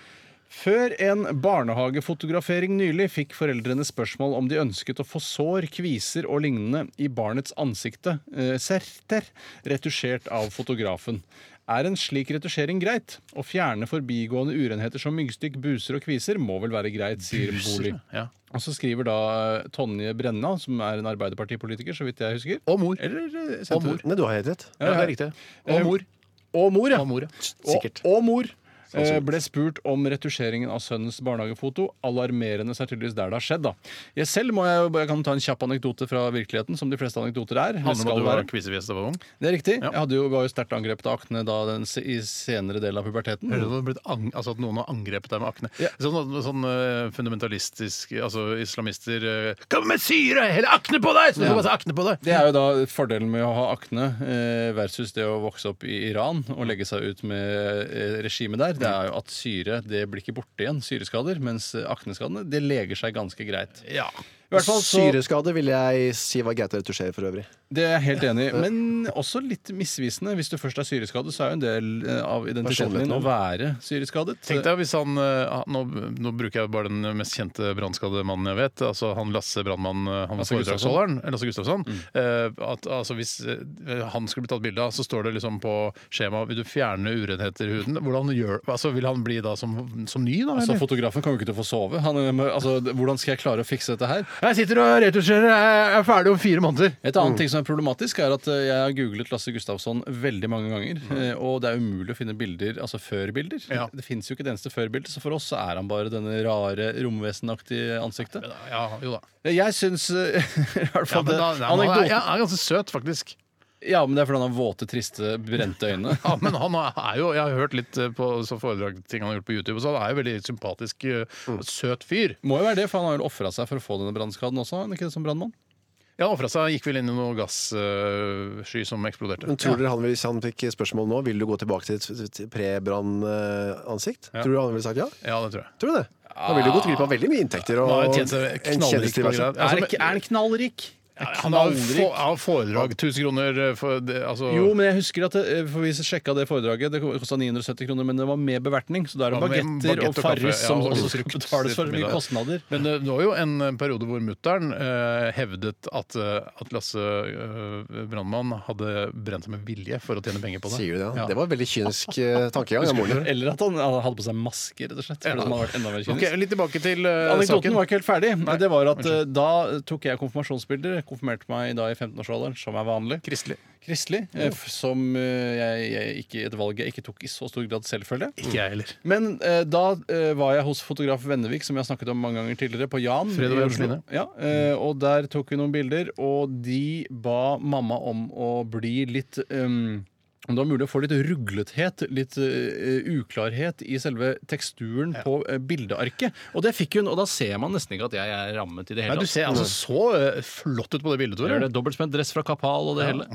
[SPEAKER 2] før en barnehagefotografering nylig fikk foreldrene spørsmål om de ønsket å få sår, kviser og lignende i barnets ansikte, eh, serter, retusjert av fotografen. Er en slik retusjering greit? Å fjerne forbigående urenheter som myggstikk, buser og kviser må vel være greit, sier Boli.
[SPEAKER 1] Ja.
[SPEAKER 2] Og så skriver da eh, Tonje Brenna, som er en Arbeiderpartipolitiker, så vidt jeg husker.
[SPEAKER 1] Og mor.
[SPEAKER 2] Eller, eh,
[SPEAKER 1] Og mor.
[SPEAKER 3] Nei, du har helt rett.
[SPEAKER 1] Ja, det er riktig.
[SPEAKER 2] Eh,
[SPEAKER 1] Og mor.
[SPEAKER 2] Og mor, ja.
[SPEAKER 1] Og mor, ja.
[SPEAKER 2] Sikkert. Og, og mor eh, ble spurt om retusjeringen av sønnens barnehagefoto. Alarmerende så er tydeligvis der det har skjedd. da. Jeg selv må jeg, jeg kan ta en kjapp anekdote fra virkeligheten, som de fleste anekdoter er.
[SPEAKER 1] Handler
[SPEAKER 2] eller
[SPEAKER 1] om at
[SPEAKER 2] skal
[SPEAKER 1] du var
[SPEAKER 2] være.
[SPEAKER 1] kvisefjes da du var ung?
[SPEAKER 2] Det er riktig. Jeg hadde jo, var jo sterkt angrepet av akne da den, se- i senere del av puberteten.
[SPEAKER 1] Hører du det har blitt ang altså at noen har angrepet deg med akne? Sånn, sånn eh, fundamentalistisk Altså islamister eh, Kom med syre! Hell akne på deg! Så du får masse akne på deg!
[SPEAKER 2] Det er jo da fordelen med å ha akne eh, versus det å vokse opp i Iran og legge seg ut med eh, regimet der. Det er jo at syre det blir ikke borte igjen, syreskader, mens akneskadene det leger seg ganske greit.
[SPEAKER 1] Ja.
[SPEAKER 2] I hvert fall så-
[SPEAKER 3] Syreskade vil jeg si var greit å retusjere for øvrig.
[SPEAKER 2] Det er jeg helt enig i, men også litt misvisende. Hvis du først er syreskadet, så er jo en del eh, av identiteten din å være syreskadet.
[SPEAKER 1] Tenk deg hvis han eh, han- nå, nå bruker jeg bare den mest kjente brannskadde mannen jeg vet. Altså han Lasse Brannmann, eh, han
[SPEAKER 2] Lasse
[SPEAKER 1] foredragsholderen, eh, Lasse Gustafsson. eh, at, altså, hvis eh, han skulle bli tatt bilde av, så står det liksom på skjemaet Vil du fjerne urenheter i huden? Hvordan gjør, altså, vil han bli da som, som ny, da?
[SPEAKER 2] Altså,
[SPEAKER 1] eller?
[SPEAKER 2] fotografen kommer jo ikke til å få sove. Han, eh, må- altså, d- hvordan skal jeg klare å fikse dette her?
[SPEAKER 1] jeg sitter og retusjerer, jeg er ferdig om fire måneder.
[SPEAKER 2] Et annet ting som er problematisk, er at eh, jeg har googlet Lasse Gustavsson veldig mange ganger. eh, Og det er umulig å finne bilder, altså før-bilder.
[SPEAKER 1] Ja.
[SPEAKER 2] Det fins jo ikke et eneste før-bilde, så for oss så er han bare denne rare romvesenaktige ansiktet.
[SPEAKER 1] Ja, jo da.
[SPEAKER 2] Jeg syns eh, I hvert
[SPEAKER 1] Ja,
[SPEAKER 2] fall
[SPEAKER 1] men da,
[SPEAKER 2] det.
[SPEAKER 1] da han, er,
[SPEAKER 2] Anekdoten
[SPEAKER 1] ja, han er ganske søt, faktisk.
[SPEAKER 2] Ja, men det er fordi han har våte, triste, brente øyne.
[SPEAKER 1] Ja, men han er jo, Jeg har hørt litt eh, på så foredragsting han har gjort på YouTube, og så han er jo veldig sympatisk, eh, søt fyr.
[SPEAKER 2] Må jo være det, for han har jo ofra seg for å få denne brannskaden også. er han Ikke det som brannmann?
[SPEAKER 1] Ja, han ofra seg. Gikk vel inn i noe gassky som eksploderte.
[SPEAKER 3] Men tror dere han, hvis han fikk spørsmål nå, vil du gå tilbake til et- til et pre-brann-ansikt? Tror du han ville sagt ja? Ah.
[SPEAKER 1] Ja, det tror jeg.
[SPEAKER 3] Tror du det? Han ville jo gått glipp av veldig mye inntekter og
[SPEAKER 1] Han har
[SPEAKER 3] en
[SPEAKER 1] jo tjent seg knallrikt på
[SPEAKER 3] kjendistilværelse.
[SPEAKER 1] greier. Altså, men-
[SPEAKER 2] han knallrik?
[SPEAKER 1] Han har jo få- har foredrag. 1000 kroner eh, for det, altså
[SPEAKER 2] Jo, men jeg husker at det, for vi sjekka det foredraget. Det kosta 970 kroner, men det var med bevertning. Så da er det
[SPEAKER 1] Ja, med
[SPEAKER 2] bagetter
[SPEAKER 1] baguette og
[SPEAKER 2] og
[SPEAKER 1] kaffe,
[SPEAKER 2] farris
[SPEAKER 1] ja,
[SPEAKER 2] som
[SPEAKER 1] og
[SPEAKER 2] også
[SPEAKER 1] frukt
[SPEAKER 2] skal betales for
[SPEAKER 1] til
[SPEAKER 2] mye
[SPEAKER 1] middag.
[SPEAKER 2] kostnader.
[SPEAKER 1] Men det var jo en eh, periode hvor mutter'n eh, hevdet at, eh, at Lasse eh, Brandmann hadde brent seg med vilje for å tjene penger på det.
[SPEAKER 3] Sier du det? Ja. Det var en veldig kynisk eh, tankegang av moren din.
[SPEAKER 2] Eller at han han hadde på seg maske, rett og slett. For det som hadde vært enda mer kynisk.
[SPEAKER 1] Ok, litt tilbake til eh,
[SPEAKER 2] Anekdoten
[SPEAKER 1] saken.
[SPEAKER 2] var ikke helt ferdig. det var at eh, Da tok jeg konfirmasjonsbilder. Konfirmerte meg da i 15-årsalderen, som er vanlig.
[SPEAKER 1] Kristelig.
[SPEAKER 2] Kristelig. eh, f- Som eh, jeg, jeg ikke, et valg jeg ikke tok i så stor grad selv, føler jeg.
[SPEAKER 1] Ikke jeg heller.
[SPEAKER 2] Men eh, da eh, var jeg hos fotograf Vennevik, som jeg har snakket om mange ganger tidligere, på Jan.
[SPEAKER 1] Fred og
[SPEAKER 2] i
[SPEAKER 1] Jan
[SPEAKER 2] Oslo.
[SPEAKER 1] Sline.
[SPEAKER 2] Ja, eh, og der tok vi noen bilder, og de ba mamma om å bli litt um, om det var mulig å få litt ruglethet, litt eh, uklarhet i selve teksturen på eh, bildearket. Og det fikk hun, og da ser man nesten ikke at jeg er rammet i det
[SPEAKER 1] Nei,
[SPEAKER 2] hele
[SPEAKER 1] du ser altså så eh, flott ut på det bildet,
[SPEAKER 2] Jeg gjør
[SPEAKER 1] Tore.
[SPEAKER 2] det Dobbeltspent dress fra Kapal og det hele.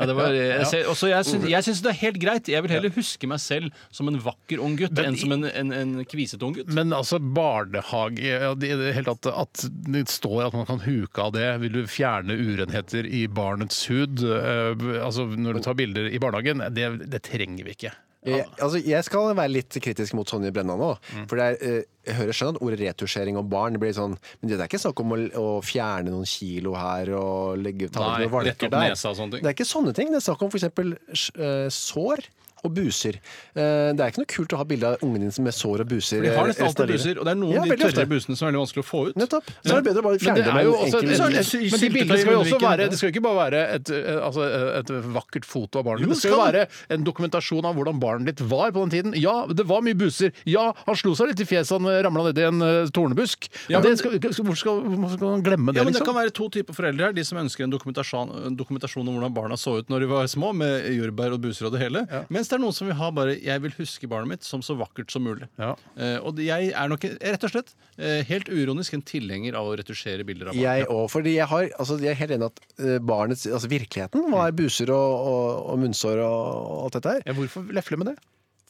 [SPEAKER 2] Ja, det var, jeg, ser, også jeg, syns, jeg syns det er helt greit. Jeg vil heller huske meg selv som en vakker ung gutt enn som en, en, en kvisete ung gutt.
[SPEAKER 1] Men altså, barnehage ja, det, det, helt at, at det står at man kan huke av det. Vil du fjerne urenheter i barnets hud eh, altså når du tar bilder i barnehagen? Det, det trenger vi ikke.
[SPEAKER 3] Jeg, altså, jeg skal være litt kritisk mot Sonje Brenna nå.
[SPEAKER 2] Mm.
[SPEAKER 3] For det er, eh, jeg hører skjønner at ordet retusjering og barn blir sånn Men det er ikke snakk om å, å fjerne noen kilo her og legge ta
[SPEAKER 2] Nei,
[SPEAKER 3] ut noen
[SPEAKER 2] rett opp
[SPEAKER 3] valker der.
[SPEAKER 2] nesa og sånne ting.
[SPEAKER 3] Det er ikke sånne ting. Det er snakk om f.eks. eh, sår og buser. Eh, Det er ikke noe kult å ha bilde av ungen din med sår og buser.
[SPEAKER 2] De har
[SPEAKER 3] eh,
[SPEAKER 2] nesten
[SPEAKER 3] resten av
[SPEAKER 2] alltid
[SPEAKER 3] livet.
[SPEAKER 2] buser, og det er noen
[SPEAKER 3] Ja,
[SPEAKER 2] av de
[SPEAKER 3] veldig ofte.
[SPEAKER 2] tørre busene som er veldig vanskelig å få ut.
[SPEAKER 3] Nettopp. Så er det bedre å bare
[SPEAKER 1] Men
[SPEAKER 3] fjerne
[SPEAKER 1] det
[SPEAKER 3] det
[SPEAKER 1] er
[SPEAKER 3] med
[SPEAKER 1] jo
[SPEAKER 3] en
[SPEAKER 1] også et,
[SPEAKER 3] enkel
[SPEAKER 2] enkel-
[SPEAKER 1] men de bildene skal jo også
[SPEAKER 2] Syltetøy i
[SPEAKER 1] være
[SPEAKER 2] munnviken.
[SPEAKER 1] Det skal jo ikke bare være et, eh, altså et vakkert foto av barnet ditt. Det skal jo
[SPEAKER 3] skal
[SPEAKER 1] være en dokumentasjon av hvordan barnet ditt var på den tiden. Ja, det var mye buser. Ja, han slo seg litt i fjeset, han ramla nedi en eh, tornebusk.
[SPEAKER 2] Ja,
[SPEAKER 1] Men det
[SPEAKER 2] men-
[SPEAKER 1] skal- skal- Hvorfor skal, hvorfor skal man glemme
[SPEAKER 2] Ja,
[SPEAKER 1] det,
[SPEAKER 2] men Det
[SPEAKER 1] liksom?
[SPEAKER 2] kan
[SPEAKER 3] sånn.
[SPEAKER 2] være to typer foreldre her. De som ønsker en dokumentasjon, en dokumentasjon om hvordan barna så ut når de var små, med jordbær og buser og det hele. Mens det er noen som vil ha bare 'jeg vil huske barnet mitt som så vakkert som mulig'.
[SPEAKER 1] Ja.
[SPEAKER 2] Eh, og jeg er nok rett og slett eh, helt uironisk en tilhenger av å retusjere bilder av barn.
[SPEAKER 3] Jeg òg, fordi jeg, har, altså, jeg er helt enig at eh, barnets, altså virkeligheten
[SPEAKER 2] Mm.
[SPEAKER 3] var buser og, og, og munnsår og, og alt dette her.
[SPEAKER 1] Ja, hvorfor lefle med det?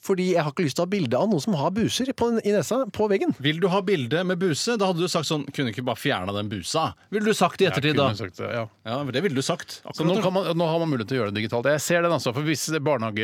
[SPEAKER 3] Fordi jeg har ikke lyst til å ha bilde av noen som har buser på, i nesa på veggen.
[SPEAKER 2] Vil du ha bilde med buse? Da hadde du sagt sånn Kunne ikke bare fjerna den busa? Ville du sagt i ettertid, da?
[SPEAKER 1] Kunne sagt det, ja.
[SPEAKER 2] Ja, for Det ville du sagt.
[SPEAKER 1] Så nå, kan man, nå har man mulighet til å gjøre det digitalt. Jeg ser den altså, for Hvis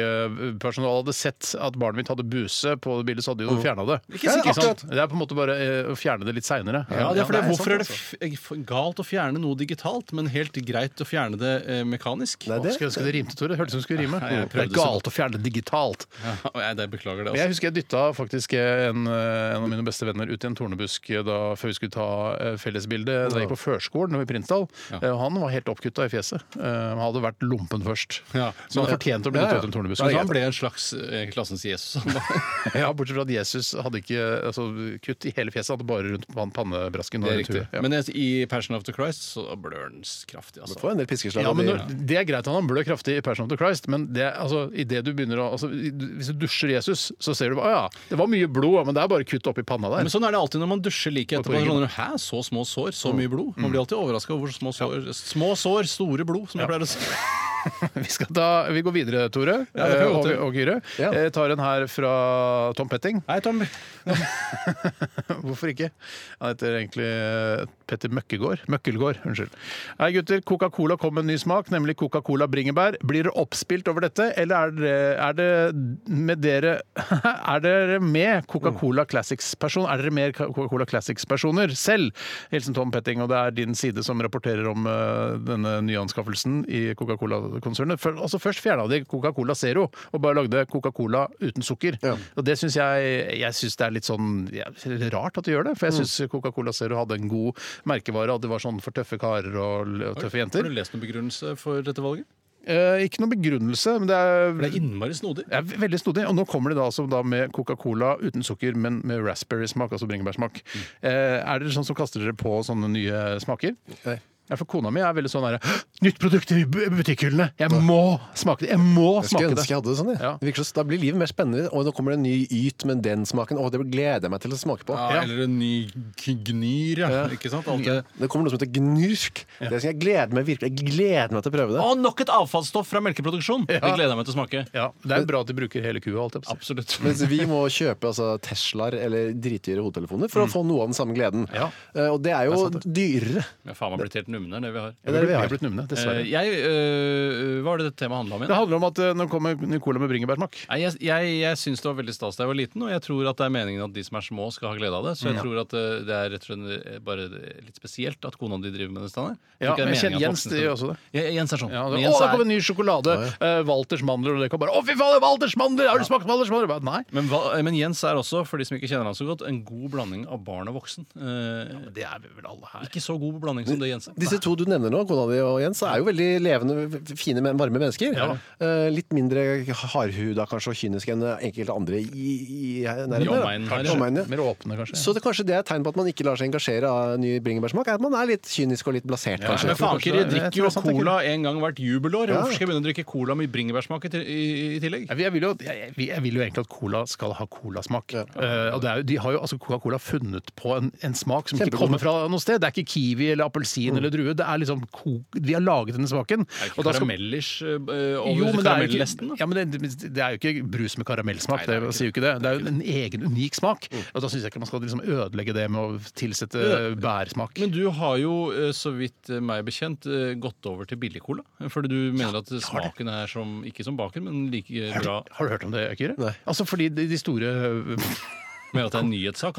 [SPEAKER 1] barnehagepersonalet hadde sett at barnet mitt hadde buse på det bildet, så hadde de jo fjerna det.
[SPEAKER 2] Oh. Ikke sikkert.
[SPEAKER 1] sant? Det er på en måte bare eh, å fjerne det litt seinere.
[SPEAKER 2] Ja, det er altså. fordi,
[SPEAKER 1] sånn.
[SPEAKER 2] Hvorfor er det f- f- galt å fjerne noe digitalt, men helt greit å fjerne det eh, mekanisk?
[SPEAKER 3] Nei, det,
[SPEAKER 1] Skulle ønske det rimte, Tore. Hørtes ut som det skulle rime.
[SPEAKER 2] Nei, jeg
[SPEAKER 1] det
[SPEAKER 2] prøvde
[SPEAKER 1] er galt å fjerne det digitalt.
[SPEAKER 2] Ja, nei, det beklager det. altså.
[SPEAKER 1] Men jeg husker jeg dytta faktisk en, eh, en av mine beste venner ut i en tornebusk eh, da, før vi skulle ta eh, fellesbilde. Da jeg gikk på førskolen i Prinsdal. Eh, og Han var helt oppkutta i fjeset. Eh, Han hadde vært lompen først.
[SPEAKER 2] Ja,
[SPEAKER 1] Så han fortjente å bli
[SPEAKER 3] Ja,
[SPEAKER 1] dytta
[SPEAKER 3] ja.
[SPEAKER 1] ut i en tornebusk.
[SPEAKER 2] Så
[SPEAKER 1] Så
[SPEAKER 2] han
[SPEAKER 1] han
[SPEAKER 2] ble en slags eh, klassens Jesus. Han var-
[SPEAKER 1] ble- Ja, bortsett fra at Jesus hadde ikke altså, kutt i hele fjeset, han hadde bare rundt pan- pannebrasken. og
[SPEAKER 2] det er
[SPEAKER 1] rundt
[SPEAKER 2] riktig.
[SPEAKER 1] huet. Ja.
[SPEAKER 2] Men jeg- i Passion of the Christ så blør den s- kraftig, altså.
[SPEAKER 3] får en del piskeslag.
[SPEAKER 1] Ja,
[SPEAKER 3] av
[SPEAKER 1] men
[SPEAKER 3] de-
[SPEAKER 1] når, Det er greit at han blør kraftig i Passion of the Christ, men det, altså, i det du begynner å, altså, i- hvis du dusjer Jesus, så ser du bare «Å ja, det var mye blod, men det er bare kutt oppi panna der.
[SPEAKER 2] Men sånn er det alltid når man dusjer like
[SPEAKER 1] på
[SPEAKER 2] etterpå. Så
[SPEAKER 1] ryggen.
[SPEAKER 2] skjønner du, Hæ, så små sår,
[SPEAKER 3] Mm.
[SPEAKER 2] så mye blod? Man blir alltid overraska over små sår. Små sår, store blod, som jeg pleier å si.
[SPEAKER 1] Vi, skal ta, vi går videre, Tore
[SPEAKER 2] det kan vi
[SPEAKER 1] eh, og,
[SPEAKER 2] godt gjøre.
[SPEAKER 1] og Gyre.
[SPEAKER 3] Ja.
[SPEAKER 1] Jeg tar en her fra Tom Petting.
[SPEAKER 2] Hei, Tom.
[SPEAKER 1] Hvorfor ikke? Han heter egentlig eh, Petter Møkkegård. Møkkelgård, unnskyld. Hei gutter, Coca-Cola kom med en ny smak, nemlig Coca-Cola bringebær. Blir dere oppspilt over dette, eller er dere, er det med dere Er dere med Coca-Cola Classics-person? Er dere mer Coca-Cola Classics-personer selv? Hilsen Tom Petting, og det er din side som rapporterer om eh, denne nyanskaffelsen i Coca-Cola-konsernet. Før- Altså Først fjerna de Coca-Cola Zero og bare lagde Coca-Cola uten sukker. Og det syns jeg Jeg synes det er litt sånn ja, rart at de gjør det,
[SPEAKER 2] Mm.
[SPEAKER 1] for jeg syns Coca-Cola Zero hadde en god merkevare, at det var sånn for tøffe karer og l- og tøffe
[SPEAKER 2] Har
[SPEAKER 1] jenter.
[SPEAKER 2] du lest noen begrunnelse for dette valget?
[SPEAKER 1] Eh, ikke noen begrunnelse, men det er,
[SPEAKER 2] For det er innmari snodig.
[SPEAKER 1] det er ve- veldig snodig. Og nå kommer de da, altså, da med Coca-Cola uten sukker, men med raspberry-smak, altså bringebærsmak.
[SPEAKER 3] Mm.
[SPEAKER 1] Eh, er dere sånn som kaster dere på sånne nye smaker?
[SPEAKER 3] Nei.
[SPEAKER 1] Ja, for Kona mi er veldig sånn herre Nytt produkt i bu- butikkhyllene! Jeg må smake det! Jeg må
[SPEAKER 3] Jeg skulle
[SPEAKER 1] smake det!
[SPEAKER 3] ønske jeg hadde det sånn. jeg.
[SPEAKER 1] Ja.
[SPEAKER 3] Det virker så, da blir livet mer spennende. Og nå kommer det en ny yt med den smaken. Å, det gleder jeg meg til å smake på.
[SPEAKER 2] Ja, Eller en ny k- gnyr, ja. Ikke sant? Alt det.
[SPEAKER 3] Det kommer noe som heter gnurk. Det skal jeg gleder meg virkelig Jeg gleder meg til å prøve det.
[SPEAKER 2] Å, nok et avfallsstoff fra melkeproduksjon! Det gleder jeg meg til å smake.
[SPEAKER 1] Ja, det er bra at de bruker hele kua. Alt jeg på å si.
[SPEAKER 2] Absolutt.
[SPEAKER 3] Mens vi må kjøpe altså, Teslaer eller dritdyre hodetelefoner for å få noe av den samme gleden.
[SPEAKER 1] Mm. Ja.
[SPEAKER 3] Eh, og det er jo dyrere.
[SPEAKER 2] Jeg har faen meg blitt helt numne, det vi har.
[SPEAKER 3] Ja, det er det vi
[SPEAKER 1] Jeg
[SPEAKER 3] har.
[SPEAKER 1] er blitt numne,
[SPEAKER 2] Eh,
[SPEAKER 1] dessverre.
[SPEAKER 2] jeg, eh, hva er det dette temaet handla om
[SPEAKER 1] Det
[SPEAKER 2] igjen?
[SPEAKER 1] handler om at eh, nå kommer ny cola med bringebærsmak.
[SPEAKER 2] Nei, jeg jeg, jeg syns det var veldig stas da jeg var liten, og jeg tror at det er meningen at de som er små, skal ha glede av det. Så jeg tror at eh, det er rett og slett bare litt spesielt at kona di driver med det stedet.
[SPEAKER 1] Ja, men jeg kjenner Jens det gjør også det.
[SPEAKER 2] Ja, Jens er sånn.
[SPEAKER 1] Ja,
[SPEAKER 2] Men
[SPEAKER 1] det, å,
[SPEAKER 2] Jens
[SPEAKER 1] det
[SPEAKER 2] er,
[SPEAKER 1] kommer en ny sjokolade! eh, Walters mandler, og det kan bare Å, fy faen, Walters mandler! Har du smakt Walters mandler? Jeg Bare, Nei.
[SPEAKER 2] men, hva- men Jens er også, for de som ikke kjenner han så godt, en god blanding av barn og voksen. Eh,
[SPEAKER 1] Det er vi vel alle her.
[SPEAKER 2] ikke så god blanding som det Jens er.
[SPEAKER 3] Disse to du nevner nå, kona di og Jens, er jo veldig levende, fine, men varme mennesker. Eh, litt mindre hardhuda kanskje og kyniske enn enkelte andre i, i nærheten.
[SPEAKER 2] I omegnen her,
[SPEAKER 3] I omegnen, ja.
[SPEAKER 1] Mer åpne, kanskje.
[SPEAKER 3] Så det, kanskje det er et tegn på at man ikke lar seg engasjere av ny bringebærsmak? Er at man er litt kynisk og litt blasert, kanskje?
[SPEAKER 2] Men fanker, jeg
[SPEAKER 1] Jeg
[SPEAKER 2] drikker
[SPEAKER 1] tror det
[SPEAKER 2] jo
[SPEAKER 1] er sant,
[SPEAKER 2] cola en gang hvert jubelår.
[SPEAKER 3] Ja.
[SPEAKER 2] Hvorfor skal jeg begynne å drikke cola med bringebærsmak i, i, i tillegg?
[SPEAKER 1] Jeg vil- jeg vil, jo, jeg, jeg- jeg vil jo egentlig at cola skal ha colasmak. Eh, og det er jo, de har jo altså Coca-Cola funnet på en, en smak som ikke
[SPEAKER 3] Kjempegod Mm.
[SPEAKER 1] kommer fra noe sted. Det er ikke kiwi eller appelsin eller drue. Det er liksom, co- De har laget denne smaken.
[SPEAKER 2] Er
[SPEAKER 1] Og
[SPEAKER 2] det ikke
[SPEAKER 1] da skal-
[SPEAKER 2] karamell-ish Irish eh, over
[SPEAKER 1] Jo, men det er jo
[SPEAKER 2] karamellnesten?
[SPEAKER 1] ikke,
[SPEAKER 2] da?
[SPEAKER 1] ja, men det, det er jo ikke brus med karamellsmak.
[SPEAKER 2] Nei, det
[SPEAKER 1] det,
[SPEAKER 2] er ikke
[SPEAKER 1] sier jo ikke det. Det er jo en egen, unik smak.
[SPEAKER 3] Mm.
[SPEAKER 1] Og da syns jeg ikke man skal liksom ødelegge det med å tilsette bærsmak.
[SPEAKER 2] Men du har jo, eh, så vidt eh, meg bekjent, eh, gått over til billigcola. Fordi du mener at smaken er som, ikke som baken, men like
[SPEAKER 1] Har du,
[SPEAKER 2] bra
[SPEAKER 1] har du hørt om det, Kyrre?
[SPEAKER 3] Nei.
[SPEAKER 1] Altså fordi de, de store eh,
[SPEAKER 2] med at det er en nyhetssak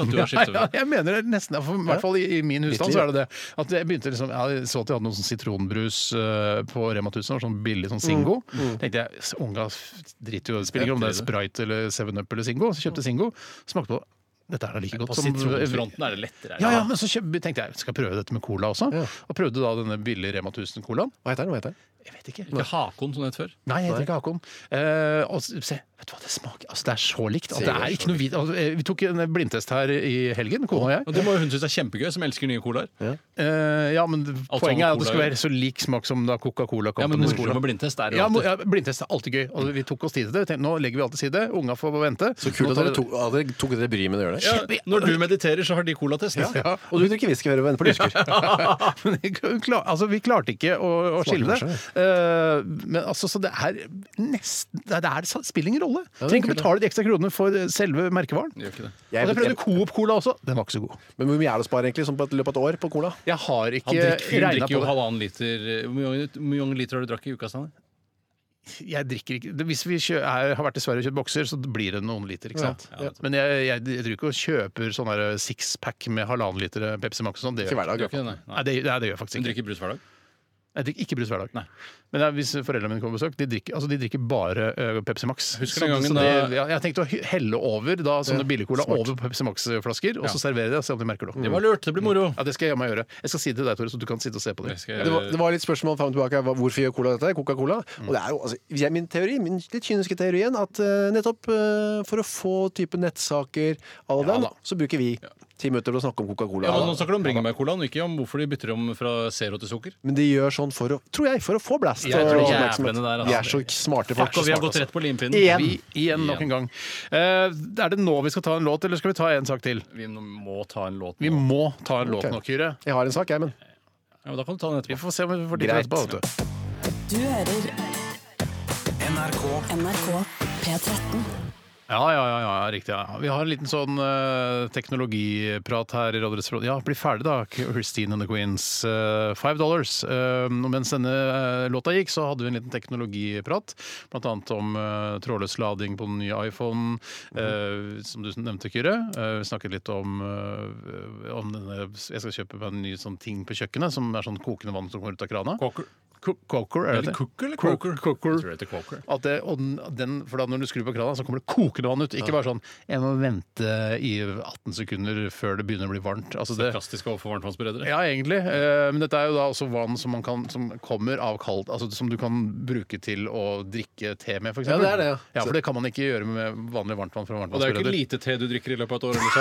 [SPEAKER 2] at du
[SPEAKER 1] ja,
[SPEAKER 2] har skiftet
[SPEAKER 1] ja,
[SPEAKER 2] over.
[SPEAKER 1] jeg mener det nesten. ja, For, I hvert fall i, i min husstand
[SPEAKER 3] Virkelig,
[SPEAKER 1] så er det det. At jeg begynte liksom, jeg så at de hadde noe sånn sitronbrus eh, på Rema 1000, var sånn billig sånn Singo. tenkte jeg, s- unga f- driter jo spiller ikke om det er Sprite eller 7-Up eller Singo. Så kjøpte Singo, smakte på dette er da like godt
[SPEAKER 2] På
[SPEAKER 1] som eh,
[SPEAKER 2] sitronfronten er det lettere.
[SPEAKER 1] Ja, ja, men så kjøp, tenkte jeg skal jeg prøve dette med cola også. Og prøvde da denne billige Rema 1000-colaen.
[SPEAKER 3] Hva heter den? Hva heter den?
[SPEAKER 1] Jeg vet ikke.
[SPEAKER 2] Ikke Hakon, som det het før.
[SPEAKER 1] Nei, jeg heter ikke Hakon. Eh, og s- se, vet du hva, det smaker Altså, det er så likt. At det er ikke noe vidt. Altså, eh, vi tok en blindtest her i helgen, kona og jeg.
[SPEAKER 2] Og det må jo hun synes er kjempegøy, som elsker nye colaer. Ja,
[SPEAKER 1] Eh, ja, men poenget er at det skal
[SPEAKER 2] cola, ja.
[SPEAKER 1] være så lik smak som da Coca-Cola
[SPEAKER 2] men
[SPEAKER 1] Company's
[SPEAKER 2] moro
[SPEAKER 1] cola.
[SPEAKER 2] med blindtest er det
[SPEAKER 1] Ja, mo-
[SPEAKER 2] alltid.
[SPEAKER 1] ja, blindtest er alltid gøy. Og vi tok oss tid til det. Vi tenkte, nå legger vi alt til side. Unga får vente.
[SPEAKER 3] Så kult at dere tok, at dere, tok dere bryet med å gjøre det.
[SPEAKER 2] Ja, når du mediterer, så har de colatest.
[SPEAKER 1] Ja.
[SPEAKER 3] Og du drikker whisky hører venn på lusker.
[SPEAKER 1] Men vi klar- altså, vi klarte ikke å, å skille det. Eh, men altså, så det er nesten Det, er- det er, spiller ingen rolle. Trenger ikke å betale de ekstra kronene for selve merkevaren.
[SPEAKER 2] Gjør ikke det.
[SPEAKER 3] Jeg-
[SPEAKER 1] og jeg prøvde Coop Cola også. Den var ikke så god.
[SPEAKER 3] Men hvor mye er det å spare egentlig sånn på et løpet av et år på cola?
[SPEAKER 1] Jeg har ikke
[SPEAKER 2] Han drikker, hun
[SPEAKER 1] regna
[SPEAKER 2] drikker jo
[SPEAKER 1] på det.
[SPEAKER 2] halvannen liter eh, Hvor mange- hvor mange liter har du drukket i uka, Steinar?
[SPEAKER 1] Jeg drikker ikke. det- Hvis vi kjø, er, har vært i Sverige og kjøpt bokser, så blir det noen liter. ikke sant? Men jeg, jeg, jeg driver ikke og kjøper sånn der sixpack med halvannen liter Pepsi Max og sånn. Det
[SPEAKER 3] Ikke
[SPEAKER 1] gjør jeg.
[SPEAKER 3] hver dag.
[SPEAKER 2] Gjør ikke
[SPEAKER 3] i hvert fall.
[SPEAKER 2] det, nei.
[SPEAKER 1] Nei,
[SPEAKER 2] nei.
[SPEAKER 1] det, nei, det gjør jeg faktisk
[SPEAKER 2] Hun
[SPEAKER 1] ikke.
[SPEAKER 2] drikker brus hver dag.
[SPEAKER 1] Jeg drikker ikke brus hver dag.
[SPEAKER 2] Nei.
[SPEAKER 1] Men jeg, hvis foreldrene mine kommer på besøk, de drikker, altså, de drikker bare ø, Pepsi Max.
[SPEAKER 2] Husker du den gangen
[SPEAKER 1] så det,
[SPEAKER 2] da-
[SPEAKER 1] ja, jeg tenkte å hy- helle over da, sånne billigcola over på Pepsi Max-flasker, og så servere det og se om de merker det.
[SPEAKER 2] Det var lurt. Det blir moro.
[SPEAKER 1] Ja, Det skal jeg jammen gjøre. Jeg skal si det til deg, Tore, så du kan sitte og se på det.
[SPEAKER 2] Jeg skal-
[SPEAKER 3] Det var, det var litt spørsmål fram og tilbake. Hva- Hvorfor gjør cola dette? Coca-Cola.
[SPEAKER 2] Mm.
[SPEAKER 3] Og det er jo altså, jeg, min teori, min litt kyniske teori igjen, at eh, nettopp eh, for å få type nettsaker à la den, så bruker vi ti minutter til å snakke om Coca-Cola.
[SPEAKER 2] Ja, men altså- Nå snakker du om bringebærcolaen, ikke om hvorfor de bytter om fra zero til sukker.
[SPEAKER 3] Men de gjør sånn for å, tror jeg, for å få blast.
[SPEAKER 2] Jeg tror
[SPEAKER 3] og
[SPEAKER 2] jævlene
[SPEAKER 3] oppmerksomhet.
[SPEAKER 2] der, altså.
[SPEAKER 3] Vi er så smarte folk.
[SPEAKER 2] Fuck, og vi har
[SPEAKER 3] Smarte, altså.
[SPEAKER 2] gått rett på limpinnen.
[SPEAKER 3] Igjen.
[SPEAKER 1] altså. Vi, igjen nok en gang. Eh, er det nå vi skal ta en låt, eller skal vi ta en sak til?
[SPEAKER 2] Vi må ta en låt
[SPEAKER 1] Vi
[SPEAKER 2] nå.
[SPEAKER 1] må ta en låt
[SPEAKER 3] Ok.
[SPEAKER 1] nå, Kyrre.
[SPEAKER 3] altså. Jeg har en sak, jeg, men
[SPEAKER 2] Ja, men da kan du ta den
[SPEAKER 1] Vi
[SPEAKER 2] etterpå.
[SPEAKER 1] får se om vi får tid til
[SPEAKER 3] Greit.
[SPEAKER 1] etterpå. vet du.
[SPEAKER 5] Du hører
[SPEAKER 8] NRK.
[SPEAKER 5] NRK P13.
[SPEAKER 1] Ja, ja, ja, ja, riktig. Ja. Vi har en liten sånn eh, teknologiprat her i Radioresepsjonen. Ja, bli ferdig da, Christine and the Queens. eh, Five dollars. Eh, og mens denne eh, låta gikk, så hadde vi en liten teknologiprat. Blant annet om eh, trådløs lading på den nye iPhonen,
[SPEAKER 3] Mhm.
[SPEAKER 1] eh, som du nevnte, Kyrre. Eh, vi snakket litt om, eh, om denne Jeg skal kjøpe meg en ny sånn ting på kjøkkenet, som er sånn kokende vann som kommer ut av krana.
[SPEAKER 2] Cocker.
[SPEAKER 1] Co- Coker, er det
[SPEAKER 2] Eller
[SPEAKER 1] det?
[SPEAKER 2] cooker eller
[SPEAKER 1] Cro-
[SPEAKER 2] coker?
[SPEAKER 1] Coker.
[SPEAKER 2] Jeg tror det heter coker.
[SPEAKER 1] At det, og den, den, for da Når du skrur på krana, så kommer det kokende vann ut. Ikke bare sånn 'jeg må vente i 18 sekunder før det begynner å bli varmt'. Altså det,
[SPEAKER 2] Sarkastisk overfor varmtvannsberedere.
[SPEAKER 1] ja, egentlig. Eh, Men dette er jo da også vann som, man kan, som kommer av kaldt altså Som du kan bruke til å drikke te med, f.eks.
[SPEAKER 3] Ja, det er det, ja.
[SPEAKER 1] for det kan man ikke gjøre med vanlig varmtvann fra
[SPEAKER 2] Og det er jo ikke
[SPEAKER 1] varmtvannsbereder.
[SPEAKER 2] lite te du drikker i løpet av et år. Eller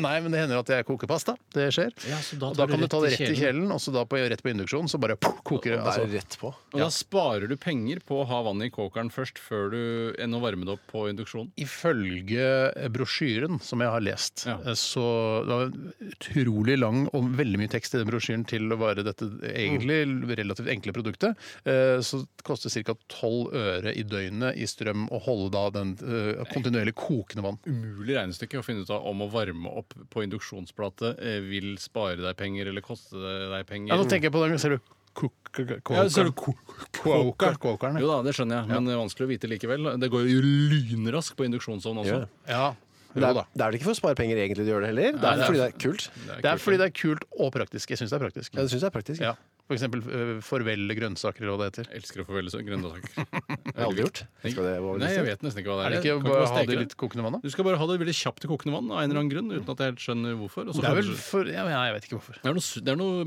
[SPEAKER 1] Nei, men det hender at jeg koker pasta. Det skjer.
[SPEAKER 2] Ja, så da
[SPEAKER 1] og da
[SPEAKER 2] tar du
[SPEAKER 1] kan du
[SPEAKER 2] rett
[SPEAKER 1] ta det
[SPEAKER 2] i
[SPEAKER 1] rett i kjelen, og så da på, rett på induksjon, så bare poff, koker det.
[SPEAKER 3] det er
[SPEAKER 1] Altså.
[SPEAKER 3] rett på.
[SPEAKER 2] Og da sparer du penger på å ha vannet i kokeren først, før du enn å varme det opp på induksjon.
[SPEAKER 1] Ifølge eh, brosjyren som jeg har lest, eh,
[SPEAKER 2] Ja.
[SPEAKER 1] så det var en utrolig lang og veldig mye tekst i den brosjyren til å være dette egentlig relativt enkle produktet, eh, så det koster ca. 12 øre i døgnet i strøm å holde da den eh, kontinuerlig kokende vann.
[SPEAKER 2] Umulig regnestykke å finne ut av om å varme opp på induksjonsplate eh, vil spare deg penger eller koste deg penger.
[SPEAKER 1] Ja, nå tenker jeg på den, ser du
[SPEAKER 2] Ja, ser du ko-
[SPEAKER 1] Koker. Kokeren,
[SPEAKER 2] Jo
[SPEAKER 1] ja.
[SPEAKER 2] da, det skjønner jeg, men det er vanskelig å vite likevel. Det går jo lynraskt på induksjonsovn også.
[SPEAKER 3] Gjør det.
[SPEAKER 1] ja.
[SPEAKER 3] Det
[SPEAKER 1] Jo
[SPEAKER 3] er,
[SPEAKER 1] da.
[SPEAKER 3] det er vel ikke for å spare penger egentlig de gjør det heller. Det er
[SPEAKER 2] det er-
[SPEAKER 3] fordi det er kult.
[SPEAKER 1] Det er fordi det er kult og praktisk. Jeg syns det er praktisk.
[SPEAKER 3] Ja, det syns jeg er praktisk.
[SPEAKER 1] Ja. For eksempel eh, farvel grønnsaker, eller hva det heter.
[SPEAKER 2] Jeg elsker å få velge grønnsaker.
[SPEAKER 3] Jeg har aldri gjort. Skal det være
[SPEAKER 2] Nei, jeg
[SPEAKER 3] listet?
[SPEAKER 2] vet nesten ikke hva det
[SPEAKER 1] Er
[SPEAKER 2] er.
[SPEAKER 1] det ikke
[SPEAKER 2] Kan
[SPEAKER 1] bare
[SPEAKER 2] bare
[SPEAKER 1] å ha
[SPEAKER 2] steke
[SPEAKER 1] det i
[SPEAKER 2] det?
[SPEAKER 1] litt kokende vann, da?
[SPEAKER 2] Du skal bare ha det veldig kjapt i kokende vann av en eller annen grunn, uten at jeg helt skjønner hvorfor. og så
[SPEAKER 1] Det er vel
[SPEAKER 2] kanskje-
[SPEAKER 1] for ja, men Jeg vet ikke hvorfor.
[SPEAKER 2] det, er noe, su- det er noe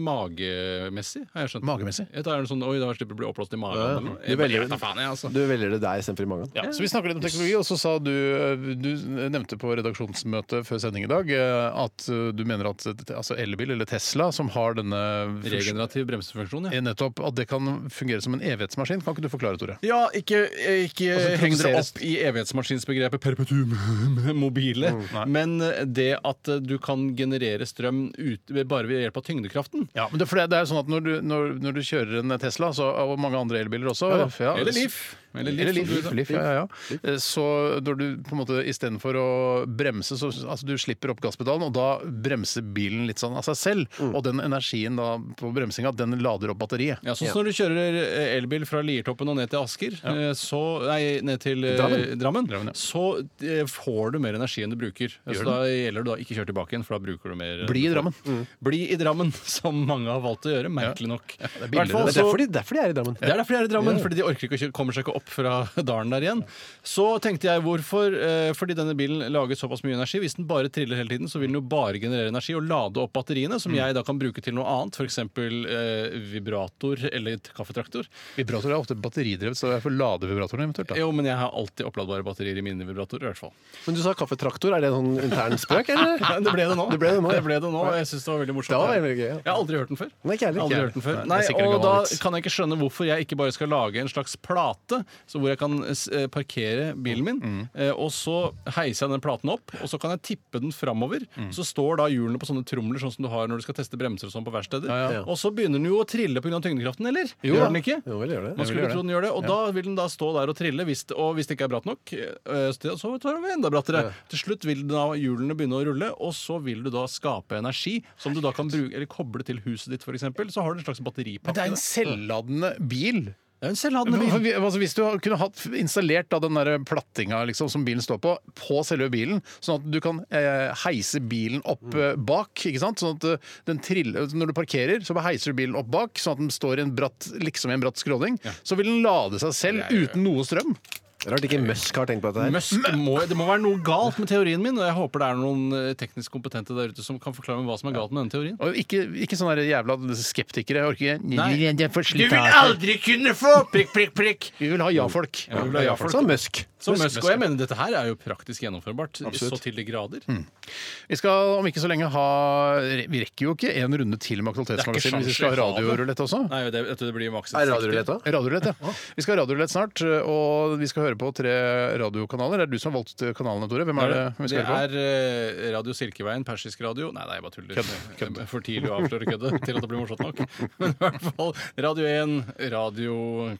[SPEAKER 2] magemessig, har jeg skjønt.
[SPEAKER 1] Magemessig?
[SPEAKER 2] Jeg tar det sånn, Oi, da slipper du å bli oppblåst i magen.
[SPEAKER 3] Ja, ja.
[SPEAKER 2] eller noe.
[SPEAKER 3] Du
[SPEAKER 2] Jeg bare,
[SPEAKER 3] velger
[SPEAKER 2] ja, faen, jeg, altså.
[SPEAKER 3] Du velger det der istedenfor i magen.
[SPEAKER 1] Ja, så Vi snakker litt om teknologi, og så sa du Du nevnte på redaksjonsmøtet før sending i eh, dag eh, at du mener at altså elbil, eller Tesla, som har denne funksjonen-
[SPEAKER 2] Regenerativ bremsefunksjon. Ja.
[SPEAKER 1] Eh, Nettopp at det kan fungere som en evighetsmaskin. Kan ikke du forklare, Tore?
[SPEAKER 2] Ja, ikke, ikke
[SPEAKER 1] Altså,
[SPEAKER 2] heng dere
[SPEAKER 1] produseres-
[SPEAKER 2] opp i evighetsmaskinsbegrepet perpetuum mobile,
[SPEAKER 3] Mm,
[SPEAKER 2] men eh, det at du kan generere strøm ut, bare ved hjelp av tyngdekraften.
[SPEAKER 1] Ja, men det, for det, det er jo sånn at når du, når, når du kjører en Tesla, så, og mange andre elbiler også
[SPEAKER 2] Eller Leaf.
[SPEAKER 1] Eller Leaf,
[SPEAKER 2] som du-
[SPEAKER 1] Leaf, Leaf, ja, ja, ja. Eh, Så når du på en måte istedenfor å bremse, så altså, du slipper opp gasspedalen, og da bremser bilen litt sånn av seg selv. Og den energien da på bremsinga, den lader opp batteriet.
[SPEAKER 2] Mm. Ja, sånn som når du kjører eh, elbil fra Liertoppen og ned til Asker, eh, så, nei, ned til eh,
[SPEAKER 3] Drammen.
[SPEAKER 2] Drammen,
[SPEAKER 1] Drammen, ja.
[SPEAKER 2] så eh, får du mer energi enn du bruker.
[SPEAKER 1] Gjør
[SPEAKER 2] Så da gjelder det da ikke kjøre tilbake igjen, for da bruker du mer. eh,
[SPEAKER 1] Bli i
[SPEAKER 2] du får.
[SPEAKER 1] Drammen.
[SPEAKER 2] Bli i Drammen, som mange har valgt å gjøre, merkelig nok.
[SPEAKER 1] er
[SPEAKER 2] I hvert fall
[SPEAKER 1] billigere.
[SPEAKER 3] Det er
[SPEAKER 2] så-
[SPEAKER 3] derfor de, derfor de er i Drammen.
[SPEAKER 2] det er derfor de er i Drammen, fordi de orker ikke å kjøre, kommer seg ikke opp fra dalen der igjen. Så tenkte jeg hvorfor, eh, fordi denne bilen lager såpass mye energi. Hvis den bare triller hele tiden, så vil den jo bare generere energi og lade opp batteriene, som jeg da kan bruke til noe annet, f.eks. Eh, vibrator eller t- kaffetraktor.
[SPEAKER 1] Vibrator er ofte batteridrevet, så det er for ladevibratoren eventuelt. da.
[SPEAKER 2] Jo, men jeg har alltid oppladbare batterier i mine vibratorer, i hvert fall.
[SPEAKER 3] Men du sa kaffetraktor. Er det en sånn intern spøk, eller?
[SPEAKER 2] Ja, det ble det nå.
[SPEAKER 3] Det ble det nå.
[SPEAKER 2] og Jeg syns det var veldig morsomt.
[SPEAKER 3] Det var veldig gøy, ja.
[SPEAKER 2] Jeg har aldri hørt den før.
[SPEAKER 3] Nei, ikke heller.
[SPEAKER 2] Aldri
[SPEAKER 3] Ikke
[SPEAKER 2] hørt den før.
[SPEAKER 1] Nei,
[SPEAKER 2] Nei,
[SPEAKER 1] det er sikkert en
[SPEAKER 2] og da
[SPEAKER 1] gammel vits.
[SPEAKER 2] kan jeg ikke skjønne hvorfor jeg ikke bare skal lage en slags plate så hvor jeg kan eh, parkere bilen min,
[SPEAKER 3] Mm.
[SPEAKER 2] eh, og så heiser jeg den platen opp, og så kan jeg tippe den framover.
[SPEAKER 3] Mm.
[SPEAKER 2] Så står da hjulene på sånne tromler, sånn som du har når du skal teste bremser og sånn på verksteder. Og så begynner den jo å trille pga. tyngdekraften, eller? Gjør den ikke?
[SPEAKER 3] Jo, vel, gjør det.
[SPEAKER 2] Man skulle
[SPEAKER 1] gjør
[SPEAKER 2] tro den gjør det, og da vil den da stå der og trille. Hvis, og hvis det ikke er bratt nok, eh, så så tar den enda brattere. Til slutt vil da hjulene begynne å rulle, og så vil du da skape energi som du da kan bruke, eller koble til huset ditt, f.eks. Så har du en slags
[SPEAKER 1] Men
[SPEAKER 2] batteripakke.
[SPEAKER 1] det er en selvladende bil.
[SPEAKER 2] Det er en selvladende
[SPEAKER 1] Men,
[SPEAKER 2] bil.
[SPEAKER 1] for- altså, hvis du kunne hatt installert da, den der plattinga liksom, som bilen står på, på selve bilen, sånn at du kan eh, heise bilen opp
[SPEAKER 2] Mm.
[SPEAKER 1] eh, bak, ikke sant? Sånn at eh, den triller, når du parkerer, så bare heiser du bilen opp bak, sånn at den står i en bratt, liksom i en bratt skråning, så vil den lade seg selv uten noe strøm.
[SPEAKER 3] Rart ikke Musk har tenkt på dette her.
[SPEAKER 2] Musk, det må, det må være noe galt med teorien min, og jeg håper det er noen eh, teknisk kompetente der ute som kan forklare meg hva som er galt med denne teorien.
[SPEAKER 1] Og ikke, ikke sånne der jævla skeptikere. Jeg orker ikke.
[SPEAKER 2] Nei.
[SPEAKER 1] Det er for
[SPEAKER 2] Du vil
[SPEAKER 1] slitasje.
[SPEAKER 2] aldri kunne få prikk, prikk, prikk!
[SPEAKER 1] Vi vil ha ja-folk.
[SPEAKER 2] vi vil ha ja-folk.
[SPEAKER 3] Sånn Musk.
[SPEAKER 2] Så Musk, Mm. og jeg mener dette her er jo praktisk gjennomførbart. Så til de grader.
[SPEAKER 1] Vi skal om ikke så lenge ha Vi rekker jo ikke en runde til med Aktualitetsmagasinet hvis vi skal
[SPEAKER 2] sånn
[SPEAKER 1] ha radiorulett også.
[SPEAKER 2] Nei, det, vet du, det blir maks
[SPEAKER 3] Er radiorulett òg?
[SPEAKER 1] Radiorulett, ja. Vi skal ha radiorulett snart, og vi skal høre på tre radiokanaler. Er det du som har valgt eh, kanalene, Tore? Hvem er det vi
[SPEAKER 2] Det
[SPEAKER 1] skal høre på?
[SPEAKER 2] er eh, Radio Silkeveien, persisk radio Nei, nei, jeg bare tuller. Det er For tidlig å avsløre køddet til at det blir morsomt nok. Men i hvert fall Radio 1, Radio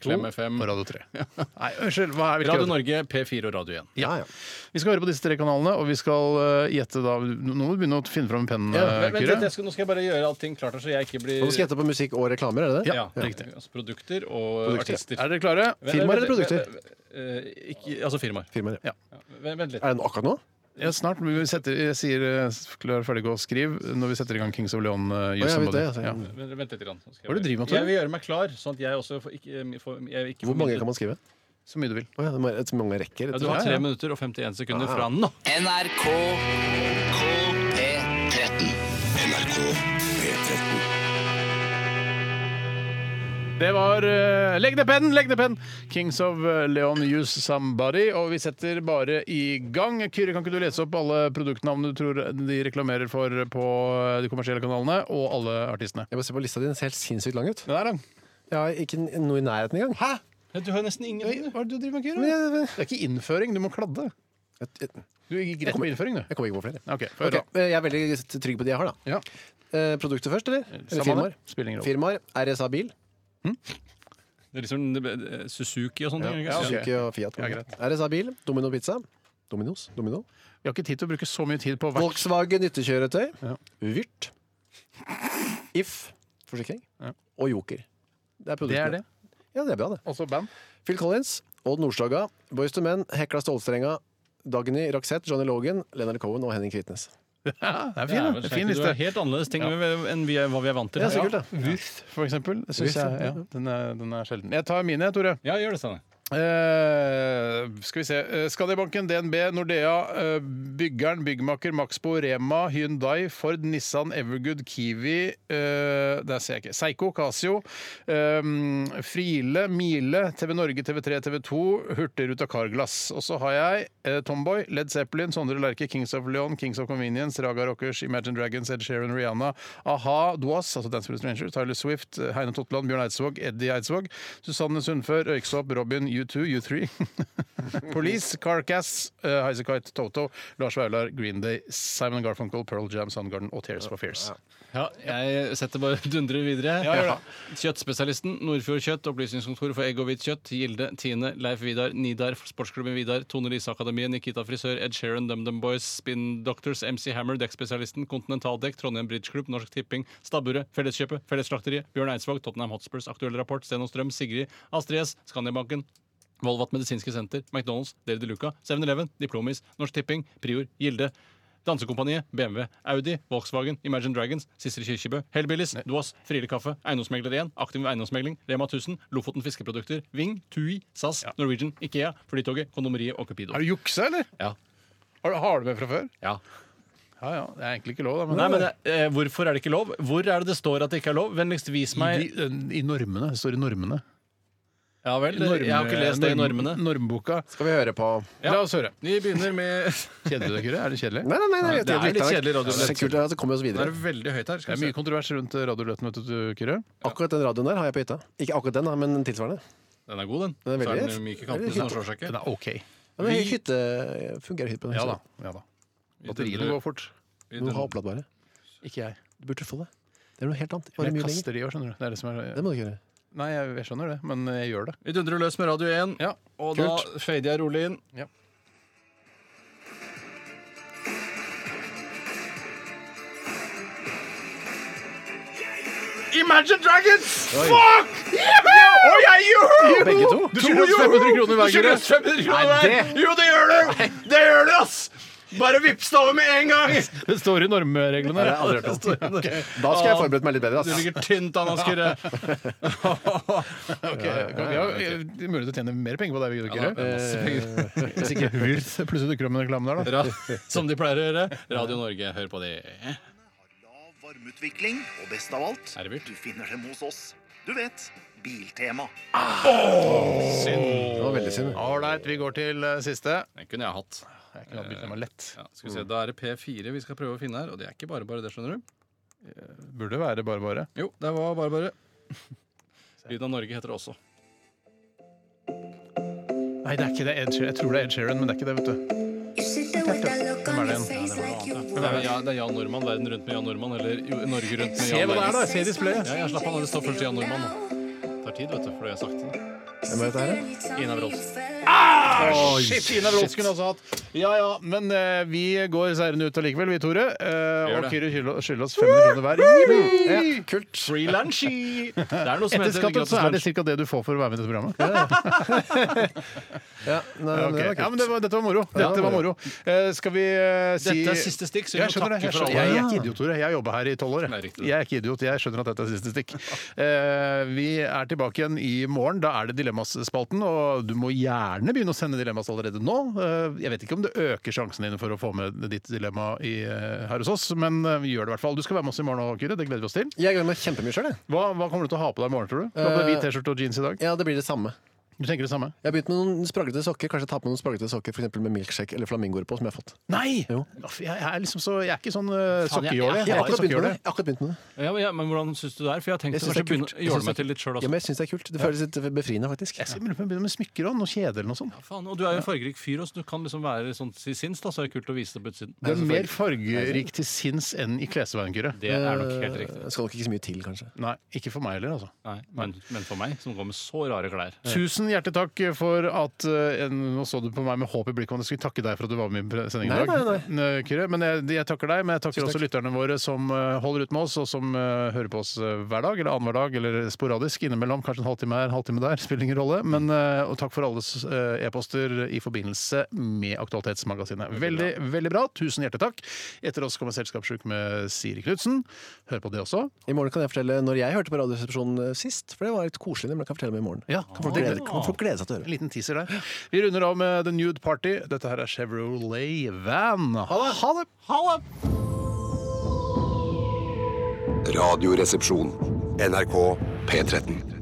[SPEAKER 2] Klem FM,
[SPEAKER 1] Og Radio 3. Nei, unnskyld, hva er hvilke
[SPEAKER 2] Radio Norge, P4 og Radio 1.
[SPEAKER 3] Ja, ja.
[SPEAKER 1] Vi skal høre på disse tre kanalene, og vi skal eh, gjette da Nå må du begynne å finne fram pennen,
[SPEAKER 2] Ja,
[SPEAKER 1] eh,
[SPEAKER 2] vent litt,
[SPEAKER 1] Kyrre.
[SPEAKER 2] jeg skal, nå skal jeg bare gjøre allting klart her, så jeg ikke blir
[SPEAKER 3] Og Nå skal jeg gjette på musikk og reklamer, er det det?
[SPEAKER 2] ja, riktig. Altså produkter og
[SPEAKER 3] Produkter.
[SPEAKER 2] artister.
[SPEAKER 1] Er dere klare?
[SPEAKER 3] firmaer eller produkter?
[SPEAKER 2] Eh, ikke, altså firmaer.
[SPEAKER 3] Firmaer, ja.
[SPEAKER 2] Ja, vent vent litt.
[SPEAKER 3] Er det nå- akkurat nå?
[SPEAKER 1] Ja, snart. men Vi setter, jeg sier eh, klar, ferdig, gå og skriv når vi setter i gang Kings of Leon. eh,
[SPEAKER 3] Å,
[SPEAKER 1] Use
[SPEAKER 3] jeg vet
[SPEAKER 1] Somebody.
[SPEAKER 3] det, altså.
[SPEAKER 1] Ja.
[SPEAKER 2] Vent vent litt. grann, så skal
[SPEAKER 1] Hva er det du driver med, Tore?
[SPEAKER 2] Jeg vil gjøre meg klar, sånn at jeg også får ikke, eh, får, jeg ikke
[SPEAKER 3] Hvor mange kan man skrive?
[SPEAKER 1] Så mye du vil.
[SPEAKER 3] Å ja, det må være et- mange rekker.
[SPEAKER 2] Ja,
[SPEAKER 3] rett
[SPEAKER 2] du
[SPEAKER 3] og
[SPEAKER 2] har
[SPEAKER 3] slett.
[SPEAKER 2] tre minutter og 51 sekunder fra nå.
[SPEAKER 9] NRK P13.
[SPEAKER 4] NRK P13.
[SPEAKER 1] Det var eh, Legg ned pennen, legg ned pennen! Kings of eh, Leon Use Somebody. Og vi setter bare i gang. Kyrre, kan ikke du lese opp alle produktnavn du tror de reklamerer for på eh, de kommersielle kanalene, og alle artistene?
[SPEAKER 3] Jeg bare ser på lista di, den ser helt sinnssykt lang ut.
[SPEAKER 1] Det er han.
[SPEAKER 3] Jeg har ikke n- noe i nærheten engang. Hæ?
[SPEAKER 2] Du har nesten ingen
[SPEAKER 1] Hva er det du driver med, Kyrre?
[SPEAKER 3] Jeg,
[SPEAKER 1] Det er ikke innføring, du må kladde.
[SPEAKER 3] jeg,
[SPEAKER 1] Du gikk rett på innføring, du.
[SPEAKER 3] jeg kommer ikke på flere.
[SPEAKER 1] OK, få
[SPEAKER 3] Ok,
[SPEAKER 1] høre.
[SPEAKER 3] eh, Jeg er veldig trygg på de jeg har, da.
[SPEAKER 1] Ja.
[SPEAKER 3] Eh, Produkter først, eller? Eller
[SPEAKER 1] Samme
[SPEAKER 3] firmaer?
[SPEAKER 1] det. Spiller ingen rolle.
[SPEAKER 3] Firmaer, RSA Bil,
[SPEAKER 2] Det er liksom eh, Suzuki og sånne ting.
[SPEAKER 1] Ja,
[SPEAKER 2] ikke sant?
[SPEAKER 1] ok.
[SPEAKER 3] Suzuki og Fiat.
[SPEAKER 1] Ja, greit.
[SPEAKER 3] RSA Bil, Domino Pizza. Dominos? Domino?
[SPEAKER 1] Vi har ikke tid til å bruke så mye tid på hvert.
[SPEAKER 3] Volkswagen nyttekjøretøy.
[SPEAKER 1] Ja.
[SPEAKER 3] Vyrt. If. Forsikring.
[SPEAKER 1] Ja.
[SPEAKER 3] Og Joker. Det er
[SPEAKER 1] Det
[SPEAKER 3] produktene.
[SPEAKER 1] er det.
[SPEAKER 3] Ja, det er bra, det.
[SPEAKER 1] Også band.
[SPEAKER 3] Phil Collins, Odd Nordstoga, Boyz II Men, Hekla Stålstrenga, Dagny Roxette, Johnny Logan, Leonard Cohen og Henning Kvitnes.
[SPEAKER 1] Ja, det er
[SPEAKER 2] Ja,
[SPEAKER 1] fin,
[SPEAKER 2] vel,
[SPEAKER 1] da. fin
[SPEAKER 2] det er
[SPEAKER 1] liste.
[SPEAKER 2] Helt annerledes ting vi- enn vi er, hva vi er vant til.
[SPEAKER 3] Ja, så kult, da.
[SPEAKER 1] Wirth, for eksempel. Synes
[SPEAKER 3] Wirth, ja.
[SPEAKER 1] jeg, ja, den, er, den er sjelden. Jeg tar mine, Tore.
[SPEAKER 2] Ja, gjør det, Steinar.
[SPEAKER 1] Eh, skal vi se eh, Skandiabanken, DNB, Nordea, eh, Byggeren, Byggmaker, Maxbo, Rema, Hyundai, Ford, Nissan, Evergood, Kiwi eh, Der ser jeg ikke. Seigo, Casio, eh, Friele, Mile, TV Norge, TV3, TV2, Hurtigruta Carglass. Og så har jeg eh, Tomboy, Led Zeppelin, Sondre Lerche, Kings of Leon, Kings of Convenience, Raga Rockers, Imagine Dragons, Ed Sheeran, Rihanna, A-ha, Dwas, altså Dance with Strangers, Tyler Swift, eh, Heine Totland, Bjørn Eidsvåg, Eddie Eidsvåg, Susanne Sundfør, Røyksopp, Robin, U2, U3, Police, Carcass, uh, Highasakite, Toto, Lars Vaular, Green Day, Simon Garfunkel, Pearl Jam, Soundgarden og Tears for Fears.
[SPEAKER 2] Ja, jeg setter bare dundrer videre.
[SPEAKER 1] Ja, gjør det.
[SPEAKER 2] Kjøttspesialisten, Nordfjord Kjøtt, Opplysningskontoret for egg og hvitt kjøtt, Gilde, Tine, Leif Vidar, Nidar, Sportsklubben Vidar, Tone Lise Akademiet, Nikita Frisør, Ed Sheeran, DumDum Boys, Spin Doctors, MC Hammer, Dekkspesialisten, Kontinentaldekk, Trondheim Bridge Group, Norsk Tipping, Stabburet, Felleskjøpet, Fellesslakteriet, Bjørn Eidsvåg, Tottenham Hotspurs, Aktuell Rapport, Sten og Strøm, Sigrid, Astrid S, Skandiabanken, Volvat Medisinske Senter, McDonald's, Deli de Luca, 7-Eleven, Diplomis, Norsk Tipping, Prior, Gilde, Dansekompaniet, BMW, Audi, Volkswagen, Imagine Dragons, Sissel Kyrkjebø, Hellbillies, Dås, Friele Kaffe, Eiendomsmegler 1, Aktiv Eiendomsmegling, Rema 1000, Lofoten Fiskeprodukter, Ving, Tui, SAS, Norwegian, Ikea, Flytoget, Kondomeriet og Cupido.
[SPEAKER 1] Har du juksa, eller?
[SPEAKER 2] Ja.
[SPEAKER 1] Har du, har du med fra før?
[SPEAKER 2] Ja.
[SPEAKER 1] Ja ja, det er egentlig ikke lov, da. Men
[SPEAKER 2] Nei, men det, eh, Hvorfor er det ikke lov? Hvor er det det står at det ikke er lov? Vennligst vis
[SPEAKER 1] i,
[SPEAKER 2] meg
[SPEAKER 1] de, eh, I normene. Det står i normene.
[SPEAKER 2] Ja vel, jeg har ikke lest det i
[SPEAKER 1] Norm-
[SPEAKER 2] normene.
[SPEAKER 1] Normboka.
[SPEAKER 3] Skal vi høre på
[SPEAKER 1] La oss høre.
[SPEAKER 2] Vi begynner med
[SPEAKER 1] Kjeder du deg, Kyrre? Er det kjedelig?
[SPEAKER 3] Nei, nei, nei, nei,
[SPEAKER 2] det er litt kjedelig radio.
[SPEAKER 3] Det er kult at det kommer oss
[SPEAKER 2] Nå er
[SPEAKER 3] videre.
[SPEAKER 2] det veldig høyt her.
[SPEAKER 1] Det
[SPEAKER 2] Skal
[SPEAKER 1] er
[SPEAKER 2] vi
[SPEAKER 1] mye
[SPEAKER 2] se.
[SPEAKER 1] kontrovers rundt Radioløten, vet du, Kyrre.
[SPEAKER 3] Akkurat den radioen der har jeg på hytta. Ikke akkurat den, da, men den tilsvarende.
[SPEAKER 2] Den er god, den.
[SPEAKER 3] Den er
[SPEAKER 2] så er
[SPEAKER 3] veldig-
[SPEAKER 2] den myk i
[SPEAKER 3] veldig
[SPEAKER 2] kantene, så den slår seg ikke.
[SPEAKER 1] Den er OK.
[SPEAKER 3] Den er hytte, fungerer hytte på den.
[SPEAKER 1] Ja da. Ja, da. Batteriene går fort.
[SPEAKER 2] Vi
[SPEAKER 3] Du
[SPEAKER 2] dundrer-
[SPEAKER 3] har oppladbare.
[SPEAKER 1] Ikke jeg.
[SPEAKER 3] Du burde få det. Det er noe helt annet. Bare
[SPEAKER 1] Jeg
[SPEAKER 3] mye lenger.
[SPEAKER 1] kaster de i år, skjønner du. Det er det som er
[SPEAKER 3] Det må du ikke gjøre.
[SPEAKER 1] Nei, jeg, jeg skjønner det, men jeg gjør det.
[SPEAKER 2] Vi dundrer løs med Radio 1,
[SPEAKER 1] Ja,
[SPEAKER 2] og
[SPEAKER 1] kult.
[SPEAKER 2] da fader jeg rolig inn.
[SPEAKER 1] Ja.
[SPEAKER 2] Imagine Dragons!
[SPEAKER 3] Begge to?
[SPEAKER 1] Du skylder oss 500 kroner hver, Kyrre.
[SPEAKER 2] 500 kroner hver! Jo, det gjør du! Det gjør du, ass! Bare vips det over med en gang!
[SPEAKER 1] Det står i normreglene.
[SPEAKER 3] det har jeg aldri hørt om. Da skal jeg forberede meg litt bedre.
[SPEAKER 2] Du
[SPEAKER 3] Ass.
[SPEAKER 2] ligger tynt an, Askure.
[SPEAKER 1] Ok, kan- ja, det er mulig til å tjene mer penger på deg, vil du ikke? Eh, Hvis ikke Hurth plutselig dukker opp med en reklame der, da.
[SPEAKER 2] Som de pleier å gjøre. Radio Norge, hør på de.
[SPEAKER 10] Lav varmeutvikling, og best av alt,
[SPEAKER 2] Er det vilt?
[SPEAKER 10] du finner dem hos oss. Du vet, Biltema.
[SPEAKER 3] Det var veldig synd.
[SPEAKER 1] Ålreit, vi går til eh, siste.
[SPEAKER 2] Den kunne jeg hatt.
[SPEAKER 1] Jeg kunne begynt med lett.
[SPEAKER 2] Ja, skal vi se, Da er det P4 vi skal prøve å finne her, og det er ikke bare bare det, skjønner du.
[SPEAKER 1] Burde være bare bare.
[SPEAKER 2] Jo, det var bare bare. Lyden av Norge heter det også.
[SPEAKER 1] Nei, det er ikke det. Ed Sheeran. Jeg tror det er Ed Sheeran, men det er ikke det, vet du. Hvem er det igjen?
[SPEAKER 2] Det er, ja, det er Jan Normann, Verden rundt med Jan Normann, eller jo, Norge rundt med
[SPEAKER 1] Se
[SPEAKER 2] Jan
[SPEAKER 1] hva det er,
[SPEAKER 2] Normann.
[SPEAKER 1] da! Se displayet.
[SPEAKER 2] Ja, jeg slapp av, det står først Jan Normann. da. Det tar tid, vet du, for det er sakte.
[SPEAKER 3] Hvem er dette her, da?
[SPEAKER 2] Ina Wroldsen.
[SPEAKER 1] Shit, Ina Wroldsen kunne også hatt. Ja ja, men eh, vi går seirende ut allikevel, vi, Tore. Eh,
[SPEAKER 2] Gjør
[SPEAKER 1] og
[SPEAKER 2] det.
[SPEAKER 1] Kyrre skylder- skylder oss 500 kroner hver.
[SPEAKER 3] Ja, kult.
[SPEAKER 2] Freelanchi! Det er noe som
[SPEAKER 1] Etter
[SPEAKER 2] heter
[SPEAKER 1] skatten så er det
[SPEAKER 2] gratis lunsj.
[SPEAKER 1] ca. det du får for å være med i dette programmet.
[SPEAKER 3] Ja, nei,
[SPEAKER 1] Ja,
[SPEAKER 3] men
[SPEAKER 1] ok.
[SPEAKER 3] det var
[SPEAKER 1] ja, men
[SPEAKER 3] kult.
[SPEAKER 1] det var, dette var moro. Dette var moro. Eh, skal vi eh, si
[SPEAKER 2] Dette er siste stikk, så vi
[SPEAKER 1] jeg
[SPEAKER 2] må
[SPEAKER 1] skjønner det.
[SPEAKER 2] takke
[SPEAKER 1] Jeg,
[SPEAKER 2] for
[SPEAKER 1] skjønner.
[SPEAKER 2] alle.
[SPEAKER 1] jeg, er ikke idiot, Tore. Jeg har jobba her i tolv år.
[SPEAKER 2] Nei,
[SPEAKER 1] Jeg.
[SPEAKER 2] riktig.
[SPEAKER 1] jeg er ikke idiot. Jeg skjønner at dette er siste stikk. Eh, vi er tilbake igjen i morgen. Da er det Dilemmaspalten. Og du må gjerne begynne å sende dilemmas allerede nå. Eh, jeg vet ikke om det øker sjansen din for å få med ditt dilemma i, eh, her hos oss, men eh, vi gjør det i hvert fall. Du skal være med oss i morgen òg, Kyrre. Det gleder vi oss til.
[SPEAKER 3] Jeg gleder meg kjempemye sjøl, jeg.
[SPEAKER 1] Hva, hva kommer du til å ha på deg i morgen, tror du? Du har på deg
[SPEAKER 2] Eh,
[SPEAKER 1] hvit T-skjorte og jeans i dag.
[SPEAKER 3] Ja, det blir det samme.
[SPEAKER 1] Du tenker det samme?
[SPEAKER 3] Jeg har begynt med noen spraglete sokker. Kanskje jeg tar på noen spraglete sokker for eksempel med milkshake eller flamingoer på, som jeg har fått.
[SPEAKER 1] Nei!
[SPEAKER 3] Jo.
[SPEAKER 1] Aff, Jeg, jeg, er liksom så, jeg er ikke sånn uh,
[SPEAKER 2] Faen, jeg-
[SPEAKER 1] sokkejåle.
[SPEAKER 2] jeg-
[SPEAKER 3] Jeg
[SPEAKER 1] Jeg er
[SPEAKER 3] har
[SPEAKER 1] ikke
[SPEAKER 3] akkurat
[SPEAKER 1] sokkejåle.
[SPEAKER 3] begynt med det. Jeg har akkurat begynt med det.
[SPEAKER 2] Ja, men, ja, men hvordan syns du det er? For jeg har tenkt å
[SPEAKER 3] Jeg synes
[SPEAKER 2] kanskje
[SPEAKER 3] det er
[SPEAKER 2] begynne
[SPEAKER 3] kult.
[SPEAKER 2] å
[SPEAKER 3] Jeg synes
[SPEAKER 2] gjøre meg
[SPEAKER 3] det er-
[SPEAKER 2] til litt altså. sjøl
[SPEAKER 3] Ja,
[SPEAKER 2] også.
[SPEAKER 3] men jeg syns det er kult. Det føles litt befriende, faktisk.
[SPEAKER 1] Jeg skal begynne med smykker og noe kjede eller noe sånt.
[SPEAKER 2] Faen, og du er jo en fargerik fyr også, så du kan liksom være sånn til sinns, da, så er det kult å vise det på utsiden.
[SPEAKER 1] Du er mer fargerik til sinns enn i klesveien, Kyrre.
[SPEAKER 2] Det er nok helt riktig.
[SPEAKER 3] Det Eh, skal nok ikke så mye til, kanskje.
[SPEAKER 1] Nei, ikke for meg heller, altså.
[SPEAKER 2] Nei, men, men for meg, som går med så rare klær.
[SPEAKER 1] Tusen hjertelig takk for at eh, Nå så du på meg med håp i blikket om jeg skulle takke deg for at du var med i sendingen i
[SPEAKER 3] Nei,
[SPEAKER 1] dag. Nei, Kyrre. Men jeg, jeg takker deg, men jeg takker også lytterne våre som eh, holder ut med oss, og som eh, hører på oss eh, hver dag, eller annenhver dag, eller sporadisk innimellom. Kanskje en halvtime her, en halvtime der. Spiller ingen rolle. Men eh, og takk for alles eh, e-poster i forbindelse med Aktualitetsmagasinet. Veldig, veldig bra. Tusen hjertelig takk. Etter oss kommer Selskapssjuk med Siri Knutsen. Hør på det også.
[SPEAKER 3] I morgen kan jeg fortelle når jeg hørte på Radioresepsjonen eh, sist, for det var litt koselig. Men jeg kan fortelle meg i morgen.
[SPEAKER 1] Ja,
[SPEAKER 3] Kan folk glede, Man får glede seg til å høre.
[SPEAKER 1] En liten teaser der. Vi runder av med The Nude Party. Dette her er Chevrolet Van. Ha det! Ha det.
[SPEAKER 4] Radioresepsjon. NRK P13.